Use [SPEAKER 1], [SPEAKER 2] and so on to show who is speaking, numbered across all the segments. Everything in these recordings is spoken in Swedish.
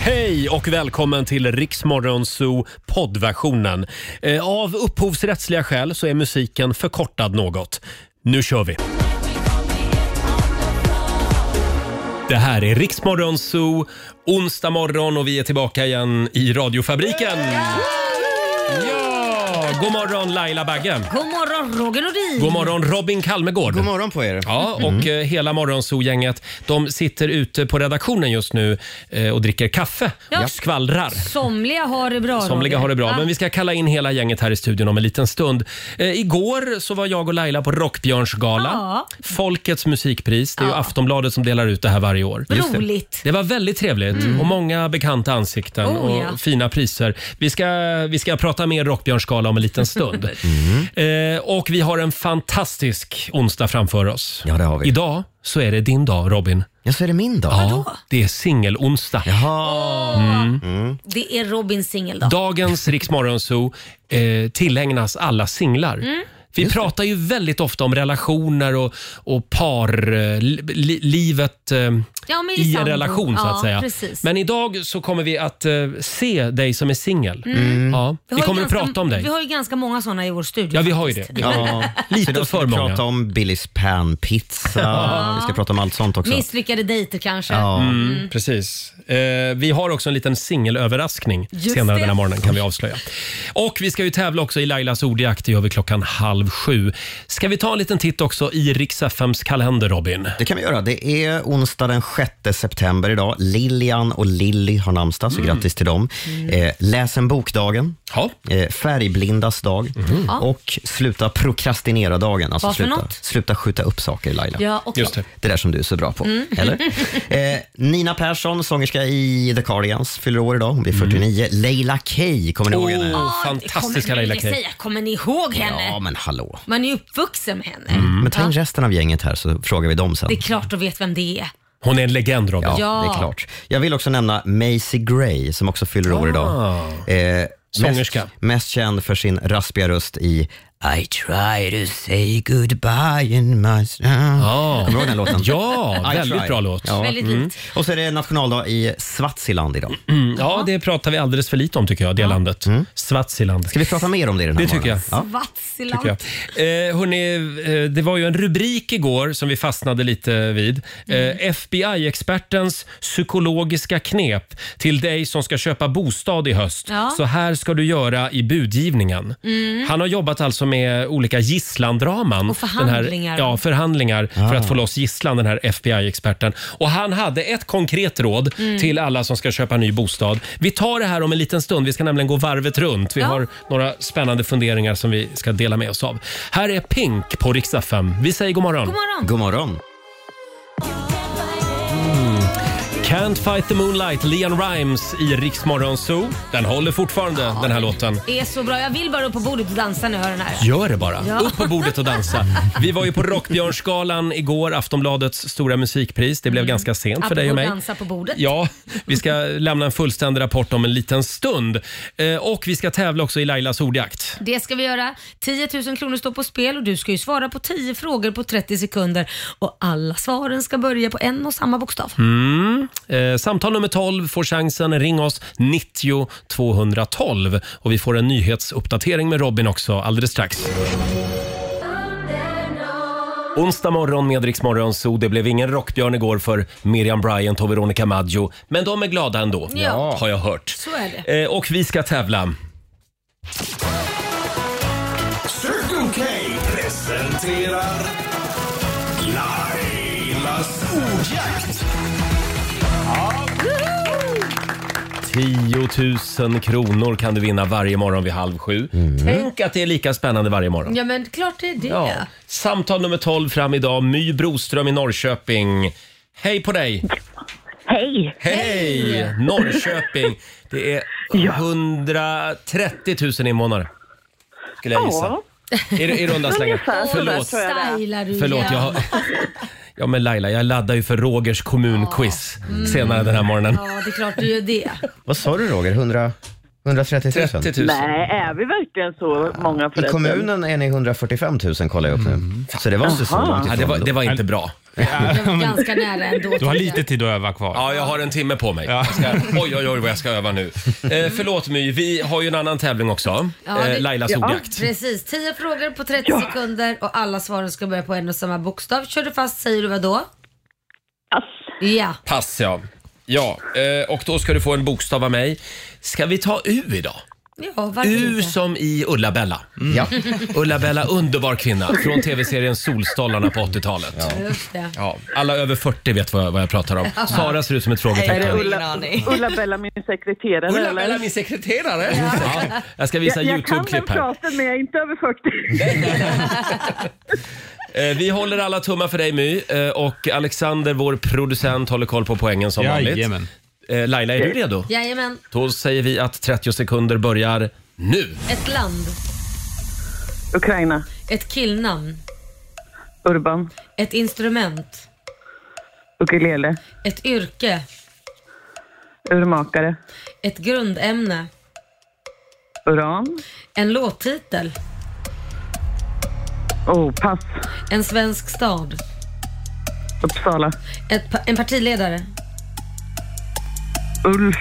[SPEAKER 1] Hej och välkommen till Riksmorgonzoo poddversionen. Eh, Av upphovsrättsliga skäl så är musiken förkortad något. Nu kör vi! Det här är Riksmorgonzoo, onsdag morgon och vi är tillbaka igen i radiofabriken. Ja! God morgon Laila Bagge!
[SPEAKER 2] God morgon Roger Nordin!
[SPEAKER 1] God morgon Robin Kalmegård!
[SPEAKER 3] God morgon på er.
[SPEAKER 1] Ja, och
[SPEAKER 2] Mm.
[SPEAKER 1] eh, hela Morgonzoo-gänget de sitter ute på redaktionen just nu eh, och dricker kaffe
[SPEAKER 2] Ja.
[SPEAKER 1] och skvallrar.
[SPEAKER 2] Somliga har det bra
[SPEAKER 1] Somliga
[SPEAKER 2] Roger.
[SPEAKER 1] har det bra,
[SPEAKER 2] Va?
[SPEAKER 1] men vi ska kalla in hela gänget här i studion om en liten stund. Eh, igår så var jag och Laila på Rockbjörnsgala.
[SPEAKER 2] Ja.
[SPEAKER 1] Folkets musikpris. Det är ju Aftonbladet som delar ut det här varje år.
[SPEAKER 2] Just det. Roligt. Mm.
[SPEAKER 1] Det var väldigt trevligt och många bekanta ansikten
[SPEAKER 2] Oh,
[SPEAKER 1] och
[SPEAKER 2] ja.
[SPEAKER 1] fina priser. Vi ska, vi ska prata mer Rockbjörnsgala om en liten stund. eh, och vi har en fantastisk onsdag framför oss.
[SPEAKER 3] Ja, det har vi.
[SPEAKER 1] Idag så är det din dag Robin.
[SPEAKER 3] Ja, så är det min dag. Ja.
[SPEAKER 1] Det är singelonsdag. Mm.
[SPEAKER 3] Jaha. Mm.
[SPEAKER 2] Det är Robins singeldag.
[SPEAKER 1] Dagens Rix Morgonzoo eh, tillägnas alla singlar.
[SPEAKER 2] Mm.
[SPEAKER 1] Vi pratar ju väldigt ofta om relationer och, och parlivet eh, li, livet, eh,
[SPEAKER 2] Ja, men i
[SPEAKER 1] i en
[SPEAKER 2] sambo.
[SPEAKER 1] relation så att
[SPEAKER 2] Ja,
[SPEAKER 1] säga.
[SPEAKER 2] precis.
[SPEAKER 1] Men idag så kommer vi att eh, se dig som är singel.
[SPEAKER 3] Mm.
[SPEAKER 1] Ja,
[SPEAKER 2] Mm. Vi har
[SPEAKER 1] vi
[SPEAKER 2] ju
[SPEAKER 1] kommer att
[SPEAKER 2] ganska-
[SPEAKER 1] prata om dig.
[SPEAKER 2] Vi har ju ganska många sådana i vår studio.
[SPEAKER 1] Ja, vi har ju
[SPEAKER 2] faktiskt.
[SPEAKER 1] det.
[SPEAKER 3] Ja.
[SPEAKER 1] Lite
[SPEAKER 3] Så idag ska
[SPEAKER 1] för
[SPEAKER 3] vi
[SPEAKER 1] många.
[SPEAKER 3] prata om Billys panpizza. Vi ska prata om allt sånt också.
[SPEAKER 2] Misslyckade dejter kanske.
[SPEAKER 3] Ja.
[SPEAKER 1] Mm, precis. Eh, vi har också en liten singelöverraskning
[SPEAKER 2] Just
[SPEAKER 1] senare
[SPEAKER 2] det.
[SPEAKER 1] den här morgonen kan vi avslöja. Och vi ska ju tävla också i Lailas ordjakt. Det gör vi klockan halv sju. Ska vi ta en liten titt också i Rix FMs kalender, Robin?
[SPEAKER 3] Det kan vi göra. Det är onsdag den 6 september idag. Lilian och Lilly har namnsdag, så grattis till dem. Eh, läs en bokdagen.
[SPEAKER 1] Mm. Ja. Mm.
[SPEAKER 3] Eh, färgblindas dag. Och sluta prokrastinera-dagen. Alltså
[SPEAKER 2] Vad för
[SPEAKER 3] sluta,
[SPEAKER 2] något?
[SPEAKER 3] sluta skjuta upp saker, Laila.
[SPEAKER 2] Ja, okej.
[SPEAKER 1] Just det.
[SPEAKER 3] Det där som du är så bra på.
[SPEAKER 2] Mm.
[SPEAKER 1] Mm.
[SPEAKER 3] Eller? Eh, Nina Persson, sångerska i The Cardigans, fyller år idag. Hon blir 49. Leila Kay, kommer ni ihåg henne?
[SPEAKER 1] Mm. Åh,
[SPEAKER 2] Ja,
[SPEAKER 1] fantastiska
[SPEAKER 2] kommer-
[SPEAKER 1] Laila
[SPEAKER 2] jag
[SPEAKER 1] Kay.
[SPEAKER 2] säga, Kommer ni ihåg henne?
[SPEAKER 3] Ja, men hallå.
[SPEAKER 2] Man är ju uppvuxen med henne.
[SPEAKER 1] Mm.
[SPEAKER 3] Men ta in resten av gänget här så frågar vi dem sen.
[SPEAKER 2] Det är klart du vet vem det är.
[SPEAKER 1] Hon är en legend, Robin.
[SPEAKER 3] Ja,
[SPEAKER 2] Ja.
[SPEAKER 3] det är klart. Jag vill också nämna Macy Gray som också fyller år idag. Eh,
[SPEAKER 1] Ah. Sångerska.
[SPEAKER 3] Mest, mest känd för sin raspiga röst i I try to say goodbye in my
[SPEAKER 1] Ja.
[SPEAKER 3] Kommer du ihåg den låten?
[SPEAKER 1] Ah. Ja,
[SPEAKER 3] I
[SPEAKER 1] väldigt
[SPEAKER 3] try.
[SPEAKER 1] bra låt. Mm. Ja.
[SPEAKER 2] Väldigt likt.
[SPEAKER 3] Och så är det nationaldag i Swaziland idag.
[SPEAKER 1] Mm,
[SPEAKER 3] Mm.
[SPEAKER 1] det pratar vi alldeles för lite om tycker jag, det landet. Swaziland.
[SPEAKER 3] Ska vi prata mer om det den här
[SPEAKER 1] Det tycker
[SPEAKER 3] morgonen?
[SPEAKER 1] jag.
[SPEAKER 3] Ja.
[SPEAKER 2] Swaziland.
[SPEAKER 1] tycker jag. Eh, hörni, eh, det var ju en rubrik igår som vi fastnade lite vid. Eh,
[SPEAKER 2] Mm.
[SPEAKER 1] FBI-expertens psykologiska knep till dig som ska köpa bostad i höst.
[SPEAKER 2] Ja.
[SPEAKER 1] Så här ska du göra i budgivningen.
[SPEAKER 2] Mm.
[SPEAKER 1] Han har jobbat alltså med olika gisslandraman.
[SPEAKER 2] Och
[SPEAKER 1] Den
[SPEAKER 2] förhandlingar.
[SPEAKER 1] Här, ja, förhandlingar för
[SPEAKER 3] Ah.
[SPEAKER 1] att få loss gisslan, den här FBI-experten. Och han hade ett konkret råd
[SPEAKER 2] Mm.
[SPEAKER 1] till alla som ska köpa ny bostad. Vi tar det här om en liten stund. Vi ska nämligen gå varvet runt. Vi
[SPEAKER 2] Ja.
[SPEAKER 1] har några spännande funderingar som vi ska dela med oss av. Här är Pink på riksdag 5. Vi säger god morgon.
[SPEAKER 2] God morgon.
[SPEAKER 3] God morgon.
[SPEAKER 1] Mm. Can't fight the moonlight, Leon Rimes i Riksmorgon Zoo. Den håller fortfarande, den här låten.
[SPEAKER 2] Det är så bra. Jag vill bara upp på bordet och dansa när jag hör den här.
[SPEAKER 1] Gör det bara.
[SPEAKER 2] Ja.
[SPEAKER 1] Upp på bordet och dansa. Vi var ju på Rockbjörnsgalan igår, Aftonbladets stora musikpris. Det blev ganska sent för dig och
[SPEAKER 2] Mm. Apropå
[SPEAKER 1] mig.
[SPEAKER 2] dansa på bordet.
[SPEAKER 1] Ja, vi ska lämna en fullständig rapport om en liten stund. Eh, och vi ska tävla också i Lailas ordjakt.
[SPEAKER 2] Det ska vi göra. 10 000 kronor står på spel och du ska ju svara på 10 frågor på 30 sekunder. Och alla svaren ska börja på en och samma bokstav.
[SPEAKER 1] Eh, samtal nummer 12 får chansen. Ring oss 90 212. Och vi får en nyhetsuppdatering med Robin också alldeles strax. Onsdag morgon med Rix Morgon Zoo. Det blev ingen rockbjörn igår för Miriam Bryant och Veronica Maggio. Men de är glada ändå,
[SPEAKER 2] Ja.
[SPEAKER 1] har jag hört.
[SPEAKER 2] Så är det.
[SPEAKER 1] Eh, och vi ska tävla.
[SPEAKER 4] Circle K presenterar Lailas ordjakt.
[SPEAKER 1] 10 000 kronor kan du vinna varje morgon vid halv sju. Tänk att det är lika spännande varje morgon.
[SPEAKER 2] Ja men klart det är det.
[SPEAKER 1] Ja. Samtal nummer 12 fram idag. My Broström i Norrköping. Hej på dig!
[SPEAKER 5] Hej!
[SPEAKER 1] Hej! Norrköping. Det är 130 000 invånare. Skulle jag gissa.
[SPEAKER 5] Ja,
[SPEAKER 1] I, i runda slängar.
[SPEAKER 5] Ungefär så där,
[SPEAKER 1] Förlåt.
[SPEAKER 5] tror jag.
[SPEAKER 2] Stylar du
[SPEAKER 1] Förlåt, jag har... Ja men Laila, jag laddar ju för Rogers kommunquiz senare den här morgonen.
[SPEAKER 2] Mm. Ja det är klart du gör det.
[SPEAKER 3] Vad sa du Roger? 100, 130 000?
[SPEAKER 1] 30 000.
[SPEAKER 5] nej, är vi verkligen så många
[SPEAKER 3] I
[SPEAKER 5] förresten?
[SPEAKER 2] Mm.
[SPEAKER 3] kommunen är ni 145 000 kollar jag upp nu. Så det var inte så långt
[SPEAKER 1] Ja,
[SPEAKER 3] ifrån.
[SPEAKER 1] det, var,
[SPEAKER 3] ändå.
[SPEAKER 1] det var inte bra.
[SPEAKER 2] Jag var ganska nära ändå.
[SPEAKER 6] Du har lite tid att öva kvar.
[SPEAKER 1] Ja, jag har en timme på mig. Jag ska, oj, oj, oj vad jag ska öva nu. Eh, förlåt My, vi har ju en annan tävling också.
[SPEAKER 2] Ja, det-
[SPEAKER 1] eh, Lailas
[SPEAKER 5] Ja.
[SPEAKER 1] ordjakt.
[SPEAKER 2] Precis, 10 frågor på 30 sekunder och alla svaren ska börja på en och samma bokstav. Kör du fast säger du vad då?
[SPEAKER 5] Pass.
[SPEAKER 2] Ja.
[SPEAKER 1] Pass ja. Ja, eh, och då ska du få en bokstav av mig. Ska vi ta U idag?
[SPEAKER 2] Ja, varför
[SPEAKER 1] U
[SPEAKER 2] inte?
[SPEAKER 1] som i Ulla-Bella.
[SPEAKER 3] Ja.
[SPEAKER 1] Ulla-Bella, underbar kvinna från tv-serien Solstolarna på 80-talet. Ja.
[SPEAKER 2] Just det.
[SPEAKER 1] alla över 40 vet vad jag, vad jag pratar om. Sara ser ut som ett frågetecken.
[SPEAKER 5] Ulla, Ulla Bella, min sekreterare.
[SPEAKER 1] Ulla-Bella, min sekreterare! Ja. Jag ska visa
[SPEAKER 5] jag, jag kan den
[SPEAKER 1] YouTube-klipp här.
[SPEAKER 5] praten, men jag är inte över 40.
[SPEAKER 1] Eh, Vi håller alla tummar för dig My Eh, och Alexander, vår producent, håller koll på poängen som vanligt.
[SPEAKER 6] Jajamän.
[SPEAKER 1] Eh, Laila, är du redo?
[SPEAKER 2] Jajamän,
[SPEAKER 1] Då säger vi att 30 sekunder börjar nu.
[SPEAKER 2] ett land,
[SPEAKER 5] Ukraina.
[SPEAKER 2] ett killnamn,
[SPEAKER 5] Urban.
[SPEAKER 2] ett instrument,
[SPEAKER 5] Ukulele.
[SPEAKER 2] ett yrke,
[SPEAKER 5] Urmakare.
[SPEAKER 2] ett grundämne,
[SPEAKER 5] Uran.
[SPEAKER 2] en låttitel,
[SPEAKER 5] Oh, pass.
[SPEAKER 2] en svensk stad,
[SPEAKER 5] Uppsala.
[SPEAKER 2] ett, pa- en partiledare,
[SPEAKER 5] Ulf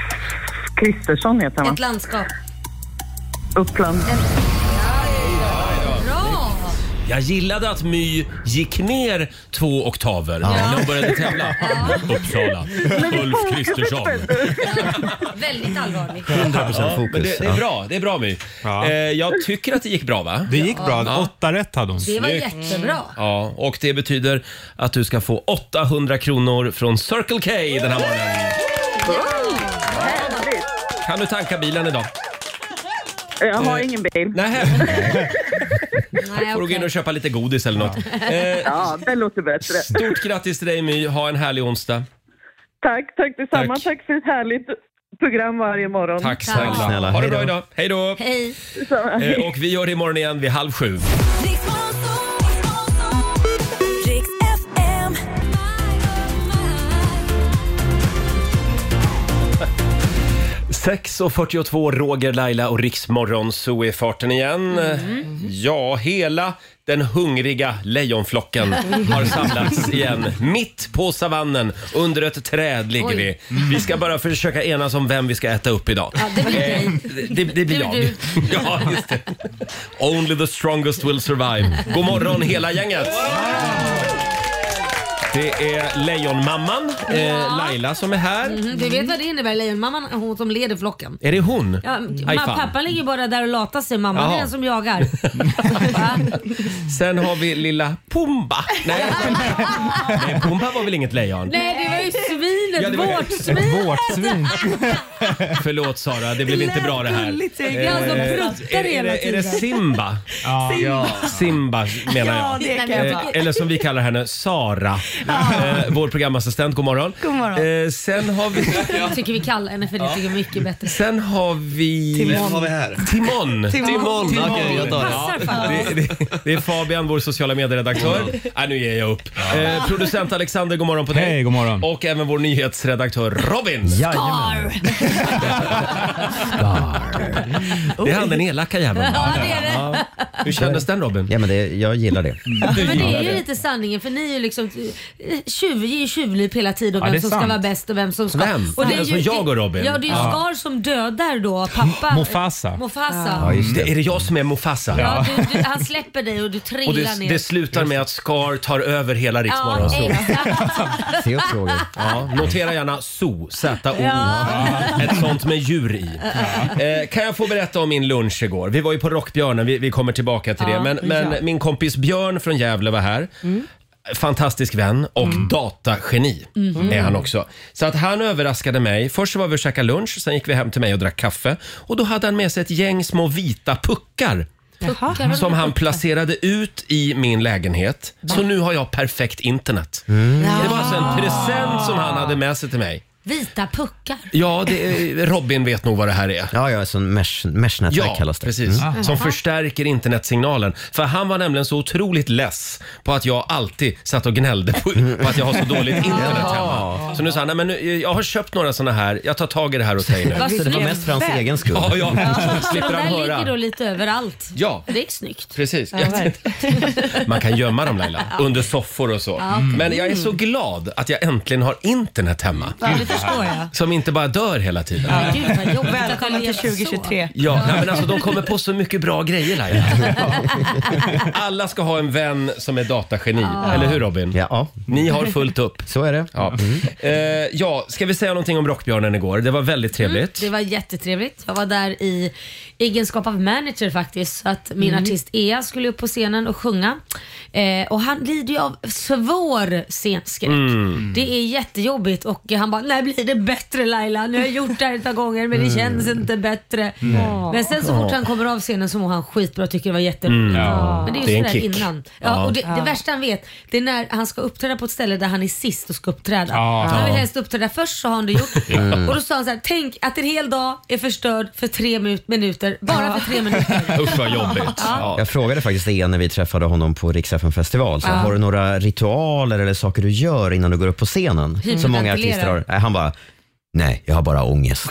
[SPEAKER 5] Kristersson heter han, va?
[SPEAKER 2] ett landskap.
[SPEAKER 5] Uppland.
[SPEAKER 2] Bra!
[SPEAKER 1] Jag gillade att My gick ner två oktaver när hon började tävla. Uppsala, Ulf Kristersson.
[SPEAKER 2] Väldigt allvarlig.
[SPEAKER 3] 100%
[SPEAKER 1] Men
[SPEAKER 3] fokus.
[SPEAKER 1] det, det är bra, det är bra My.
[SPEAKER 6] Ja.
[SPEAKER 1] Eh, Jag tycker att det gick bra va?
[SPEAKER 6] Det gick bra. Åtta rätt hade hon.
[SPEAKER 2] Det var
[SPEAKER 1] Snyggt.
[SPEAKER 2] jättebra.
[SPEAKER 1] Ja, och det betyder att du ska få 800 kronor från Circle K den här morgonen. Kan du tanka bilen idag?
[SPEAKER 5] Jag har
[SPEAKER 1] Eh,
[SPEAKER 5] ingen bil.
[SPEAKER 1] Nej.
[SPEAKER 2] Nej,
[SPEAKER 1] får du gå in
[SPEAKER 2] okej.
[SPEAKER 1] och köpa lite godis eller något. Eh,
[SPEAKER 5] Ja, det låter bättre.
[SPEAKER 1] stort grattis till dig My, ha en härlig onsdag.
[SPEAKER 5] Tack, tack detsamma.
[SPEAKER 1] Tack.
[SPEAKER 5] Tack, för ett härligt program varje morgon.
[SPEAKER 1] Tack
[SPEAKER 2] Tack
[SPEAKER 1] snälla.
[SPEAKER 3] snälla.
[SPEAKER 1] Ha det bra
[SPEAKER 3] Hej då.
[SPEAKER 1] idag. Hej då!
[SPEAKER 2] Hej.
[SPEAKER 5] Detsamma.
[SPEAKER 1] Eh, och vi gör det imorgon igen vid halv sju.
[SPEAKER 7] Riks Morgonzoo, Riks FM. My,
[SPEAKER 1] 6.42, Roger, Laila och Riksmorgon, så är farten igen. Mm. Ja, hela den hungriga lejonflocken har samlats igen. Mitt på savannen, under ett träd ligger
[SPEAKER 2] Oj.
[SPEAKER 1] vi. Vi ska bara försöka enas om vem vi ska äta upp idag.
[SPEAKER 2] Ja, det blir
[SPEAKER 1] Eh,
[SPEAKER 2] dig.
[SPEAKER 1] Det, det blir
[SPEAKER 2] Du,
[SPEAKER 1] jag.
[SPEAKER 2] du.
[SPEAKER 1] Ja, just det. Only the strongest will survive. God morgon hela gänget! Det är lejonmamman, eh, Laila, som är här.
[SPEAKER 2] Mm, Du vet vad det innebär? Lejonmamman är hon som leder flocken.
[SPEAKER 1] Är det hon?
[SPEAKER 2] Ja,
[SPEAKER 1] Aj,
[SPEAKER 2] ma-
[SPEAKER 1] fan.
[SPEAKER 2] pappan ligger bara där och latar sig. Mamman
[SPEAKER 1] Jaha.
[SPEAKER 2] är den som jagar. Va?
[SPEAKER 1] Sen har vi lilla Pumba. Nej, Nej Pumba var väl inget lejon?
[SPEAKER 2] Nej, det var ju svinet.
[SPEAKER 1] Ja, det var-
[SPEAKER 2] Vårt svin.
[SPEAKER 6] Vårt svin.
[SPEAKER 1] Förlåt Sara, det blev inte bra det här. Eh,
[SPEAKER 2] Det är han
[SPEAKER 1] Alltså,
[SPEAKER 2] som pruttar
[SPEAKER 1] är,
[SPEAKER 2] hela
[SPEAKER 1] det, är det
[SPEAKER 2] tiden.
[SPEAKER 1] Simba?
[SPEAKER 6] Ja.
[SPEAKER 1] Simba menar jag.
[SPEAKER 2] Nej, men
[SPEAKER 1] Eh,
[SPEAKER 2] jag tycker-
[SPEAKER 1] eller som vi kallar henne, Sara. Eh, vår programassistent, god morgon. God morgon. Eh, sen har vi...
[SPEAKER 2] Jag tycker vi kallar henne för det. tycker jag är mycket bättre.
[SPEAKER 1] Sen har vi... Timon.
[SPEAKER 8] har vi här?
[SPEAKER 1] Timon.
[SPEAKER 8] Timon. Okej, jag tar det.
[SPEAKER 2] Passar fan.
[SPEAKER 1] Det, det, det är Fabian, vår sociala medieredaktör. Ah, nu ger jag upp. Eh, producent Alexander, god morgon på dig.
[SPEAKER 6] Hej, god morgon.
[SPEAKER 1] Och även vår nyhetsredaktör Robin.
[SPEAKER 3] Jajamän.
[SPEAKER 1] Det är han den elaka jäveln.
[SPEAKER 2] Ja, det är det.
[SPEAKER 1] Hur kändes den Robin? Mm.
[SPEAKER 3] Ja, men det, jag gillar det.
[SPEAKER 2] Men det är ju lite sanningen för ni är ju liksom eh, tjuv, ger ju tjuvnyp hela tiden om
[SPEAKER 6] Ja,
[SPEAKER 2] vem
[SPEAKER 6] det är
[SPEAKER 2] som ska
[SPEAKER 6] sant.
[SPEAKER 2] vara bäst och vem som ska...
[SPEAKER 1] Vem?
[SPEAKER 2] Och det är
[SPEAKER 1] Alltså,
[SPEAKER 2] ju,
[SPEAKER 1] jag och Robin.
[SPEAKER 2] Ja, det är ju Scar som dödar då pappa.
[SPEAKER 6] Mofasa.
[SPEAKER 2] Mofasa.
[SPEAKER 1] Det, Mm. är det jag som är Mufasa?
[SPEAKER 2] Ja, du, du, han släpper dig och du trillar
[SPEAKER 1] Och det,
[SPEAKER 2] ner.
[SPEAKER 1] det slutar med att Scar tar över hela Rix
[SPEAKER 2] ja,
[SPEAKER 1] Morgonzoo.
[SPEAKER 2] exakt.
[SPEAKER 3] Se upp frågor.
[SPEAKER 1] Ja, notera gärna zoo, Z-O. Ett sånt med djur i. Eh, kan jag få berätta om min lunch igår? Vi var ju på Rockbjörnen, vi, vi kommer tillbaka till det. Men, men min kompis Björn från Gävle var här.
[SPEAKER 5] Mm.
[SPEAKER 1] Fantastisk vän och datageni är han också. Så att han överraskade mig. Först så var vi och käkade lunch, sen gick vi hem till mig och drack kaffe. Och då hade han med sig ett gäng små vita puckar
[SPEAKER 2] Puckar.
[SPEAKER 1] som han placerade ut i min lägenhet. Så nu har jag perfekt internet. Det var alltså en present som han hade med sig till mig.
[SPEAKER 2] Vita puckar.
[SPEAKER 1] Ja, det är, Robin vet nog vad det här är.
[SPEAKER 3] Ja, ja, så mesh, mesh-nätverk
[SPEAKER 1] Ja,
[SPEAKER 3] kallas det.
[SPEAKER 1] precis.
[SPEAKER 3] Mm.
[SPEAKER 1] Som
[SPEAKER 2] Jaha.
[SPEAKER 1] förstärker internetsignalen. För han var nämligen så otroligt less på att jag alltid satt och gnällde på, på att jag har så dåligt internet hemma. Så nu sa han, nej men nu, jag har köpt några såna här, jag tar tag i det här och säger nu.
[SPEAKER 2] Vad
[SPEAKER 3] Så det var
[SPEAKER 2] snyggt.
[SPEAKER 3] mest för hans egen skull.
[SPEAKER 1] Ja, ja,
[SPEAKER 2] De
[SPEAKER 1] slipper
[SPEAKER 2] där
[SPEAKER 1] han
[SPEAKER 2] ligger då
[SPEAKER 1] höra.
[SPEAKER 2] lite överallt.
[SPEAKER 1] Ja,
[SPEAKER 2] Det är snyggt.
[SPEAKER 1] precis.
[SPEAKER 2] Ja, verkligen.
[SPEAKER 1] Man kan gömma dem Laila, under soffor och så. Men jag är så glad att jag äntligen har internet hemma.
[SPEAKER 2] Mm. Ja, det förstår jag.
[SPEAKER 1] Som inte bara dör hela tiden.
[SPEAKER 2] Men gud vad jobbigt att
[SPEAKER 9] Välkommen
[SPEAKER 2] ha
[SPEAKER 9] till
[SPEAKER 2] levt
[SPEAKER 9] 2023.
[SPEAKER 1] Ja, nej, men alltså de kommer på så mycket bra grejer Laila. Alla ska ha en vän som är datageni, eller hur Robin?
[SPEAKER 3] Ja, ja,
[SPEAKER 1] Ni har fullt upp.
[SPEAKER 3] så är det.
[SPEAKER 1] Ja. Eh, ja, ska vi säga någonting om Rockbjörnen igår? Det var väldigt trevligt.
[SPEAKER 2] Mm, Det var jättetrevligt. Jag var där i egenskap av manager faktiskt. Så att min
[SPEAKER 1] Mm.
[SPEAKER 2] artist Ea skulle upp på scenen och sjunga. Eh, och han lider ju av svår scenskräck.
[SPEAKER 1] Mm.
[SPEAKER 2] Det är jättejobbigt och han bara, när blir det bättre Laila? Nu har jag gjort det här ett par gånger men det
[SPEAKER 1] Mm.
[SPEAKER 2] känns inte bättre. Men sen så fort han kommer av scenen så mår han skitbra och tycker det var jätteroligt. Men det är
[SPEAKER 1] Mm. Det är
[SPEAKER 2] ju
[SPEAKER 1] en
[SPEAKER 2] sådär
[SPEAKER 1] kick.
[SPEAKER 2] innan. Ja, Och det, det värsta han vet, det är när han ska uppträda på ett ställe där han är sist och ska uppträda.
[SPEAKER 6] Ja.
[SPEAKER 2] Han vill helst uppträda först så har han det gjort. Och då sa han så här, tänk att en hel dag är förstörd för tre minu- minuter. Bara för tre minuter.
[SPEAKER 1] Usch vad jobbigt. Ja.
[SPEAKER 3] Jag frågade faktiskt Ian när vi träffade honom på Rix FM festival. Så Har du några ritualer eller saker du gör innan du går upp på scenen? Som många artister har. Nej, han bara, nej, jag har bara ångest.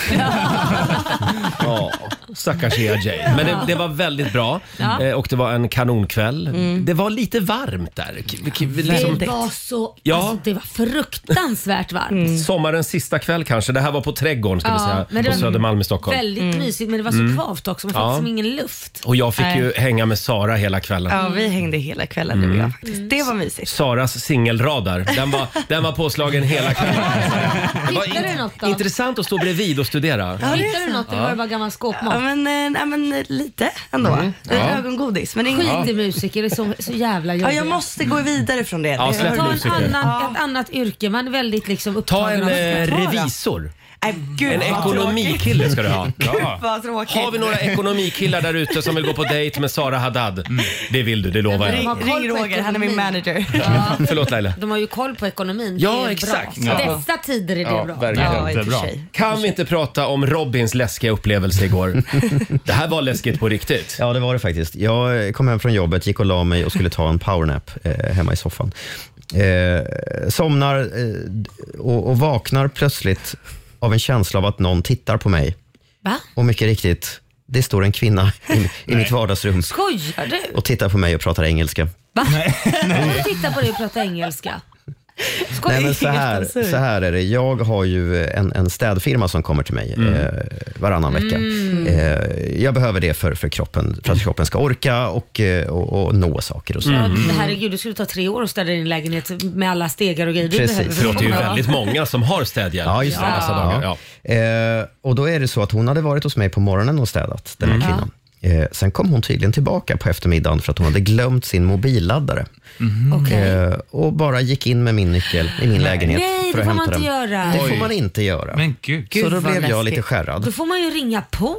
[SPEAKER 1] Ja, stackars Ea Jay. Men det, det var väldigt bra
[SPEAKER 2] Ja.
[SPEAKER 1] eh, och det var en kanonkväll. Det var lite varmt där. K- k- Liksom,
[SPEAKER 2] Det var så,
[SPEAKER 1] Ja.
[SPEAKER 2] alltså, det var fruktansvärt varmt.
[SPEAKER 1] sommarens sista kväll kanske. Det här var på Trädgården ska
[SPEAKER 2] Ja,
[SPEAKER 1] vi säga,
[SPEAKER 2] men det
[SPEAKER 1] på
[SPEAKER 2] var
[SPEAKER 1] Södermalm i Stockholm. Mm.
[SPEAKER 2] Väldigt mysigt men det var så kvavt också. Man fick
[SPEAKER 1] Ja.
[SPEAKER 2] liksom ingen luft.
[SPEAKER 1] Och jag fick ju hänga med Sara hela kvällen.
[SPEAKER 9] Ja, vi hängde hela kvällen du och
[SPEAKER 1] Mm.
[SPEAKER 9] jag faktiskt. Det var mysigt.
[SPEAKER 1] Saras singelradar, den var, den var påslagen hela kvällen. Det var
[SPEAKER 2] Hittade du något då?
[SPEAKER 1] intressant att stå bredvid och studera.
[SPEAKER 2] Hittade du något eller var det bara gammal skåpmat?
[SPEAKER 9] Ja men, eh, nej, men eh, lite ändå.
[SPEAKER 1] Mm.
[SPEAKER 9] Lite ögongodis. Men det är inget...
[SPEAKER 2] Skit i musiker, det är så, så jävla
[SPEAKER 9] Ja,
[SPEAKER 2] jobbigt.
[SPEAKER 9] jag måste gå vidare från det.
[SPEAKER 1] Mm. Ja, släpp
[SPEAKER 2] Ta en
[SPEAKER 1] musiker.
[SPEAKER 2] annan, ett annat yrke, man är väldigt liksom
[SPEAKER 1] Ta en
[SPEAKER 2] upptagen
[SPEAKER 1] eh,
[SPEAKER 2] av
[SPEAKER 1] revisor.
[SPEAKER 9] Nej, gud,
[SPEAKER 1] En
[SPEAKER 9] vad tråkigt.
[SPEAKER 1] ekonomikille ska du ha.
[SPEAKER 6] Ja.
[SPEAKER 9] Vad tråkigt.
[SPEAKER 1] Har vi några ekonomikillar där ute som vill gå på dejk med Sara Haddad?
[SPEAKER 9] Mm.
[SPEAKER 1] Det vill du, det lovar
[SPEAKER 9] Ring,
[SPEAKER 1] jag.
[SPEAKER 2] har koll på
[SPEAKER 9] ring Roger, han är min
[SPEAKER 2] ekonomin.
[SPEAKER 9] manager.
[SPEAKER 1] Förlåt Laila.
[SPEAKER 2] De har ju koll på ekonomin.
[SPEAKER 1] Ja,
[SPEAKER 2] det är
[SPEAKER 1] exakt.
[SPEAKER 2] Bra.
[SPEAKER 6] Ja.
[SPEAKER 2] Dessa tider är det
[SPEAKER 1] Ja,
[SPEAKER 2] bra.
[SPEAKER 1] verkligen.
[SPEAKER 9] Ja, i och för
[SPEAKER 6] Jättebra.
[SPEAKER 9] sig.
[SPEAKER 1] Kan vi inte prata om Robins läskiga upplevelse igår? Det här var läskigt på riktigt.
[SPEAKER 3] Ja, det var det faktiskt. Jag eh, kom hem från jobbet, gick och la mig och skulle ta en powernap eh, hemma i soffan. Eh, somnar eh, d- och, och vaknar plötsligt av en känsla av att någon tittar på mig.
[SPEAKER 2] Va?
[SPEAKER 3] Och mycket riktigt, det står en kvinna i, i mitt vardagsrum
[SPEAKER 2] Skojar du?
[SPEAKER 3] och tittar på mig och pratar engelska.
[SPEAKER 2] Va? Hon tittar på dig och pratar engelska. Skojar
[SPEAKER 3] Nej, men så, här,
[SPEAKER 9] absurt.
[SPEAKER 3] så här är det. Jag har ju eh, en, en städfirma som kommer till mig eh, varannan vecka.
[SPEAKER 2] Mm.
[SPEAKER 3] Eh, jag behöver det för, för, kroppen, för att kroppen ska orka och, eh, och, och nå saker.
[SPEAKER 1] Mm.
[SPEAKER 3] Och så.
[SPEAKER 2] Men Herregud, det skulle ta tre år att städa din lägenhet med alla stegar och grejer du
[SPEAKER 3] Precis.
[SPEAKER 2] behöver.
[SPEAKER 1] För det är ju
[SPEAKER 2] Ja.
[SPEAKER 1] väldigt många som har städhjälp.
[SPEAKER 3] Ja, just det.
[SPEAKER 1] alla dessa dagar.
[SPEAKER 3] Ja.
[SPEAKER 1] Ja.
[SPEAKER 3] Eh, och då är det så att hon hade varit hos mig på morgonen och städat, den här
[SPEAKER 2] Mm.
[SPEAKER 3] kvinnan. Eh, sen kom hon tydligen tillbaka på eftermiddagen för att hon hade glömt sin mobilladdare.
[SPEAKER 10] Mm.
[SPEAKER 2] Mm. Okej.
[SPEAKER 3] Eh, och bara gick in med min nyckel i min lägenhet
[SPEAKER 2] Nej,
[SPEAKER 3] för
[SPEAKER 2] det
[SPEAKER 3] att
[SPEAKER 2] får man
[SPEAKER 3] hämta
[SPEAKER 2] inte
[SPEAKER 3] den.
[SPEAKER 2] göra.
[SPEAKER 3] Det får man inte göra.
[SPEAKER 6] Men gud.
[SPEAKER 3] så
[SPEAKER 9] Gud,
[SPEAKER 3] då
[SPEAKER 9] vad
[SPEAKER 3] blev jag
[SPEAKER 9] läskigt.
[SPEAKER 3] lite skärrad.
[SPEAKER 2] Då får man ju ringa på.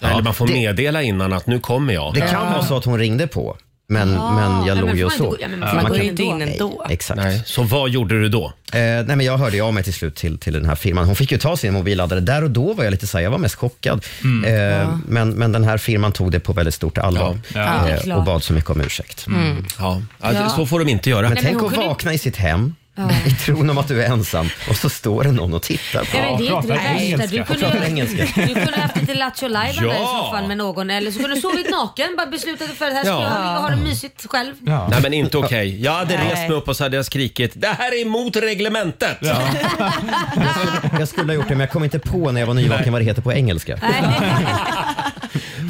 [SPEAKER 1] Eller man får
[SPEAKER 3] det-
[SPEAKER 1] meddela innan att nu kommer jag.
[SPEAKER 3] Det kan vara så att hon ringde på, men, men jag
[SPEAKER 2] nej,
[SPEAKER 3] låg
[SPEAKER 2] men
[SPEAKER 3] ju
[SPEAKER 2] får
[SPEAKER 3] och
[SPEAKER 2] man inte
[SPEAKER 3] sov.
[SPEAKER 2] gå- ja, men
[SPEAKER 9] Man,
[SPEAKER 2] Man
[SPEAKER 9] går
[SPEAKER 2] kan-
[SPEAKER 9] inte in ändå.
[SPEAKER 3] Exakt.
[SPEAKER 1] Nej. Så vad gjorde du då?
[SPEAKER 3] Eh, nej, men jag hörde ju av mig till slut till, till den här firman. Hon fick ju ta sin mobilladdare. Där och då var jag lite så här, jag var mest chockad. Eh, men, men den här firman tog det på väldigt stort allvar
[SPEAKER 2] Mm. Ja, det är
[SPEAKER 3] eh, och
[SPEAKER 2] klart. Mm.
[SPEAKER 3] bad så mycket om ursäkt. Mm.
[SPEAKER 1] Ja. det- Så får de inte göra.
[SPEAKER 3] Men
[SPEAKER 2] men
[SPEAKER 3] tänk
[SPEAKER 2] hon
[SPEAKER 3] att
[SPEAKER 2] kunde-
[SPEAKER 3] vakna i sitt hem i tron om att du är ensam och så står det någon och tittar på
[SPEAKER 2] Ja, men
[SPEAKER 3] dig.
[SPEAKER 2] det är inte det
[SPEAKER 6] prata
[SPEAKER 2] värsta. Du kunde,
[SPEAKER 3] Prata
[SPEAKER 6] engelska.
[SPEAKER 2] ju,
[SPEAKER 3] engelska.
[SPEAKER 2] du kunde haft lite lattjo lajban där i
[SPEAKER 1] Ja.
[SPEAKER 2] soffan med någon eller så kunde du sovit naken. Bara beslutat dig för att här ska
[SPEAKER 1] Ja.
[SPEAKER 2] jag ligga och ha det mysigt själv.
[SPEAKER 6] Ja.
[SPEAKER 1] Nej men inte okej. Jag hade
[SPEAKER 9] Nej.
[SPEAKER 1] rest mig upp och så hade jag skrikit “Det här är emot reglementet!”
[SPEAKER 3] Jag skulle ha gjort det, men jag kom inte på när jag var nyvaken vad det heter på engelska.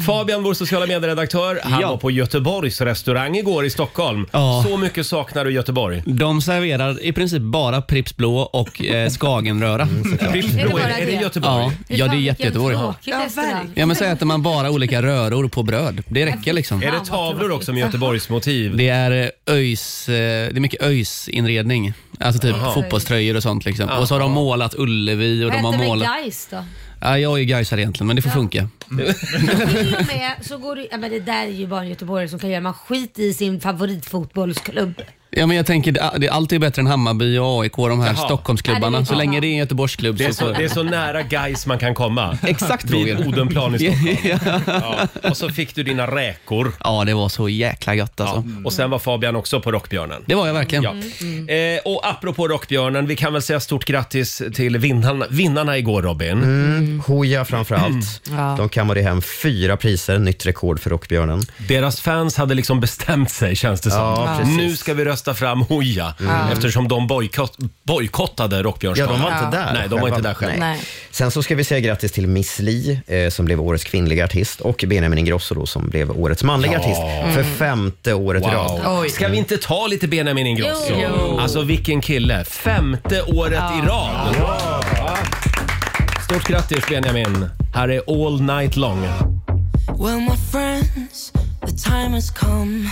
[SPEAKER 1] Fabian, vår sociala medieredaktör, han var på Göteborgs restaurang igår i Stockholm.
[SPEAKER 10] Ja.
[SPEAKER 1] Så mycket saknar du Göteborg.
[SPEAKER 10] De serverar i princip bara Pripps blå och eh, Skagenröra.
[SPEAKER 1] Mm, Pripps Blå, är,
[SPEAKER 2] bara
[SPEAKER 1] det- är det
[SPEAKER 2] det?
[SPEAKER 1] Göteborg?
[SPEAKER 10] ja. ja, det är jättegöteborg. Ja.
[SPEAKER 9] Ja,
[SPEAKER 2] Ja, verkligen.
[SPEAKER 10] ja, men så äter man bara olika röror på bröd. Det räcker liksom.
[SPEAKER 1] Är det tavlor också med Göteborgsmotiv?
[SPEAKER 10] Det är eh, öjs, eh, det är mycket öjsinredning. Alltså typ fotbollströjor och sånt. Liksom. Och så har de målat Ullevi och
[SPEAKER 2] Vad
[SPEAKER 10] de har
[SPEAKER 2] hette det
[SPEAKER 10] målat...
[SPEAKER 2] Gais då?
[SPEAKER 10] Ja, jag är gaisare egentligen, men det får funka.
[SPEAKER 2] Till och med så går det, ja, men det där är ju bara en göteborgare som kan göra. Man skit i sin favoritfotbollsklubb.
[SPEAKER 10] Ja, men jag tänker, det- allt är bättre än Hammarby och AIK, de här
[SPEAKER 1] Jaha.
[SPEAKER 10] Stockholmsklubbarna. så länge det är en Göteborgsklubb
[SPEAKER 1] Det är, så, det är så nära guys man kan komma.
[SPEAKER 10] Exakt,
[SPEAKER 1] Vid
[SPEAKER 10] Roger.
[SPEAKER 1] Odenplan i Stockholm. ja. Och så fick du dina räkor.
[SPEAKER 10] Ja, det var så jäkla gött alltså.
[SPEAKER 1] Och sen var Fabian också på Rockbjörnen.
[SPEAKER 10] Det var jag verkligen.
[SPEAKER 1] Ja.
[SPEAKER 3] Mm.
[SPEAKER 1] Eh, och apropå Rockbjörnen, vi kan väl säga stort grattis till vinnarna, vinnarna igår Robin.
[SPEAKER 3] Mm, Hooja framför allt.
[SPEAKER 9] Ja.
[SPEAKER 3] De kammade hem fyra priser, nytt rekord för Rockbjörnen.
[SPEAKER 1] Deras fans hade liksom bestämt sig känns det som.
[SPEAKER 3] Ja, precis.
[SPEAKER 1] nu ska vi rösta fram Hooja eftersom de bojkott, bojkottade
[SPEAKER 3] Mm. Ja,
[SPEAKER 1] Rockbjörnsgalan.
[SPEAKER 3] de var inte där.
[SPEAKER 1] Nej, de var inte där själva.
[SPEAKER 2] Nej.
[SPEAKER 3] Sen så ska vi säga grattis till Miss Li eh, som blev årets kvinnliga artist och Benjamin Ingrosso då, som blev årets manliga
[SPEAKER 1] Ja.
[SPEAKER 3] artist för femte året i rad.
[SPEAKER 1] Wow.
[SPEAKER 9] Oj.
[SPEAKER 1] Ska vi inte ta lite Benjamin Ingrosso?
[SPEAKER 2] Jo. Jo.
[SPEAKER 1] Alltså vilken kille! Femte året i rad! Ja. Stort grattis Benjamin! Här är All Night Long.
[SPEAKER 7] Well, my friends, the time has come.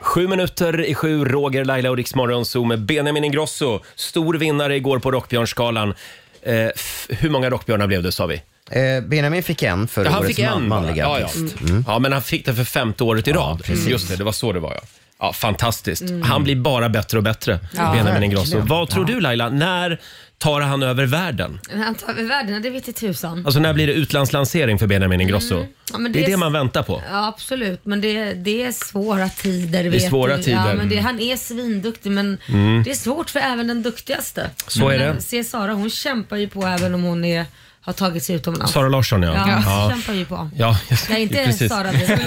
[SPEAKER 1] Sju minuter i sju, Roger, Laila och Riksmorgon Zoo med Benjamin Ingrosso. Stor vinnare igår på Rockbjörnsgalan. Eh, f- hur många Rockbjörnar blev det sa vi?
[SPEAKER 3] Eh, Benjamin fick en för
[SPEAKER 1] Ja, han
[SPEAKER 3] årets
[SPEAKER 1] fick en
[SPEAKER 3] man, manliga
[SPEAKER 1] ja, Mm. ja.
[SPEAKER 3] artist. Mm.
[SPEAKER 1] ja, men han fick det för femte året i rad. Just det, det var så det var ja. Ja, fantastiskt.
[SPEAKER 2] Mm.
[SPEAKER 1] Han blir bara bättre och bättre, Benjamin Ingrosso. Vad tror du Laila, när tar han över världen?
[SPEAKER 2] Han tar över världen, det vete tusan.
[SPEAKER 1] Alltså när blir det utlandslansering för Benjamin Ingrosso?
[SPEAKER 2] Mm. Ja, men
[SPEAKER 1] det, är
[SPEAKER 2] det är
[SPEAKER 1] det
[SPEAKER 2] s-
[SPEAKER 1] man väntar på.
[SPEAKER 2] Ja absolut, men det, det är svåra tider. Det
[SPEAKER 1] svåra
[SPEAKER 2] Ja,
[SPEAKER 1] tider. Mm.
[SPEAKER 2] men det, han är svinduktig men det är svårt för även den duktigaste.
[SPEAKER 1] Så är
[SPEAKER 2] Men eh,
[SPEAKER 1] det.
[SPEAKER 2] Se Sara, hon kämpar ju på även om hon är, har tagit sig utomlands.
[SPEAKER 1] Sara Larsson ja.
[SPEAKER 2] Ja, hon
[SPEAKER 1] ja.
[SPEAKER 2] kämpar ju på.
[SPEAKER 1] Ja,
[SPEAKER 2] Nej, inte
[SPEAKER 1] precis.
[SPEAKER 2] Sara Larsson.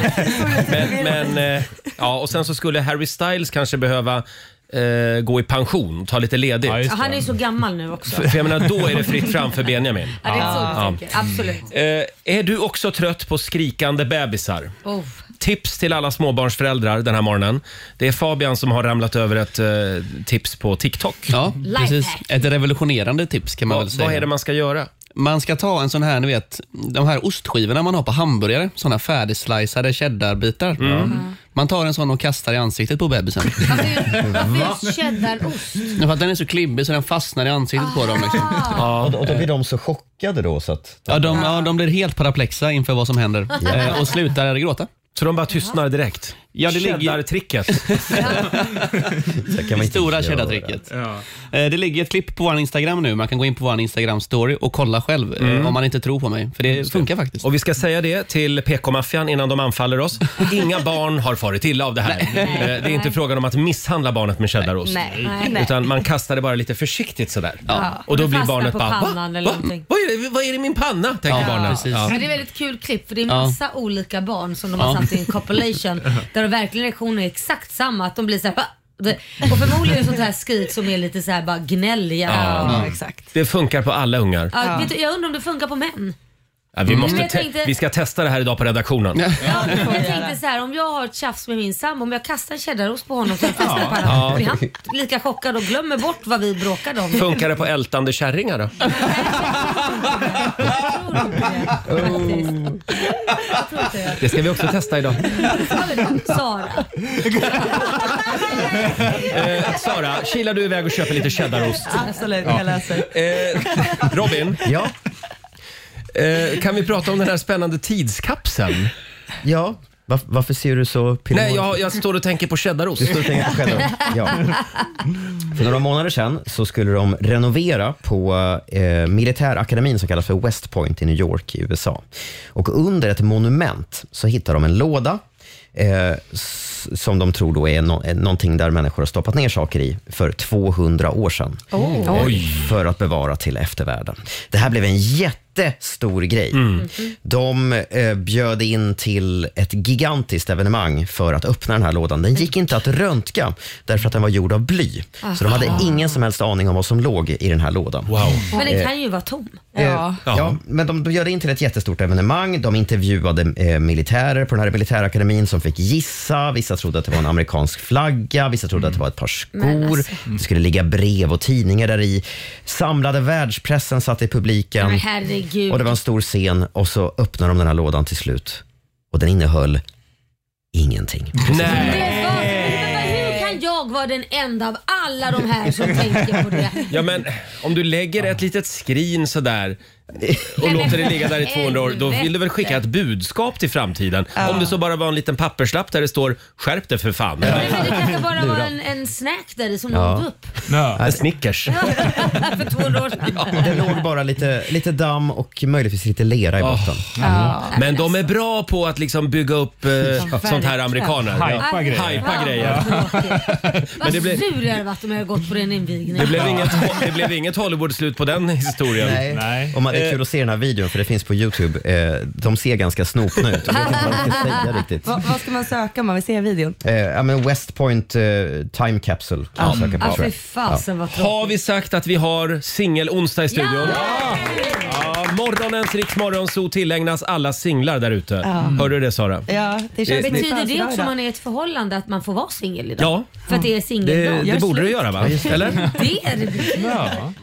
[SPEAKER 1] Men, men, eh, ja, och sen så skulle Harry Styles kanske behöva eh, gå i pension, ta lite ledigt.
[SPEAKER 6] Ja, just
[SPEAKER 2] Ja, Han är ju så gammal nu också.
[SPEAKER 1] För jag menar, då är det fritt fram för Benjamin.
[SPEAKER 2] Ja, det är så jag tänker. Absolut.
[SPEAKER 1] Eh, är du också trött på skrikande bebisar?
[SPEAKER 2] Oh.
[SPEAKER 1] Tips till alla småbarnsföräldrar den här morgonen. Det är Fabian som har ramlat över ett eh, tips på TikTok.
[SPEAKER 10] Ja,
[SPEAKER 2] Lifehack.
[SPEAKER 10] precis. Ett revolutionerande tips kan man
[SPEAKER 1] Vad,
[SPEAKER 10] väl säga.
[SPEAKER 1] vad är det man ska göra?
[SPEAKER 10] Man ska ta en sån här, ni vet, de här ostskivorna man har på hamburgare. Såna färdigsliceade cheddarbitar.
[SPEAKER 1] Mm.
[SPEAKER 10] Man tar en sån och kastar i ansiktet på bebisen.
[SPEAKER 2] Varför är- varför är cheddarost?
[SPEAKER 10] För att den är så klibbig så den fastnar i ansiktet på dem. Liksom.
[SPEAKER 3] Och, då- och då blir de så chockade då så att...
[SPEAKER 10] Ja, de, ja, de blir helt paraplexa inför vad som händer eh, och slutar gråta.
[SPEAKER 1] Så de bara tystnar direkt?
[SPEAKER 10] Ja, det ligger-
[SPEAKER 1] Cheddartricket.
[SPEAKER 3] Så kan man
[SPEAKER 10] Det
[SPEAKER 3] inte
[SPEAKER 10] stora
[SPEAKER 3] göra.
[SPEAKER 10] cheddartricket.
[SPEAKER 6] Ja.
[SPEAKER 10] Eh, Det ligger ett klipp på vår Instagram nu. Man kan gå in på vår Instagram-story och kolla själv eh, om man inte tror på mig. För det funkar faktiskt.
[SPEAKER 1] Mm. Och vi ska säga det till PK-maffian innan de anfaller oss. Inga barn har farit illa av det här. Eh, Det är inte frågan om att misshandla barnet med cheddarost.
[SPEAKER 2] Nej. Nej. Nej.
[SPEAKER 1] Utan man kastar det bara lite försiktigt sådär.
[SPEAKER 2] Ja.
[SPEAKER 1] Och då
[SPEAKER 2] Det
[SPEAKER 1] blir
[SPEAKER 2] fastnar
[SPEAKER 1] barnet
[SPEAKER 2] på
[SPEAKER 1] bara Va? Va?
[SPEAKER 2] pannan eller någonting."
[SPEAKER 1] Vad, är det, vad är det i min panna? Tänker barnet.
[SPEAKER 10] precis.
[SPEAKER 2] Men det är väldigt kul klipp för det är
[SPEAKER 10] Ja.
[SPEAKER 2] massa olika barn som de har satt i en compilation där de verkligen reaktionen är exakt samma. Att de blir såhär och förmodligen sånt här skrik som är lite såhär bara gnälliga. Ja. Mm.
[SPEAKER 1] Mm.
[SPEAKER 9] Ja, exakt.
[SPEAKER 1] Det funkar på alla ungar.
[SPEAKER 2] Vet du, jag undrar om det funkar på män.
[SPEAKER 1] Ja, vi, måste
[SPEAKER 2] jag
[SPEAKER 1] te-
[SPEAKER 2] tänkte-
[SPEAKER 1] vi ska testa det här idag på redaktionen.
[SPEAKER 2] Ja, jag tänkte så här, om jag har ett tjafs med min sambo, om jag kastar en cheddarost på honom så jag fastnar på honom, blir han lika chockad och glömmer bort vad vi bråkade om?
[SPEAKER 1] Funkar det på ältande kärringar då?
[SPEAKER 2] Jag tror inte det, faktiskt. Jag tror inte det.
[SPEAKER 1] Oh. Det ska vi också testa idag.
[SPEAKER 2] Ja, men då, Sara.
[SPEAKER 1] Eh, Sara, kilar du iväg och köper lite cheddarost?
[SPEAKER 9] Absolut, jag läser.
[SPEAKER 1] Eh, Robin,
[SPEAKER 3] Ja,
[SPEAKER 1] eh, kan vi prata om den här spännande tidskapseln?
[SPEAKER 3] ja. Var, varför ser du så pillemor-
[SPEAKER 1] Nej, jag, jag står och tänker på cheddarost.
[SPEAKER 3] Du står och tänker på cheddarn. Ja. För några månader sedan så skulle de renovera på eh, militärakademin som kallas för West Point i New York i USA. Och under ett monument så hittar de en låda eh, s- som de tror då är no- eh, någonting där människor har stoppat ner saker i för 200 år sedan. Eh, För att bevara till eftervärlden. Det här blev en jättestor grej. De eh, bjöd in till ett gigantiskt evenemang för att öppna den här lådan. Den gick inte att röntga därför att den var gjord av bly. Så de hade ingen som helst aning om vad som låg i den här lådan. Eh,
[SPEAKER 2] Men den kan ju vara tom.
[SPEAKER 9] Ja.
[SPEAKER 1] Ja.
[SPEAKER 3] Ja, men de, de bjöd in till ett jättestort evenemang. De intervjuade eh, militärer på den här militärakademin som fick gissa. Vissa trodde att det var en amerikansk flagga, vissa trodde att det var ett par skor.
[SPEAKER 2] alltså.
[SPEAKER 3] Det skulle ligga brev och tidningar där i. Samlade världspressen satt i publiken.
[SPEAKER 2] Men herregud.
[SPEAKER 3] Och det var en stor scen och så öppnade de den här lådan till slut. Och den innehöll ingenting.
[SPEAKER 1] Nej.
[SPEAKER 2] Det var, men vad- hur kan jag vara den enda av alla de här som tänker på det?
[SPEAKER 1] Ja, men om du lägger ett litet skrin sådär och låter det ligga där i 200 år, då vill du väl skicka ett
[SPEAKER 2] Helvete.
[SPEAKER 1] budskap till framtiden?
[SPEAKER 2] Ja.
[SPEAKER 1] Om det så bara var en liten papperslapp där det står “Skärp dig för fan”.
[SPEAKER 2] Nej, men det kanske bara var
[SPEAKER 1] Lura.
[SPEAKER 2] en, en snack där i som
[SPEAKER 1] Ja.
[SPEAKER 2] nådde upp
[SPEAKER 1] En Snickers.
[SPEAKER 2] för 200 år sedan.
[SPEAKER 3] Det låg bara lite, lite damm och möjligtvis lite lera i botten.
[SPEAKER 2] Ja.
[SPEAKER 1] Mm. Men de är bra på att liksom bygga upp eh, sånt här amerikaner.
[SPEAKER 2] Hypa grejer.
[SPEAKER 1] Hypa grejer.
[SPEAKER 2] Vad
[SPEAKER 1] det blev-
[SPEAKER 2] sur jag hade varit om jag hade gått på den invigningen.
[SPEAKER 1] Det blev, inget, det blev inget Hollywood-slut på den historien.
[SPEAKER 3] Nej. Och man, det är kul att se den här videon för det finns på Youtube. Eh, de ser ganska snopna ut. Jag vet inte vad man ska säga riktigt.
[SPEAKER 9] Va, vad ska man söka om man vill se videon?
[SPEAKER 3] Eh, ja, men West Point eh, Time Capsule kan man söka på. tror jag. Ja.
[SPEAKER 2] Ah, vad
[SPEAKER 1] Har vi sagt att vi har singel-onsdag i studion? Ja! morgonens Rix Morgonzoo tillägnas alla singlar där ute. Hörde du det Sara?
[SPEAKER 9] Ja, det känns
[SPEAKER 1] Det-
[SPEAKER 2] Betyder det
[SPEAKER 9] födelsedag
[SPEAKER 2] också
[SPEAKER 9] idag.
[SPEAKER 2] om man är i ett förhållande att man får vara singel idag?
[SPEAKER 1] Ja.
[SPEAKER 2] För att det är
[SPEAKER 1] Det,
[SPEAKER 2] singeldag?
[SPEAKER 1] det borde du göra va? Eller?
[SPEAKER 2] Det är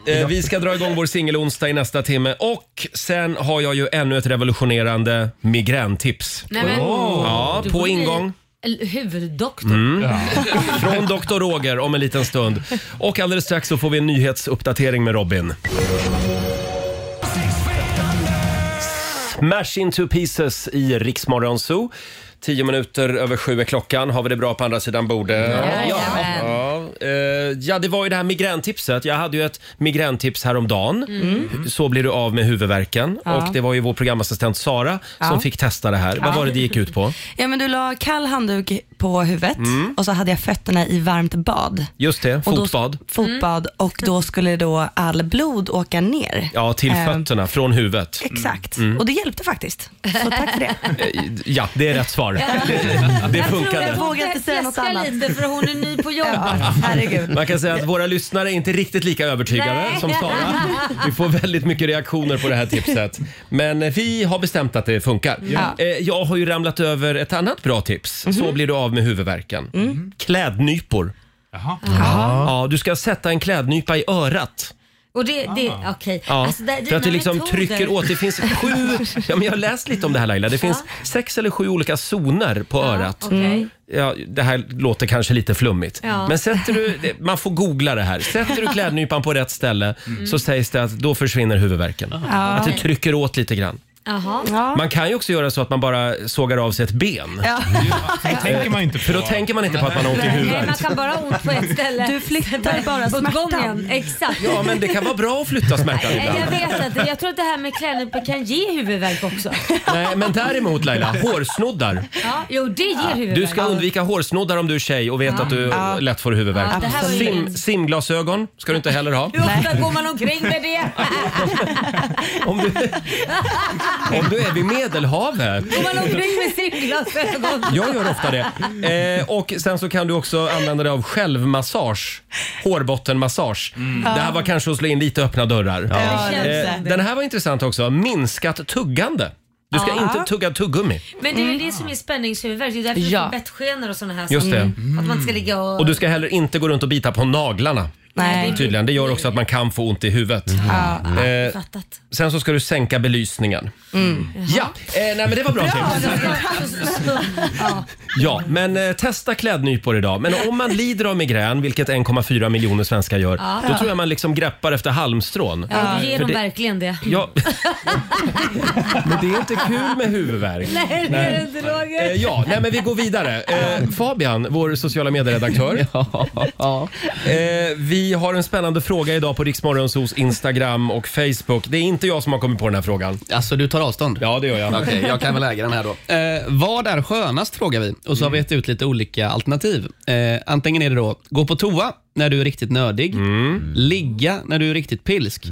[SPEAKER 2] det.
[SPEAKER 1] Eh, vi ska dra igång vår singelonsdag i nästa timme och sen har jag ju ännu ett revolutionerande migräntips.
[SPEAKER 2] Nej, men-
[SPEAKER 1] Ja,
[SPEAKER 2] Du
[SPEAKER 1] på
[SPEAKER 2] borde bli
[SPEAKER 1] ingång.
[SPEAKER 2] l- Huvuddoktor.
[SPEAKER 1] Mm. Från Dr. Roger om en liten stund. Och alldeles strax så får vi en nyhetsuppdatering med Robin. Smash into pieces i Riksmorgon Zoo. Tio minuter över sju är klockan. Har vi det bra på andra sidan bordet? Ja. Ja, eh, ja, det var ju det här migräntipset. Jag hade ju ett migräntips häromdagen.
[SPEAKER 11] Mm.
[SPEAKER 1] Så blir du av med huvudvärken.
[SPEAKER 9] Ja.
[SPEAKER 1] Och det var ju vår programassistent Sara som
[SPEAKER 9] Ja.
[SPEAKER 1] fick testa det här. Vad
[SPEAKER 9] Ja.
[SPEAKER 1] var det det gick ut på?
[SPEAKER 9] Ja, men du la kall handduk på huvudet
[SPEAKER 1] Mm.
[SPEAKER 9] och så hade jag fötterna i varmt bad.
[SPEAKER 1] Just det,
[SPEAKER 9] Och då- Mm.
[SPEAKER 1] fotbad.
[SPEAKER 9] Fotbad och då skulle då all blod åka ner.
[SPEAKER 1] Ja, till
[SPEAKER 9] Eh,
[SPEAKER 1] fötterna, från huvudet.
[SPEAKER 9] Exakt,
[SPEAKER 1] Mm.
[SPEAKER 9] och det hjälpte faktiskt. Så tack för det.
[SPEAKER 1] Ja, det är rätt svar. Det
[SPEAKER 9] Jag
[SPEAKER 1] funkade.
[SPEAKER 9] vågar inte säga något
[SPEAKER 2] Fjäska
[SPEAKER 9] annat.
[SPEAKER 2] lite för hon är ny på jobbet.
[SPEAKER 1] Man kan säga att våra lyssnare är inte riktigt lika övertygade
[SPEAKER 2] Nej.
[SPEAKER 1] som Sara. Vi får väldigt mycket reaktioner på det här tipset. Men vi har bestämt att det funkar.
[SPEAKER 11] Ja.
[SPEAKER 1] Eh, Jag har ju ramlat över ett annat bra tips.
[SPEAKER 9] Mhm.
[SPEAKER 1] Så blir du av med huvudvärken.
[SPEAKER 9] Mm.
[SPEAKER 1] Klädnypor. Ja, du ska sätta en klädnypa i örat.
[SPEAKER 2] Och det, det,
[SPEAKER 9] Ah.
[SPEAKER 2] okej.
[SPEAKER 1] Ja,
[SPEAKER 2] Alltså, där-
[SPEAKER 1] för
[SPEAKER 2] dina
[SPEAKER 1] att det liksom
[SPEAKER 2] metoder-
[SPEAKER 1] trycker åt. Det finns sju, ja, men jag har läst lite om det här Laila. Det finns sex eller sju olika zoner på örat.
[SPEAKER 2] okej. Mm.
[SPEAKER 1] Ja, det här låter kanske lite flummigt.
[SPEAKER 2] Ja.
[SPEAKER 1] Men sätter du, det- man får googla det här. Sätter du klädnypan på rätt ställe
[SPEAKER 2] Mm.
[SPEAKER 1] så sägs det att då försvinner huvudvärken.
[SPEAKER 9] Ja.
[SPEAKER 1] Att det trycker åt lite grann.
[SPEAKER 2] Jaha.
[SPEAKER 1] Man kan ju också göra så att man bara sågar av sig ett ben.
[SPEAKER 9] Ja.
[SPEAKER 1] Det tänker man inte på. För då tänker man inte på att man har ont i
[SPEAKER 2] Nej, man
[SPEAKER 1] huvudet.
[SPEAKER 2] kan bara ha ont på ett ställe. Du flyttar
[SPEAKER 9] bara smärtan.
[SPEAKER 2] Gången. Exakt.
[SPEAKER 1] Ja, men det kan vara bra att flytta smärtan
[SPEAKER 2] Nej,
[SPEAKER 1] ibland.
[SPEAKER 2] Jag vet inte. Jag tror att det här med klädnypor kan ge huvudvärk också.
[SPEAKER 1] Nej, men däremot Laila, hårsnoddar.
[SPEAKER 2] Ja, jo, det ger huvudvärk.
[SPEAKER 1] Du ska undvika hårsnoddar om du är tjej och vet
[SPEAKER 2] Ja.
[SPEAKER 1] att du
[SPEAKER 2] Ja.
[SPEAKER 1] lätt får huvudvärk.
[SPEAKER 2] Ja, det här var ju
[SPEAKER 1] Sim,
[SPEAKER 2] min.
[SPEAKER 1] simglasögon ska du inte heller ha.
[SPEAKER 2] Hur ofta går man omkring med det?
[SPEAKER 1] Om du, om du är vid Medelhavet.
[SPEAKER 2] Går man omkring med simglasögon?
[SPEAKER 1] Jag gör ofta det. Eh, och Sen så kan du också använda dig av självmassage. Hårbottenmassage. Det här var kanske att slå in lite öppna dörrar.
[SPEAKER 2] Mm. Ja, det känns
[SPEAKER 1] Eh,
[SPEAKER 2] det.
[SPEAKER 1] den här var intressant också. Minskat tuggande. Du ska
[SPEAKER 2] Ja.
[SPEAKER 1] inte tugga tuggummi.
[SPEAKER 2] Men det är ju det som är spänningshuvudvärk. Det är därför
[SPEAKER 1] Ja.
[SPEAKER 2] det finns bettskenor och sådana här
[SPEAKER 1] Just
[SPEAKER 2] saker.
[SPEAKER 1] det.
[SPEAKER 2] Att man inte ska ligga och...
[SPEAKER 1] Och du ska heller inte gå runt och bita på naglarna.
[SPEAKER 2] Nej.
[SPEAKER 1] Tydligen. Det gör också att man kan få ont i huvudet.
[SPEAKER 2] Mm. Ja,
[SPEAKER 1] Eh,
[SPEAKER 2] fattat.
[SPEAKER 1] sen så ska du sänka belysningen.
[SPEAKER 2] Mm.
[SPEAKER 1] Ja, eh, nej men det var bra, tips.
[SPEAKER 2] Ja.
[SPEAKER 1] Ja, men eh, testa klädnypor idag. Men om man lider av migrän, vilket 1,4 miljoner svenskar gör,
[SPEAKER 2] Ja.
[SPEAKER 1] då tror jag man liksom greppar efter halmstrån.
[SPEAKER 2] Ja,
[SPEAKER 1] För
[SPEAKER 2] ger de
[SPEAKER 1] det-
[SPEAKER 2] verkligen det?
[SPEAKER 1] Ja. men det är inte kul med huvudvärk.
[SPEAKER 2] Nej, det är det inte Roger.
[SPEAKER 1] Eh, Ja, nej men vi går vidare. Eh, Fabian, vår sociala medieredaktör. Eh, vi har en spännande fråga idag på Riksmorgonsos Instagram och Facebook. Det är inte jag som har kommit på den här frågan.
[SPEAKER 10] Alltså du tar avstånd?
[SPEAKER 1] Ja, det gör jag.
[SPEAKER 10] Okej, jag kan väl äga den här då. Mm. Eh, vad är skönast frågar vi och så har vi gett ut lite olika alternativ. Eh, antingen är det då gå på toa när du är riktigt nödig, ligga när du är riktigt pilsk,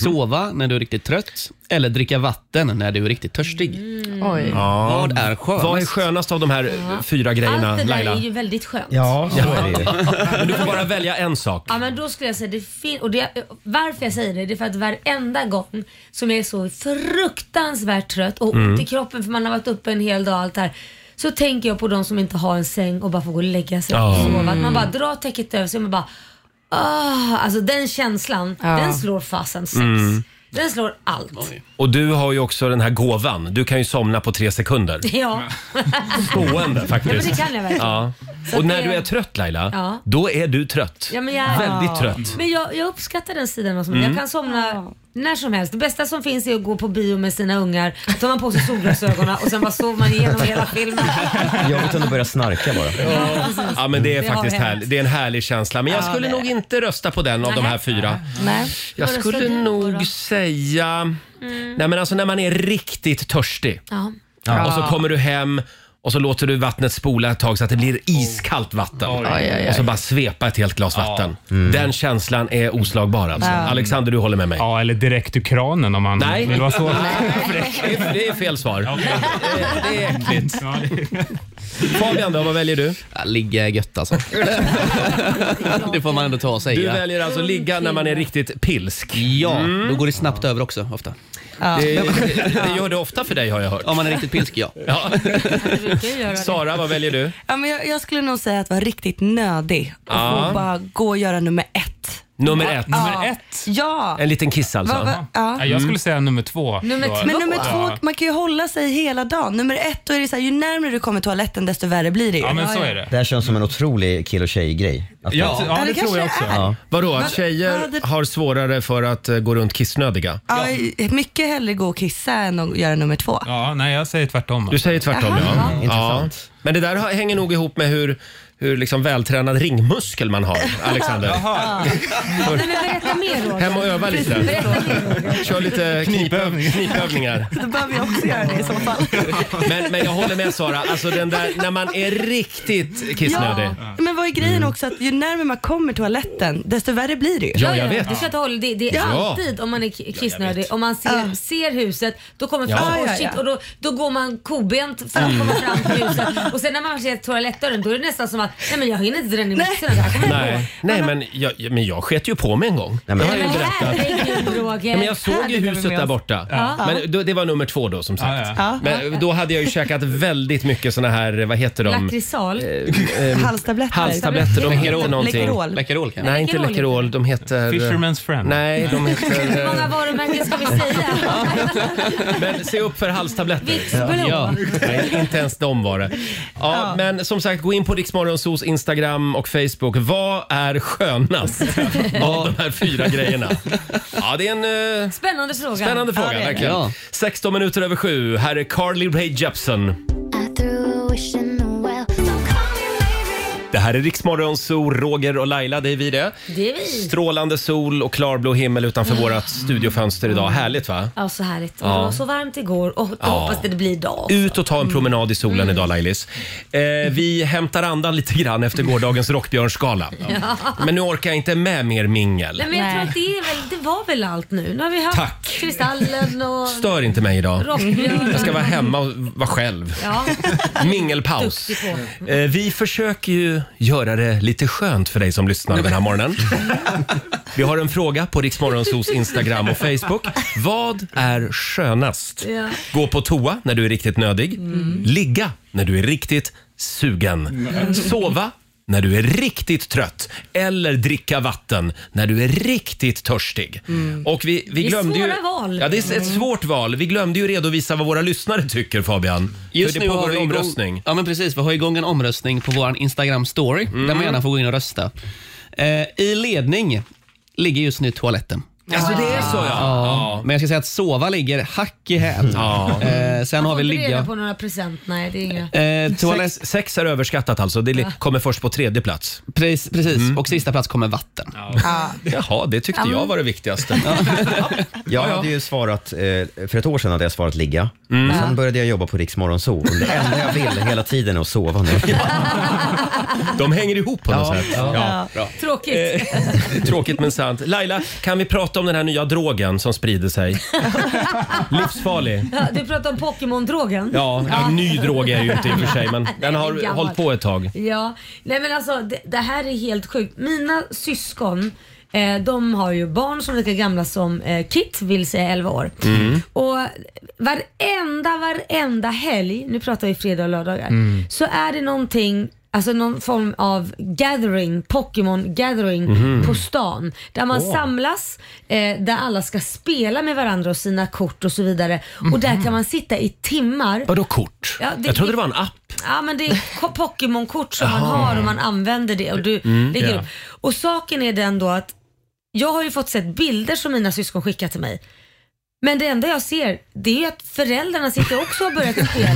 [SPEAKER 10] sova när du är riktigt trött eller dricka vatten när du är riktigt törstig.
[SPEAKER 2] Mm.
[SPEAKER 9] Oj.
[SPEAKER 1] Ja.
[SPEAKER 10] Vad är skönast?
[SPEAKER 1] Mm. Vad är skönast av de här eh, fyra grejerna,
[SPEAKER 2] Allt det där
[SPEAKER 1] Laila?
[SPEAKER 2] är ju väldigt skönt.
[SPEAKER 1] Ja, så är det Men du får bara välja en sak.
[SPEAKER 2] Ja men då skulle jag säga det fin- och det, varför jag säger det, det är för att varenda gång som jag är så fruktansvärt trött och ont
[SPEAKER 11] Mm.
[SPEAKER 2] i kroppen för man har varit uppe en hel dag och allt det här. Så tänker jag på de som inte har en säng och bara får gå och lägga sig
[SPEAKER 11] Ja.
[SPEAKER 2] och sova. Att
[SPEAKER 11] Mm.
[SPEAKER 2] man bara drar täcket över sig och man bara ah, Alltså den känslan, den slår fasen sex.
[SPEAKER 1] Mm.
[SPEAKER 2] Den slår allt.
[SPEAKER 1] Och du har ju också den här gåvan. Du kan ju somna på tre sekunder.
[SPEAKER 2] Ja.
[SPEAKER 1] Stående faktiskt.
[SPEAKER 2] Ja, men det kan jag verkligen.
[SPEAKER 1] Ja.
[SPEAKER 2] Så
[SPEAKER 1] Och
[SPEAKER 2] att
[SPEAKER 1] när
[SPEAKER 2] det-
[SPEAKER 1] du är trött Laila,
[SPEAKER 2] Ja.
[SPEAKER 1] då är du trött.
[SPEAKER 2] Ja, men jag,
[SPEAKER 1] Väldigt trött.
[SPEAKER 2] Men jag, jag uppskattar den sidan av som
[SPEAKER 1] Mm.
[SPEAKER 2] Jag kan somna När som helst. Det bästa som finns är att gå på bio med sina ungar, då tar man på sig solglasögonen och sen bara sover man igenom hela filmen.
[SPEAKER 3] Jag vet inte börja snarka bara.
[SPEAKER 1] Ja, ja men det är
[SPEAKER 2] Det har
[SPEAKER 1] faktiskt
[SPEAKER 2] hänt.
[SPEAKER 1] härligt. Det är en härlig känsla. Men jag
[SPEAKER 2] Ja,
[SPEAKER 1] skulle
[SPEAKER 2] det är
[SPEAKER 1] nog inte rösta på den av de här fyra.
[SPEAKER 2] Nej.
[SPEAKER 1] Jag skulle nog säga... Nej men alltså när man är riktigt törstig.
[SPEAKER 2] Mm. Ja.
[SPEAKER 1] Ja. Och så kommer du hem och så låter du vattnet spola ett tag så att det blir iskallt vatten. Och så bara svepa ett helt glas vatten. Den känslan är oslagbar alltså.
[SPEAKER 2] Ja.
[SPEAKER 1] Alexander, du håller med mig? Ja, eller direkt ur kranen om man Nej.
[SPEAKER 6] vill vara så.
[SPEAKER 1] Det är- det är fel svar. Det, det är äckligt. Fabian då, vad väljer du?
[SPEAKER 10] Ligga är gött alltså. det får man ändå ta och
[SPEAKER 1] Du
[SPEAKER 10] säga.
[SPEAKER 1] väljer alltså ligga när man är riktigt pilsk. Mm.
[SPEAKER 10] Ja, då går det snabbt över också ofta.
[SPEAKER 1] Det, det gör det ofta för dig har jag hört.
[SPEAKER 10] Om man är riktigt pilsk, ja.
[SPEAKER 1] ja. Sara, vad väljer du?
[SPEAKER 9] Ja, men jag, jag skulle nog säga att vara riktigt nödig och
[SPEAKER 1] Ja.
[SPEAKER 9] få bara gå och göra nummer ett.
[SPEAKER 1] Nummer ett.
[SPEAKER 9] ja. ett? Ja.
[SPEAKER 1] En liten kiss alltså?
[SPEAKER 9] Va- va- ja.
[SPEAKER 6] Ja, jag skulle säga nummer två.
[SPEAKER 9] Nummer
[SPEAKER 6] då.
[SPEAKER 9] två. Men nummer
[SPEAKER 6] Ja.
[SPEAKER 9] två, man kan ju hålla sig hela dagen. Nummer ett, då är det så här, ju närmare du kommer toaletten desto värre blir det ju.
[SPEAKER 3] Det här känns som en otrolig kill och tjej-grej. Att-
[SPEAKER 9] Ja, ja, det det tror kanske jag också. är.
[SPEAKER 1] Vadå, att
[SPEAKER 9] Vad- vad
[SPEAKER 1] tjejer
[SPEAKER 9] hade-
[SPEAKER 1] har svårare för att eh, gå runt kissnödiga?
[SPEAKER 9] Ja, mycket hellre gå och kissa än att göra nummer två.
[SPEAKER 1] Ja, nej jag säger tvärtom. Du säger tvärtom
[SPEAKER 9] Jaha.
[SPEAKER 1] ja.
[SPEAKER 9] Mm,
[SPEAKER 1] Intressant. Men det där har- hänger nog ihop med hur, hur liksom vältränad ringmuskel man har, Alexander.
[SPEAKER 2] Ja. Nej, men berätta mer Roger.
[SPEAKER 1] Hem och öva lite.
[SPEAKER 2] Precis, berätta mer.
[SPEAKER 1] Kör lite knipöv- knipövningar.
[SPEAKER 9] Då behöver jag också göra det i så fall.
[SPEAKER 1] Men, men jag håller med Sara, alltså den där när man är riktigt kissnödig. Mm.
[SPEAKER 9] Ja, men vad är grejen också att ju närmare man kommer toaletten desto värre blir det ju.
[SPEAKER 1] Ja, jag vet.
[SPEAKER 2] Det, ska ta håll. det, det är
[SPEAKER 1] Ja.
[SPEAKER 2] alltid om man är ki- kissnödig, om man ser, ser huset, då kommer
[SPEAKER 1] Ja.
[SPEAKER 2] fram,
[SPEAKER 1] Ja,
[SPEAKER 2] oh,
[SPEAKER 1] ja,
[SPEAKER 2] shit,
[SPEAKER 1] ja.
[SPEAKER 2] och då, då går man kobent för att
[SPEAKER 1] Mm.
[SPEAKER 2] komma fram till huset. Och sen när man ser toalettdörren då är det nästan som att, nej men jag hinner inte dra ner byxorna, det här kommer jag
[SPEAKER 1] Nej, nej men, jag, men jag sket ju på mig en gång. Det har jag ju berättat.
[SPEAKER 2] Herregud Roger.
[SPEAKER 1] Ja, men jag såg ju
[SPEAKER 2] Herregud,
[SPEAKER 1] huset där borta.
[SPEAKER 2] Ja.
[SPEAKER 1] Men då, det var nummer två då som sagt.
[SPEAKER 2] Ja.
[SPEAKER 1] Men då hade jag ju käkat väldigt mycket såna här, vad heter de?
[SPEAKER 2] Lakritsal.
[SPEAKER 1] ehm,
[SPEAKER 9] Halstabletter.
[SPEAKER 1] Halstabletter, de heter
[SPEAKER 10] Läkerol.
[SPEAKER 1] någonting.
[SPEAKER 10] Läkerol. Läkerol kanske?
[SPEAKER 1] Nej, inte
[SPEAKER 10] Läkerol.
[SPEAKER 1] Läkerol. De heter... eh,
[SPEAKER 6] Fisherman's friend.
[SPEAKER 1] Nej, de
[SPEAKER 2] Hur
[SPEAKER 1] heter...
[SPEAKER 2] många
[SPEAKER 1] eh,
[SPEAKER 2] varumärken ska vi säga?
[SPEAKER 1] Men se upp för halstabletter.
[SPEAKER 2] Vicks-blå.
[SPEAKER 1] Nej, inte ens de var det. Ja, Men som sagt, gå in på Riksmorgonsos Instagram och Facebook. Vad är skönast av de här fyra grejerna? Ja, det är en eh,
[SPEAKER 2] Spännande fråga.
[SPEAKER 1] spännande
[SPEAKER 2] Ja,
[SPEAKER 1] fråga.
[SPEAKER 2] det är det.
[SPEAKER 1] verkligen. 16 minuter över sju. Här är Carly Rae Jepsen. Det här är Riksmorgon, Zoo, Roger och Laila, det är vi det.
[SPEAKER 2] Det är vi.
[SPEAKER 1] Strålande sol och klarblå himmel utanför
[SPEAKER 2] Mm.
[SPEAKER 1] vårat studiofönster idag. Härligt va?
[SPEAKER 2] Ja, så härligt. Och
[SPEAKER 1] Ja.
[SPEAKER 2] Det var så varmt igår och då
[SPEAKER 1] Ja.
[SPEAKER 2] hoppas det blir idag. också.
[SPEAKER 1] Ut och ta en
[SPEAKER 2] Mm.
[SPEAKER 1] promenad i solen idag Lailis. Eh, vi hämtar andan lite grann efter gårdagens Rockbjörnsgala.
[SPEAKER 2] Ja.
[SPEAKER 1] Men nu orkar jag inte med mer mingel.
[SPEAKER 2] Nej, men jag tror att det, är väl, det var väl allt nu. Nu har vi haft
[SPEAKER 1] Tack.
[SPEAKER 2] Kristallen och...
[SPEAKER 1] Stör inte mig idag.
[SPEAKER 2] Rockbjörn.
[SPEAKER 1] Jag ska vara hemma och vara själv.
[SPEAKER 2] Ja.
[SPEAKER 1] Mingelpaus.
[SPEAKER 2] Duktig på.
[SPEAKER 1] Eh, vi försöker ju göra det lite skönt för dig som lyssnar den här morgonen. Vi har en fråga på Riksmorgonsos Instagram och Facebook. Vad är skönast?
[SPEAKER 2] Ja.
[SPEAKER 1] Gå på toa när du är riktigt nödig.
[SPEAKER 2] Mm.
[SPEAKER 1] Ligga när du är riktigt sugen.
[SPEAKER 2] Mm.
[SPEAKER 1] Sova när du är riktigt trött. Eller dricka vatten när du är riktigt törstig. Mm. Och vi, vi
[SPEAKER 2] Det är
[SPEAKER 1] glömde ju,
[SPEAKER 2] svåra val.
[SPEAKER 1] Ja, det är ett
[SPEAKER 2] Mm.
[SPEAKER 1] svårt val. Vi glömde ju redovisa vad våra lyssnare tycker Fabian.
[SPEAKER 10] Just
[SPEAKER 1] För
[SPEAKER 10] nu
[SPEAKER 1] det pågår
[SPEAKER 10] har vi
[SPEAKER 1] en
[SPEAKER 10] igång-
[SPEAKER 1] omröstning.
[SPEAKER 10] Ja, men precis. Vi har igång en omröstning på vår Instagram story där
[SPEAKER 1] Mm.
[SPEAKER 10] man gärna får gå in och rösta. Eh, I ledning ligger just nu toaletten.
[SPEAKER 1] Alltså det är så ja.
[SPEAKER 10] Ja, Men jag ska säga att sova ligger hack i häl.
[SPEAKER 1] Ja.
[SPEAKER 10] Eh, sen har vi
[SPEAKER 2] Håller reda
[SPEAKER 10] ligga. Eh,
[SPEAKER 2] på några present? Nej, det är inga.
[SPEAKER 1] Eh. sex, sex är överskattat alltså. Det li-
[SPEAKER 2] Ja.
[SPEAKER 1] kommer först på tredje plats. Mm.
[SPEAKER 10] Precis, precis. och sista plats kommer vatten.
[SPEAKER 2] Ja.
[SPEAKER 1] Jaha, det tyckte
[SPEAKER 2] Ja.
[SPEAKER 1] jag var det viktigaste.
[SPEAKER 3] Jag hade ju svarat, eh, för ett år sedan hade jag svarat ligga. Sen började jag jobba på Rix Morgon Zoo. Och Det enda jag vill hela tiden är att sova nu.
[SPEAKER 1] De hänger ihop på något
[SPEAKER 3] Ja.
[SPEAKER 1] sätt.
[SPEAKER 3] Ja.
[SPEAKER 1] Bra.
[SPEAKER 2] Tråkigt.
[SPEAKER 1] Tråkigt men sant. Laila, kan vi prata om den här nya drogen som sprider sig? Livsfarlig.
[SPEAKER 2] Ja, du pratar om Pokémon-drogen.
[SPEAKER 1] Ja, en ny drog är det ju inte i och för sig, men den
[SPEAKER 2] Den är
[SPEAKER 1] har
[SPEAKER 2] gammal.
[SPEAKER 1] hållit på ett tag.
[SPEAKER 2] Ja, nej men alltså det, det här är helt sjukt. Mina syskon, eh, de har ju barn som är lika gamla som eh, Kit, vill säga 11 år.
[SPEAKER 11] Mm.
[SPEAKER 2] Och varenda, varenda helg, nu pratar vi fredag och lördagar,
[SPEAKER 11] Mm.
[SPEAKER 2] så är det någonting Alltså någon form av gathering, Pokémon gathering
[SPEAKER 11] Mhm.
[SPEAKER 2] på stan. Där man
[SPEAKER 11] Åh.
[SPEAKER 2] samlas, eh, där alla ska spela med varandra och sina kort och så vidare. Och där kan man sitta i timmar.
[SPEAKER 1] Vadå kort?
[SPEAKER 2] Ja, det-
[SPEAKER 1] jag trodde det var en app.
[SPEAKER 2] Ja men det är ko- Pokémon-kort som man
[SPEAKER 1] Jaha.
[SPEAKER 2] har och man använder det och du
[SPEAKER 1] Mm,
[SPEAKER 2] lägger
[SPEAKER 1] ja.
[SPEAKER 2] upp. Och saken är den då att Jag har ju fått sett bilder som mina syskon skickat till mig. Men det enda jag ser det är ju att föräldrarna sitter också och har börjat spela.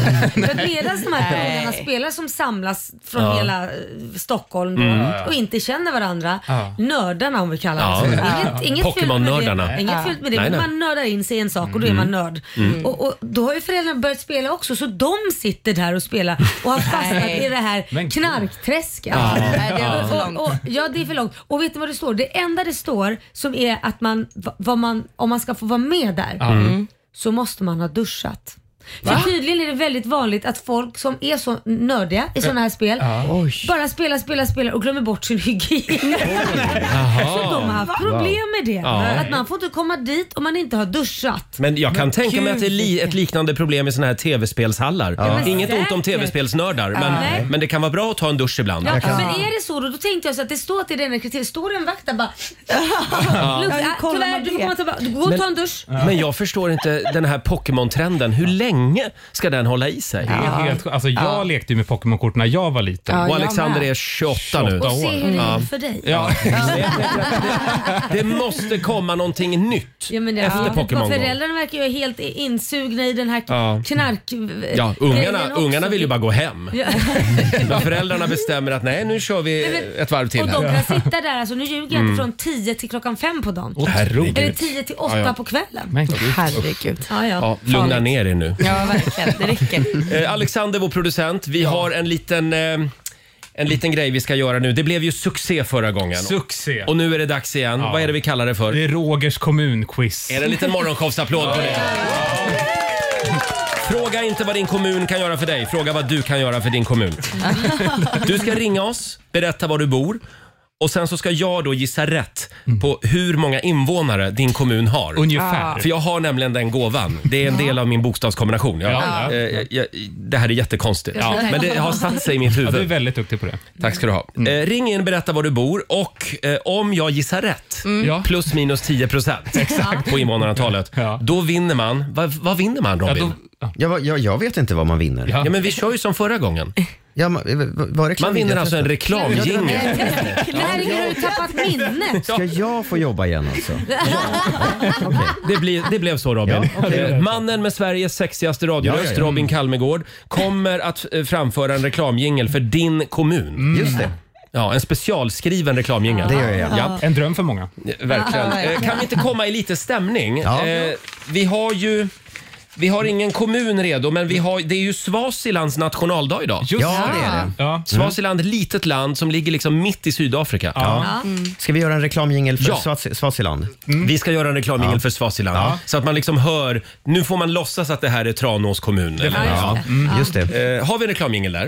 [SPEAKER 2] För att medan de här
[SPEAKER 11] Nej.
[SPEAKER 2] kungarna spelar som samlas från
[SPEAKER 11] Ja.
[SPEAKER 2] hela eh, Stockholm då,
[SPEAKER 11] Mm.
[SPEAKER 2] och inte känner varandra,
[SPEAKER 11] Ja.
[SPEAKER 2] nördarna om vi kallar
[SPEAKER 11] Ja.
[SPEAKER 2] dem
[SPEAKER 11] Ja.
[SPEAKER 2] Inget, inget fult med
[SPEAKER 11] Pokémon-nördarna.
[SPEAKER 2] det.
[SPEAKER 11] Ja.
[SPEAKER 2] Inget fult med det.
[SPEAKER 11] Nej, nej.
[SPEAKER 2] Man nördar in sig i en sak och då är man nörd.
[SPEAKER 11] Mm.
[SPEAKER 2] Och, och Då har ju föräldrarna börjat spela också så de sitter där och spelar och har fastnat
[SPEAKER 11] Nej.
[SPEAKER 2] i det här
[SPEAKER 11] Men-
[SPEAKER 2] knarkträsket.
[SPEAKER 11] Ja. Nej, det var för
[SPEAKER 2] Och-
[SPEAKER 11] långt.
[SPEAKER 2] och- Ja, det är för långt. Och vet ni vad det står? Det enda det står som är att man, va- vad man om man ska få vara med där
[SPEAKER 11] Ja. Mm.
[SPEAKER 2] så måste man ha duschat.
[SPEAKER 11] Va?
[SPEAKER 2] För tydligen är det väldigt vanligt att folk som är så nördiga i sådana här spel
[SPEAKER 11] Ja. Oj.
[SPEAKER 2] bara spelar, spelar, spelar och glömmer bort sin hygien.
[SPEAKER 1] Jaha.
[SPEAKER 2] Så de har haft problem med det.
[SPEAKER 1] Ja.
[SPEAKER 2] Att man får inte komma dit om man inte har duschat.
[SPEAKER 1] Men jag kan tänka mig att det är li,
[SPEAKER 2] gud.
[SPEAKER 1] ett liknande problem i såna här tv-spelshallar.
[SPEAKER 2] Ja, men
[SPEAKER 1] Inget ont om
[SPEAKER 2] säkert.
[SPEAKER 1] tv-spelsnördar,
[SPEAKER 2] Nej.
[SPEAKER 1] men, men det kan vara bra att ta en dusch ibland.
[SPEAKER 2] Ja, men är det så då, då tänkte jag så att det står att det är den kriterien. Står det en vakt där bara... Lugnt,
[SPEAKER 11] hur
[SPEAKER 2] äh,
[SPEAKER 11] kollar
[SPEAKER 2] tyvärr,
[SPEAKER 11] man
[SPEAKER 2] du
[SPEAKER 11] det?
[SPEAKER 2] får komma tillbaka. Gå och ta en dusch.
[SPEAKER 1] Men jag förstår inte den här Pokémon-trenden. Hur länge ska den hålla i sig?
[SPEAKER 6] Det är helt, alltså, jag
[SPEAKER 1] Ja.
[SPEAKER 6] lekte ju med Pokémonkort när jag var liten.
[SPEAKER 1] Ja, Och jag Alexander med. är 28 nu.
[SPEAKER 2] Och se hur det
[SPEAKER 1] Ja.
[SPEAKER 2] är för dig.
[SPEAKER 6] Ja.
[SPEAKER 1] Det måste komma någonting nytt
[SPEAKER 2] Ja, men det,
[SPEAKER 1] efter
[SPEAKER 2] ja.
[SPEAKER 1] Pokémon Go.
[SPEAKER 2] Föräldrarna verkar ju helt insugna i den här
[SPEAKER 1] Ja.
[SPEAKER 2] knark...
[SPEAKER 1] Ja,
[SPEAKER 2] grejen
[SPEAKER 1] ungarna,
[SPEAKER 2] också.
[SPEAKER 1] ungarna vill ju bara gå hem.
[SPEAKER 2] Ja.
[SPEAKER 1] Men föräldrarna bestämmer att nej, nu kör vi
[SPEAKER 2] Nej, men-
[SPEAKER 1] ett varv till
[SPEAKER 2] Och
[SPEAKER 1] här.
[SPEAKER 2] de kan sitta där, alltså, nu ljuger jag
[SPEAKER 1] Mm.
[SPEAKER 2] inte, från 10 till klockan 5 på dagen.
[SPEAKER 1] Åh, herregud.
[SPEAKER 2] Eller 10 till 8
[SPEAKER 1] Ja, ja.
[SPEAKER 2] på kvällen.
[SPEAKER 1] Men gud.
[SPEAKER 2] Herregud. Ja, ja.
[SPEAKER 1] Ja, lugna
[SPEAKER 2] Farligt.
[SPEAKER 1] ner er nu.
[SPEAKER 2] Ja, verkligen. Det räcker.
[SPEAKER 1] Eh, Alexander, vår producent, vi har en liten, eh, en liten grej vi ska göra nu. Det blev ju succé förra gången.
[SPEAKER 6] Succé.
[SPEAKER 1] Och nu är det dags igen.
[SPEAKER 6] Ja.
[SPEAKER 1] Vad är det vi kallar det för?
[SPEAKER 6] Det är Rogers kommunquiz.
[SPEAKER 1] Är det en liten morgonshowsapplåd på det? Fråga inte vad din kommun kan göra för dig, fråga vad du kan göra för din kommun. Du ska ringa oss, berätta var du bor och sen så ska jag då gissa rätt på hur många invånare din kommun har.
[SPEAKER 6] Mm. Ungefär.
[SPEAKER 1] För jag har nämligen den gåvan. Det är en del av min bokstavskombination. Jag,
[SPEAKER 6] Ja.
[SPEAKER 1] eh, jag, det här är jättekonstigt.
[SPEAKER 6] Ja.
[SPEAKER 1] Men det har satt sig i mitt huvud.
[SPEAKER 6] Ja, du är väldigt duktig på det. Mm.
[SPEAKER 1] Tack ska du ha. Eh, ring in, berätta var du bor och eh, om jag gissar rätt,
[SPEAKER 6] Mm. Ja.
[SPEAKER 1] plus minus 10 procent på invånarantalet, då vinner man. Vad, vad vinner man Robin? Ja,
[SPEAKER 3] Jag, jag, jag vet inte vad man vinner.
[SPEAKER 1] Ja. men vi kör ju som förra gången.
[SPEAKER 3] Ja, man, var reklam-
[SPEAKER 1] Man vinner alltså en reklamjingel.
[SPEAKER 2] Det här är- har du tappat minnet.
[SPEAKER 3] Ska jag få jobba igen alltså?
[SPEAKER 1] Det, blir, det blev så Robin.
[SPEAKER 3] Ja, okej.
[SPEAKER 1] Eh, Mannen med Sveriges sexigaste radioröst,
[SPEAKER 3] Ja, ja, ja.
[SPEAKER 1] Robin Kalmegård, kommer att eh, framföra en reklamjingel för din kommun.
[SPEAKER 6] Mm.
[SPEAKER 3] Just det.
[SPEAKER 1] Ja, en specialskriven reklamjingel.
[SPEAKER 6] Det gör jag. En dröm för många.
[SPEAKER 1] Verkligen.
[SPEAKER 6] Ja,
[SPEAKER 1] Eh,
[SPEAKER 6] verkligen.
[SPEAKER 1] Kan vi inte komma i lite stämning?
[SPEAKER 6] Ja.
[SPEAKER 1] Eh, Vi har ju... Vi har ingen kommun redo, men vi har, det är ju Swazilands nationaldag idag.
[SPEAKER 6] Just Ja, det. det är det. Mm. Ja.
[SPEAKER 1] Swaziland, litet land som ligger liksom mitt i Sydafrika.
[SPEAKER 3] Ja.
[SPEAKER 2] Mm.
[SPEAKER 3] Ska vi göra en reklamjingel för
[SPEAKER 1] Ja.
[SPEAKER 3] Swaz- Swaziland?
[SPEAKER 1] Vi ska göra en reklamjingel
[SPEAKER 3] Ja.
[SPEAKER 1] för Swaziland.
[SPEAKER 3] Mm. Ja.
[SPEAKER 1] Så att man liksom hör, nu får man låtsas att det här är Tranås kommun.
[SPEAKER 3] Det får man Ja, göra. mm, just
[SPEAKER 1] det. Eh, har vi en reklamjingel där?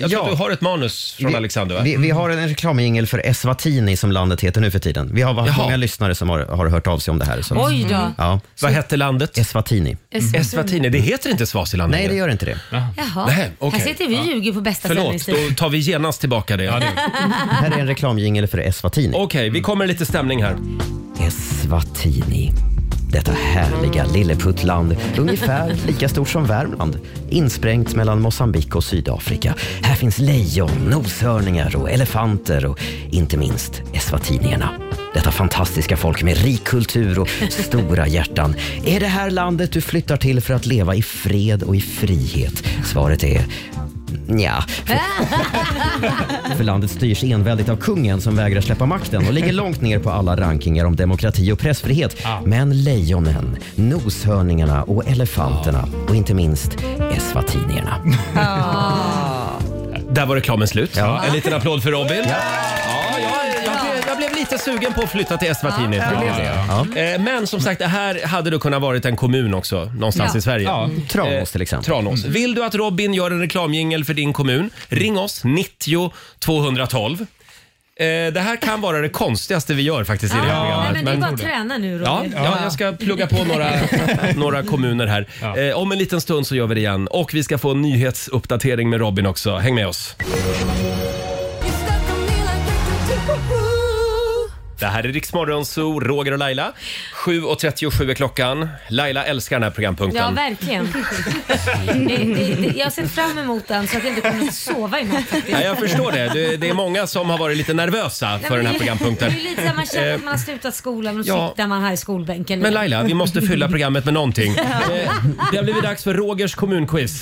[SPEAKER 1] Jag tror
[SPEAKER 3] ja.
[SPEAKER 1] att du har ett manus från Alexander va?
[SPEAKER 3] Vi, vi har en reklamjingel för Eswatini som landet heter nu för tiden. Vi har haft
[SPEAKER 1] Jaha.
[SPEAKER 3] många lyssnare som har, har hört av sig om det här. Så. Mm.
[SPEAKER 2] Oj då.
[SPEAKER 3] Ja.
[SPEAKER 1] Vad hette landet?
[SPEAKER 3] Eswatini.
[SPEAKER 2] Eswatini. Eswatini,
[SPEAKER 1] det heter inte Swaziland
[SPEAKER 3] Nej, det gör inte det.
[SPEAKER 2] Jaha.
[SPEAKER 1] Nej, okej.
[SPEAKER 2] Här sitter vi och ljuger på bästa
[SPEAKER 1] Förlåt, då tar vi genast tillbaka det.
[SPEAKER 3] Här är en reklamjingel för Eswatini. Okej,
[SPEAKER 1] vi kommer lite stämning här.
[SPEAKER 3] Eswatini. Detta härliga lilleputtland, ungefär lika stort som Värmland. Insprängt mellan Mosambik och Sydafrika. Här finns lejon, noshörningar och elefanter och inte minst eswatinierna. Detta fantastiska folk med rik kultur och stora hjärtan. Är det här landet du flyttar till för att leva i fred och i frihet? Svaret är Nja, för landet styrs enväldigt av kungen som vägrar släppa makten och ligger långt ner på alla rankingar om demokrati och pressfrihet. Men lejonen, noshörningarna och elefanterna och inte minst eswatinierna.
[SPEAKER 1] Där var reklamen slut. En liten applåd för Robin. Ja. jag,
[SPEAKER 11] Ja.
[SPEAKER 1] jag, blev, jag blev lite sugen på att flytta till Eswatini.
[SPEAKER 11] Ja,
[SPEAKER 1] tror jag.
[SPEAKER 11] det
[SPEAKER 1] Ja. Eh, Men som sagt, det här hade du kunnat varit en kommun också någonstans
[SPEAKER 11] Ja.
[SPEAKER 1] i Sverige. Mm. Eh,
[SPEAKER 11] Ja.
[SPEAKER 3] Mm. Tranås till exempel. Mm.
[SPEAKER 1] Tranås. Vill du att Robin gör en reklamjingel för din kommun? Ring oss, 90 212. Eh, Det här kan vara det konstigaste vi gör faktiskt i det här
[SPEAKER 2] Nej, men
[SPEAKER 1] programmet.
[SPEAKER 2] det är bara att träna nu
[SPEAKER 1] Ja,
[SPEAKER 2] Roger.
[SPEAKER 1] ja, jag ska plugga på några, några kommuner här. Eh, om en liten stund så gör vi det igen. Och vi ska få en nyhetsuppdatering med Robin också. Häng med oss. Det här är Riksmorgon Zoo, Roger och Laila. 7.37 är klockan. Laila älskar den här programpunkten.
[SPEAKER 2] Ja, verkligen. det, det, det, jag har sett fram emot den så att jag inte kommer att sova i natt. faktiskt.
[SPEAKER 1] Ja, jag förstår det. det. Det är många som har varit lite nervösa
[SPEAKER 2] Nej,
[SPEAKER 1] för
[SPEAKER 2] men
[SPEAKER 1] den här
[SPEAKER 2] det-
[SPEAKER 1] programpunkten. Eh,
[SPEAKER 2] Det är lite så här, man känner att man har slutat skolan och så
[SPEAKER 1] ja.
[SPEAKER 2] sitter man här i skolbänken.
[SPEAKER 1] Men Laila, vi måste fylla programmet med någonting. Eh, Det har blivit dags för Rogers kommunquiz.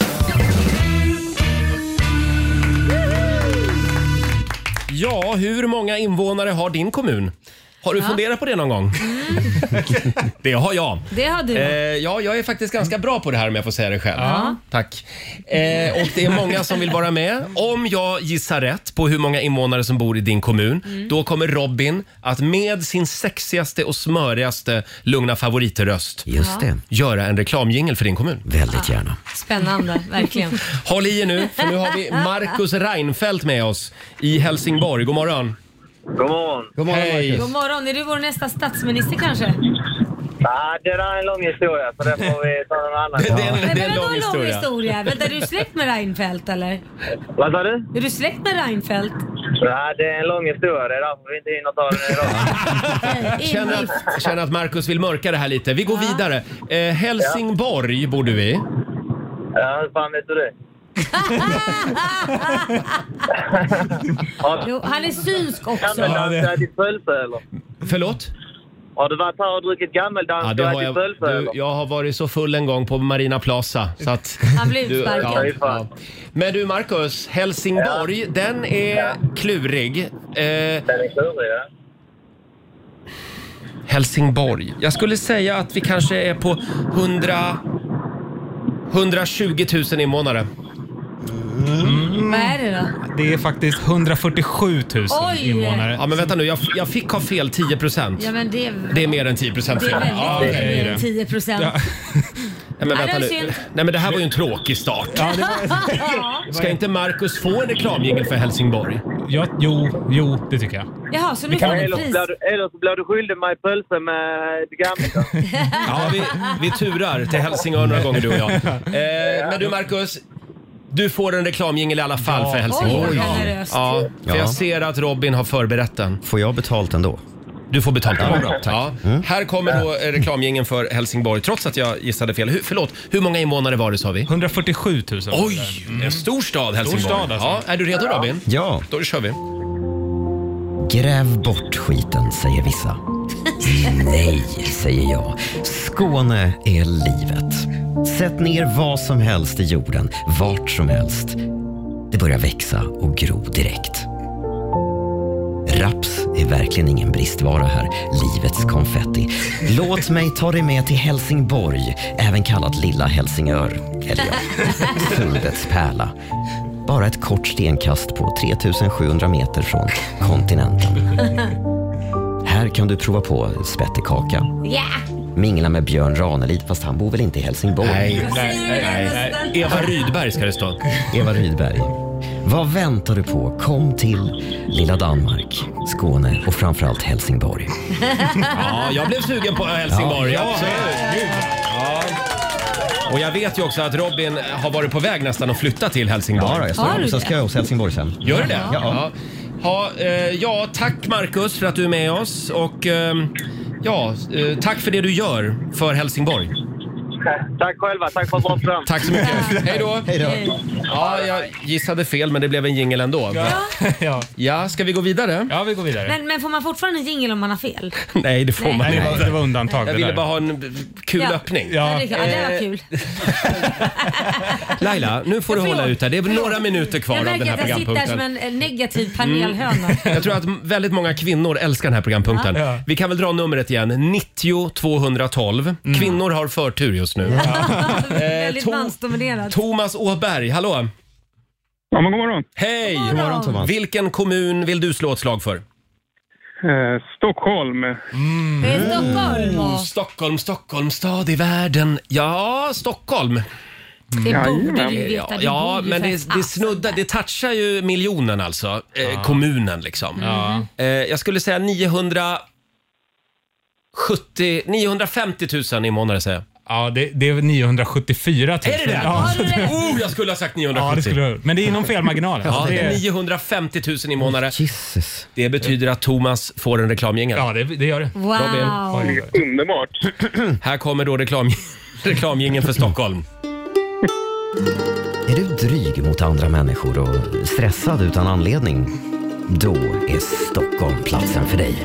[SPEAKER 1] Ja, hur många invånare har din kommun? Har du
[SPEAKER 2] Ja.
[SPEAKER 1] funderat på det någon gång? Det har jag.
[SPEAKER 2] Det har du.
[SPEAKER 1] Eh, ja, jag är faktiskt ganska bra på det här om jag får säga det själv.
[SPEAKER 2] Ja.
[SPEAKER 1] Tack. Eh, och det är många som vill vara med. Om jag gissar rätt på hur många invånare som bor i din kommun, då kommer Robin att med sin sexigaste och smörigaste Lugna favoriterröst
[SPEAKER 2] Just det.
[SPEAKER 1] göra en reklamjingel för din kommun. Väldigt gärna.
[SPEAKER 2] Spännande, verkligen.
[SPEAKER 1] Håll i er nu, för nu har vi Marcus Reinfeldt med oss i Helsingborg. God morgon. God morgon. God morgon Hej.
[SPEAKER 2] God morgon, är du vår nästa statsminister kanske?
[SPEAKER 11] Nej, det där är en lång historia, så det får vi ta någon annan gång.
[SPEAKER 2] Men vadå lång historia? Vänta, är du släkt med Reinfeldt eller?
[SPEAKER 11] Vad sa du?
[SPEAKER 2] Är du släkt med Reinfeldt?
[SPEAKER 11] Nej, det är en lång historia. Det är därför vi inte hinner ta den idag.
[SPEAKER 1] Känner att, känner att Marcus vill mörka det här lite. Vi går vidare. Eh, Helsingborg bor du i.
[SPEAKER 11] Ja, hur fan vet du det?
[SPEAKER 2] Jo, han är synsk också.
[SPEAKER 11] Gammeldans och ätit pölse, eller?
[SPEAKER 1] Förlåt?
[SPEAKER 11] Har du varit här och druckit
[SPEAKER 1] Ja,
[SPEAKER 11] gammeldans
[SPEAKER 1] det
[SPEAKER 11] och
[SPEAKER 1] har
[SPEAKER 11] ätit
[SPEAKER 1] jag,
[SPEAKER 11] pölse,
[SPEAKER 1] du,
[SPEAKER 11] eller?
[SPEAKER 1] jag har varit så full en gång på Marina Plaza. Så att,
[SPEAKER 2] Han blev
[SPEAKER 1] du-
[SPEAKER 2] utsparkad.
[SPEAKER 1] ja. Men du Marcus, Helsingborg, den är klurig. Eh, den är
[SPEAKER 11] klurig, ja.
[SPEAKER 1] Helsingborg. Jag skulle säga att vi kanske är på 100... 120 000 invånare. Mm.
[SPEAKER 2] Vad är det då?
[SPEAKER 1] Det är faktiskt 147 000
[SPEAKER 2] Oj! invånare.
[SPEAKER 1] Ja, men vänta nu. Jag, jag fick ha fel 10 procent.
[SPEAKER 2] Ja men det är,
[SPEAKER 1] Det är mer än 10
[SPEAKER 2] det är
[SPEAKER 1] procent
[SPEAKER 2] väldigt
[SPEAKER 1] fel. Ja,
[SPEAKER 2] mycket
[SPEAKER 1] okej.
[SPEAKER 2] mer än 10 procent.
[SPEAKER 1] Ja. Nej, men
[SPEAKER 2] Ja, det
[SPEAKER 1] vänta
[SPEAKER 2] var
[SPEAKER 1] nu.
[SPEAKER 2] synd.
[SPEAKER 1] Nej, men det här var ju en tråkig start. Ska inte Marcus få en reklamjingel för Helsingborg? Ja, jo, jo, det tycker jag.
[SPEAKER 2] Jaha, så nu
[SPEAKER 1] Vi kan-
[SPEAKER 2] får han
[SPEAKER 1] Eller
[SPEAKER 2] ett
[SPEAKER 1] så
[SPEAKER 2] pris.
[SPEAKER 11] Blir du- Eller så blir du skyldig mig pölse med gammeldans.
[SPEAKER 1] Ja, vi, vi turar till Helsingör några gånger du och jag. Eh, men du Marcus, du får en reklamjingel i alla fall
[SPEAKER 3] Ja.
[SPEAKER 1] för Helsingborg.
[SPEAKER 3] Oj, vad
[SPEAKER 1] ja.
[SPEAKER 3] generöst.
[SPEAKER 1] ja, för
[SPEAKER 3] Ja.
[SPEAKER 1] jag ser att Robin har förberett den. Får jag betalt ändå? Du får betalt
[SPEAKER 3] Ja,
[SPEAKER 1] ändå.
[SPEAKER 3] bra, tack.
[SPEAKER 1] Ja. Här kommer då eh, reklamgängen för Helsingborg, trots att jag gissade fel. Hur, förlåt, hur många invånare var det sa vi? 147 000. Oj, en stor stad Helsingborg.
[SPEAKER 6] stad, alltså.
[SPEAKER 1] ja, är du redo Robin?
[SPEAKER 3] Ja.
[SPEAKER 1] Då kör vi.
[SPEAKER 3] Gräv bort skiten, säger vissa. Nej, säger jag. Skåne är livet. Sätt ner vad som helst i jorden, vart som helst. Det börjar växa och gro direkt. Raps är verkligen ingen bristvara här, livets konfetti. Låt mig ta dig med till Helsingborg, även kallat Lilla Helsingör. Eller ja, Sundets pärla. Bara ett kort stenkast på 3700 meter från kontinenten. Här kan du prova på spettekaka.
[SPEAKER 2] Ja!
[SPEAKER 3] Mingla med Björn Ranelid, fast han bor väl inte i Helsingborg?
[SPEAKER 1] Nej, nej, nej, nej. Eva Rydberg ska det stå.
[SPEAKER 3] Eva Rydberg. Vad väntar du på? Kom till lilla Danmark, Skåne och framförallt Helsingborg.
[SPEAKER 1] Ja, jag blev sugen på Helsingborg.
[SPEAKER 3] Ja.
[SPEAKER 1] absolut. Ja. Och jag vet ju också att Robin har varit på väg nästan att flytta till Helsingborg.
[SPEAKER 3] Ja, då, jag står Har du i bostadskö det? hos Helsingborg sen.
[SPEAKER 1] Gör du det?
[SPEAKER 3] Ja.
[SPEAKER 1] Ja, eh, ja, tack Marcus för att du är med oss och ehm, ja, eh, tack för det du gör för Helsingborg.
[SPEAKER 11] Tack själva. Tack för ett bra program.
[SPEAKER 1] Tack så mycket. Hej då.
[SPEAKER 11] Hej
[SPEAKER 1] då. Ja, jag gissade fel men det blev en jingel ändå. Ja. ja, ska vi gå vidare? Ja, vi går vidare.
[SPEAKER 2] Men, men får man fortfarande en jingel om man har fel?
[SPEAKER 1] Nej, det får
[SPEAKER 2] Nej.
[SPEAKER 1] man
[SPEAKER 2] Nej,
[SPEAKER 1] inte.
[SPEAKER 2] det var- det var
[SPEAKER 6] undantag,
[SPEAKER 1] Jag
[SPEAKER 6] det
[SPEAKER 1] ville
[SPEAKER 6] där.
[SPEAKER 1] bara ha en b- kul
[SPEAKER 2] Ja.
[SPEAKER 1] öppning.
[SPEAKER 2] Ja. det- ja, det var kul.
[SPEAKER 1] Laila, nu får du
[SPEAKER 2] Förlåt,
[SPEAKER 1] hålla ut här. Det är
[SPEAKER 2] förlåt.
[SPEAKER 1] några minuter kvar
[SPEAKER 2] Jag
[SPEAKER 1] av den
[SPEAKER 2] märker
[SPEAKER 1] här
[SPEAKER 2] att jag sitter här som
[SPEAKER 1] programpunkten. Mm. Eh,
[SPEAKER 2] en eh, negativ panelhöna.
[SPEAKER 1] Jag tror att m- väldigt många kvinnor älskar den här programpunkten.
[SPEAKER 2] Ja.
[SPEAKER 1] Vi kan väl dra numret igen. 90 212.
[SPEAKER 2] Mm.
[SPEAKER 1] Kvinnor har förtur just nu. Eh,
[SPEAKER 2] Väldigt mansdominerad.
[SPEAKER 1] Thomas Åberg, hallå!
[SPEAKER 12] Ja, men god morgon.
[SPEAKER 1] Hej!
[SPEAKER 2] God morgon. God morgon, Thomas.
[SPEAKER 1] Vilken kommun vill du slå ett slag för?
[SPEAKER 12] Eh, Stockholm. Mm.
[SPEAKER 2] Det är Stockholm.
[SPEAKER 1] Oh, Stockholm, Stockholm, stad i världen. Ja, Stockholm.
[SPEAKER 2] Det borde du ju veta.
[SPEAKER 1] Ja,
[SPEAKER 2] Det
[SPEAKER 1] ja
[SPEAKER 2] borde ju
[SPEAKER 1] men
[SPEAKER 2] för
[SPEAKER 1] det, det snuddar, det touchar ju miljonen alltså. Eh, Kommunen liksom.
[SPEAKER 2] Mm.
[SPEAKER 6] Ja.
[SPEAKER 1] Eh, jag skulle säga 970, 950 000 invånare säger jag.
[SPEAKER 6] Ja, det, det är 974 000.
[SPEAKER 1] Är det det?
[SPEAKER 6] Ja,
[SPEAKER 1] Har du rätt? Oh, jag skulle ha sagt 970.
[SPEAKER 6] Ja, det skulle du. Men det är inom felmarginalen.
[SPEAKER 1] Ja, det är
[SPEAKER 6] Det-
[SPEAKER 1] 950 000 invånare. Jesus. Det betyder att Thomas får en reklamjingel. Ja,
[SPEAKER 6] det, gör det.
[SPEAKER 2] Wow.
[SPEAKER 12] Underbart.
[SPEAKER 1] Här kommer då reklam, reklamjingeln för Stockholm.
[SPEAKER 3] Är du dryg mot andra människor och stressad utan anledning? Då är Stockholm platsen för dig.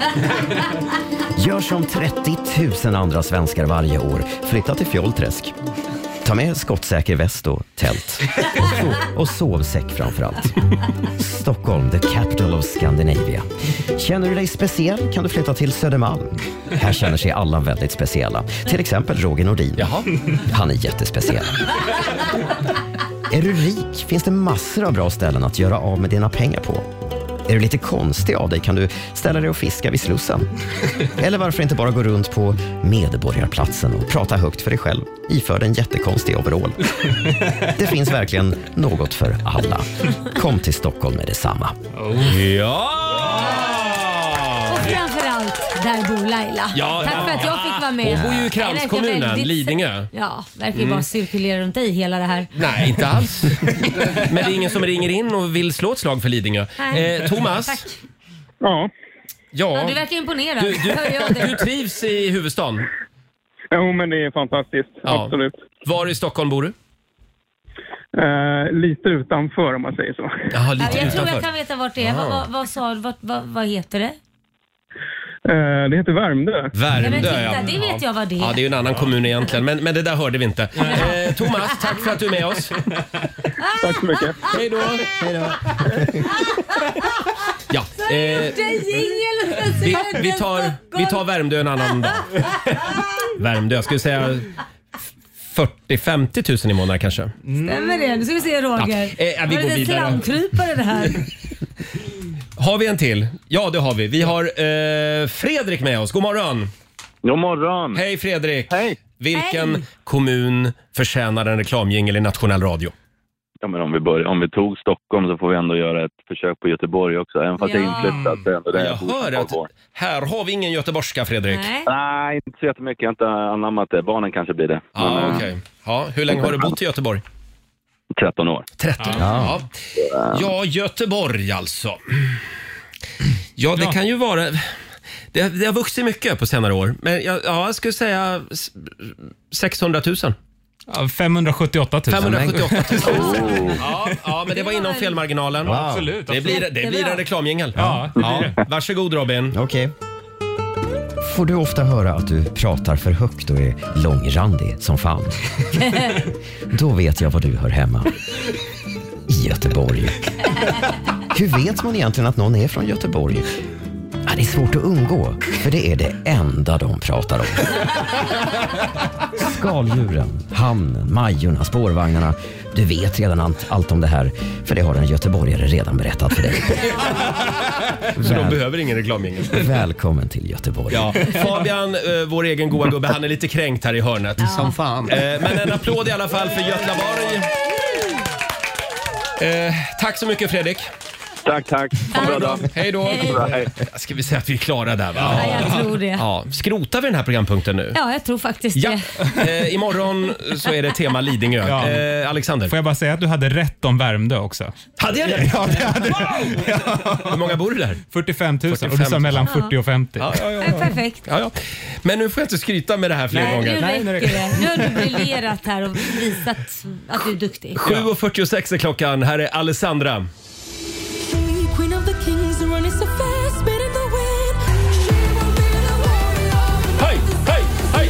[SPEAKER 3] Gör som 30 000 andra svenskar varje år. Flytta till Fjollträsk. Ta med skottsäker väst och tält. Och, so- och sovsäck framför allt. Stockholm, the capital of Scandinavia. Känner du dig speciell kan du flytta till Södermalm. Här känner sig alla väldigt speciella. Till exempel Roger Nordin. Han är jättespeciell. Är du rik finns det massor av bra ställen att göra av med dina pengar på. Är du lite konstig av dig kan du ställa dig och fiska vid Slussen. Eller varför inte bara gå runt på Medborgarplatsen och prata högt för dig själv iförd en jättekonstig overall. Det finns verkligen något för alla. Kom till Stockholm med detsamma.
[SPEAKER 1] Ja!
[SPEAKER 2] Och framförallt, där bor Laila.
[SPEAKER 1] Ja,
[SPEAKER 2] Tack
[SPEAKER 1] ja,
[SPEAKER 2] för att jag fick vara med.
[SPEAKER 1] Hon bor ju i
[SPEAKER 2] Jag verkar
[SPEAKER 1] kranskommunen,
[SPEAKER 2] väldigt-
[SPEAKER 1] Lidingö.
[SPEAKER 2] Ja, verkar ju
[SPEAKER 1] Mm.
[SPEAKER 2] bara cirkulera runt dig hela det här.
[SPEAKER 1] Nej, inte alls. Men det är ingen som ringer in och vill slå ett slag för Lidingö.
[SPEAKER 2] Nej.
[SPEAKER 1] Eh, Thomas?
[SPEAKER 2] Tack.
[SPEAKER 12] Ja.
[SPEAKER 2] Ja,
[SPEAKER 1] Ja.
[SPEAKER 2] du verkar imponerad.
[SPEAKER 1] Du, du,
[SPEAKER 2] Hör jag det.
[SPEAKER 1] du trivs i huvudstaden?
[SPEAKER 12] Jo, men det är fantastiskt.
[SPEAKER 1] Ja.
[SPEAKER 12] Absolut.
[SPEAKER 1] Var i Stockholm bor du?
[SPEAKER 12] Eh, lite utanför om man säger så.
[SPEAKER 1] Jaha,
[SPEAKER 2] Ja, jag tror jag kan veta vart det är. Vad, vad, vad, sa, vad, vad, vad heter det?
[SPEAKER 12] Eh, det heter Värmdö.
[SPEAKER 1] Värmdö,
[SPEAKER 2] men titta, det vet jag vad det är.
[SPEAKER 1] Ja, det är ju en annan kommun egentligen, men, men det där hörde vi inte. Eh, Thomas, tack för att du är med oss.
[SPEAKER 12] Tack så mycket.
[SPEAKER 2] Ah!
[SPEAKER 1] Hej då! Ja, eh, vi, vi, tar, vi tar Värmdö en annan dag. Värmdö, jag skulle säga 40-50 000 invånare kanske.
[SPEAKER 2] Mm. Stämmer det? Nu ska vi se Roger.
[SPEAKER 1] Ja, eh, vi går
[SPEAKER 2] Var det
[SPEAKER 1] vidare.
[SPEAKER 2] slamkrypare det här?
[SPEAKER 1] Har vi en till? Ja, det har vi. Vi har eh, Fredrik med oss. God morgon!
[SPEAKER 13] God morgon!
[SPEAKER 1] Hej Fredrik! Hej! Vilken
[SPEAKER 13] Hej.
[SPEAKER 1] kommun förtjänar en reklamjingel i nationell radio?
[SPEAKER 13] Ja, men om, vi börjar, om vi tog Stockholm så får vi ändå göra ett försök på Göteborg också. Även fast jag är
[SPEAKER 1] Ja.
[SPEAKER 13] inflyttad så är det ändå där
[SPEAKER 1] Jag
[SPEAKER 13] bor sedan
[SPEAKER 1] hör
[SPEAKER 13] tolv
[SPEAKER 1] att
[SPEAKER 13] år.
[SPEAKER 1] här har vi ingen göteborgska Fredrik.
[SPEAKER 13] Nej. inte så jättemycket. Jag har inte anammat det. Barnen kanske blir det.
[SPEAKER 1] Ja,
[SPEAKER 13] Men, eh,
[SPEAKER 1] okej. Ja, hur länge har du bott i Göteborg?
[SPEAKER 13] 13 år.
[SPEAKER 1] 13 Ja. Ja. ja, Göteborg alltså. Ja, det kan ju vara... Det, det har vuxit mycket på senare år, men jag, Eh, ja, jag skulle säga s- 600 000.
[SPEAKER 6] Ja, 578 000.
[SPEAKER 1] 578 000. Ja, ja, men det var inom felmarginalen.
[SPEAKER 6] Oh. Ja, absolut,
[SPEAKER 1] Det blir,
[SPEAKER 6] absolut.
[SPEAKER 1] det blir en reklamjingel.
[SPEAKER 6] Ja, det blir
[SPEAKER 1] Ja. Varsågod Robin.
[SPEAKER 3] Okej. Får du ofta höra att du pratar för högt och är långrandig som fan? Då vet jag var du hör hemma. I Göteborg. Hur vet man egentligen att någon är från Göteborg? Ja, det är svårt att undgå, för det är det enda de pratar om. Skaldjuren, hamnen, Majorna, spårvagnarna. Du vet redan allt, allt om det här, för det har en göteborgare redan berättat för dig.
[SPEAKER 1] Så de
[SPEAKER 3] Väl-
[SPEAKER 1] behöver ingen reklamjingel.
[SPEAKER 3] Välkommen till Göteborg.
[SPEAKER 1] Ja. Fabian, eh, vår egen goa gubbe, han är lite kränkt här i hörnet.
[SPEAKER 10] Som fan.
[SPEAKER 1] Eh, Men en applåd i alla fall för Götlaborg. Eh, tack så mycket Fredrik.
[SPEAKER 13] Tack, tack.
[SPEAKER 1] Ha en bra dag. Hej då.
[SPEAKER 2] Hej.
[SPEAKER 1] Ska vi säga att vi är klara där? Va?
[SPEAKER 2] Ja, jag tror det.
[SPEAKER 1] Ja. Skrotar vi den här programpunkten nu?
[SPEAKER 2] Ja, jag tror faktiskt
[SPEAKER 1] Ja.
[SPEAKER 2] det.
[SPEAKER 1] Eh, imorgon så är det tema Lidingö.
[SPEAKER 6] Ja.
[SPEAKER 1] Eh, Alexander.
[SPEAKER 6] Får jag bara säga att du hade rätt om Värmdö också?
[SPEAKER 1] Hade jag det?
[SPEAKER 6] Ja, det hade
[SPEAKER 1] Hur många bor du där?
[SPEAKER 6] 45 000 och du sa mellan 40 och 50.
[SPEAKER 1] Ja, ja, ja.
[SPEAKER 2] Ja, Perfekt.
[SPEAKER 1] Ja, ja. Men nu får jag inte skryta med det här fler
[SPEAKER 2] Nej, nu
[SPEAKER 1] gånger.
[SPEAKER 2] räcker det. Nu har du briljerat här och visat att du är duktig.
[SPEAKER 1] 7.46 är klockan. Här är Alessandra.
[SPEAKER 7] Queen of the kings running so fast, spinning the wind.
[SPEAKER 1] Hej, hej, hej!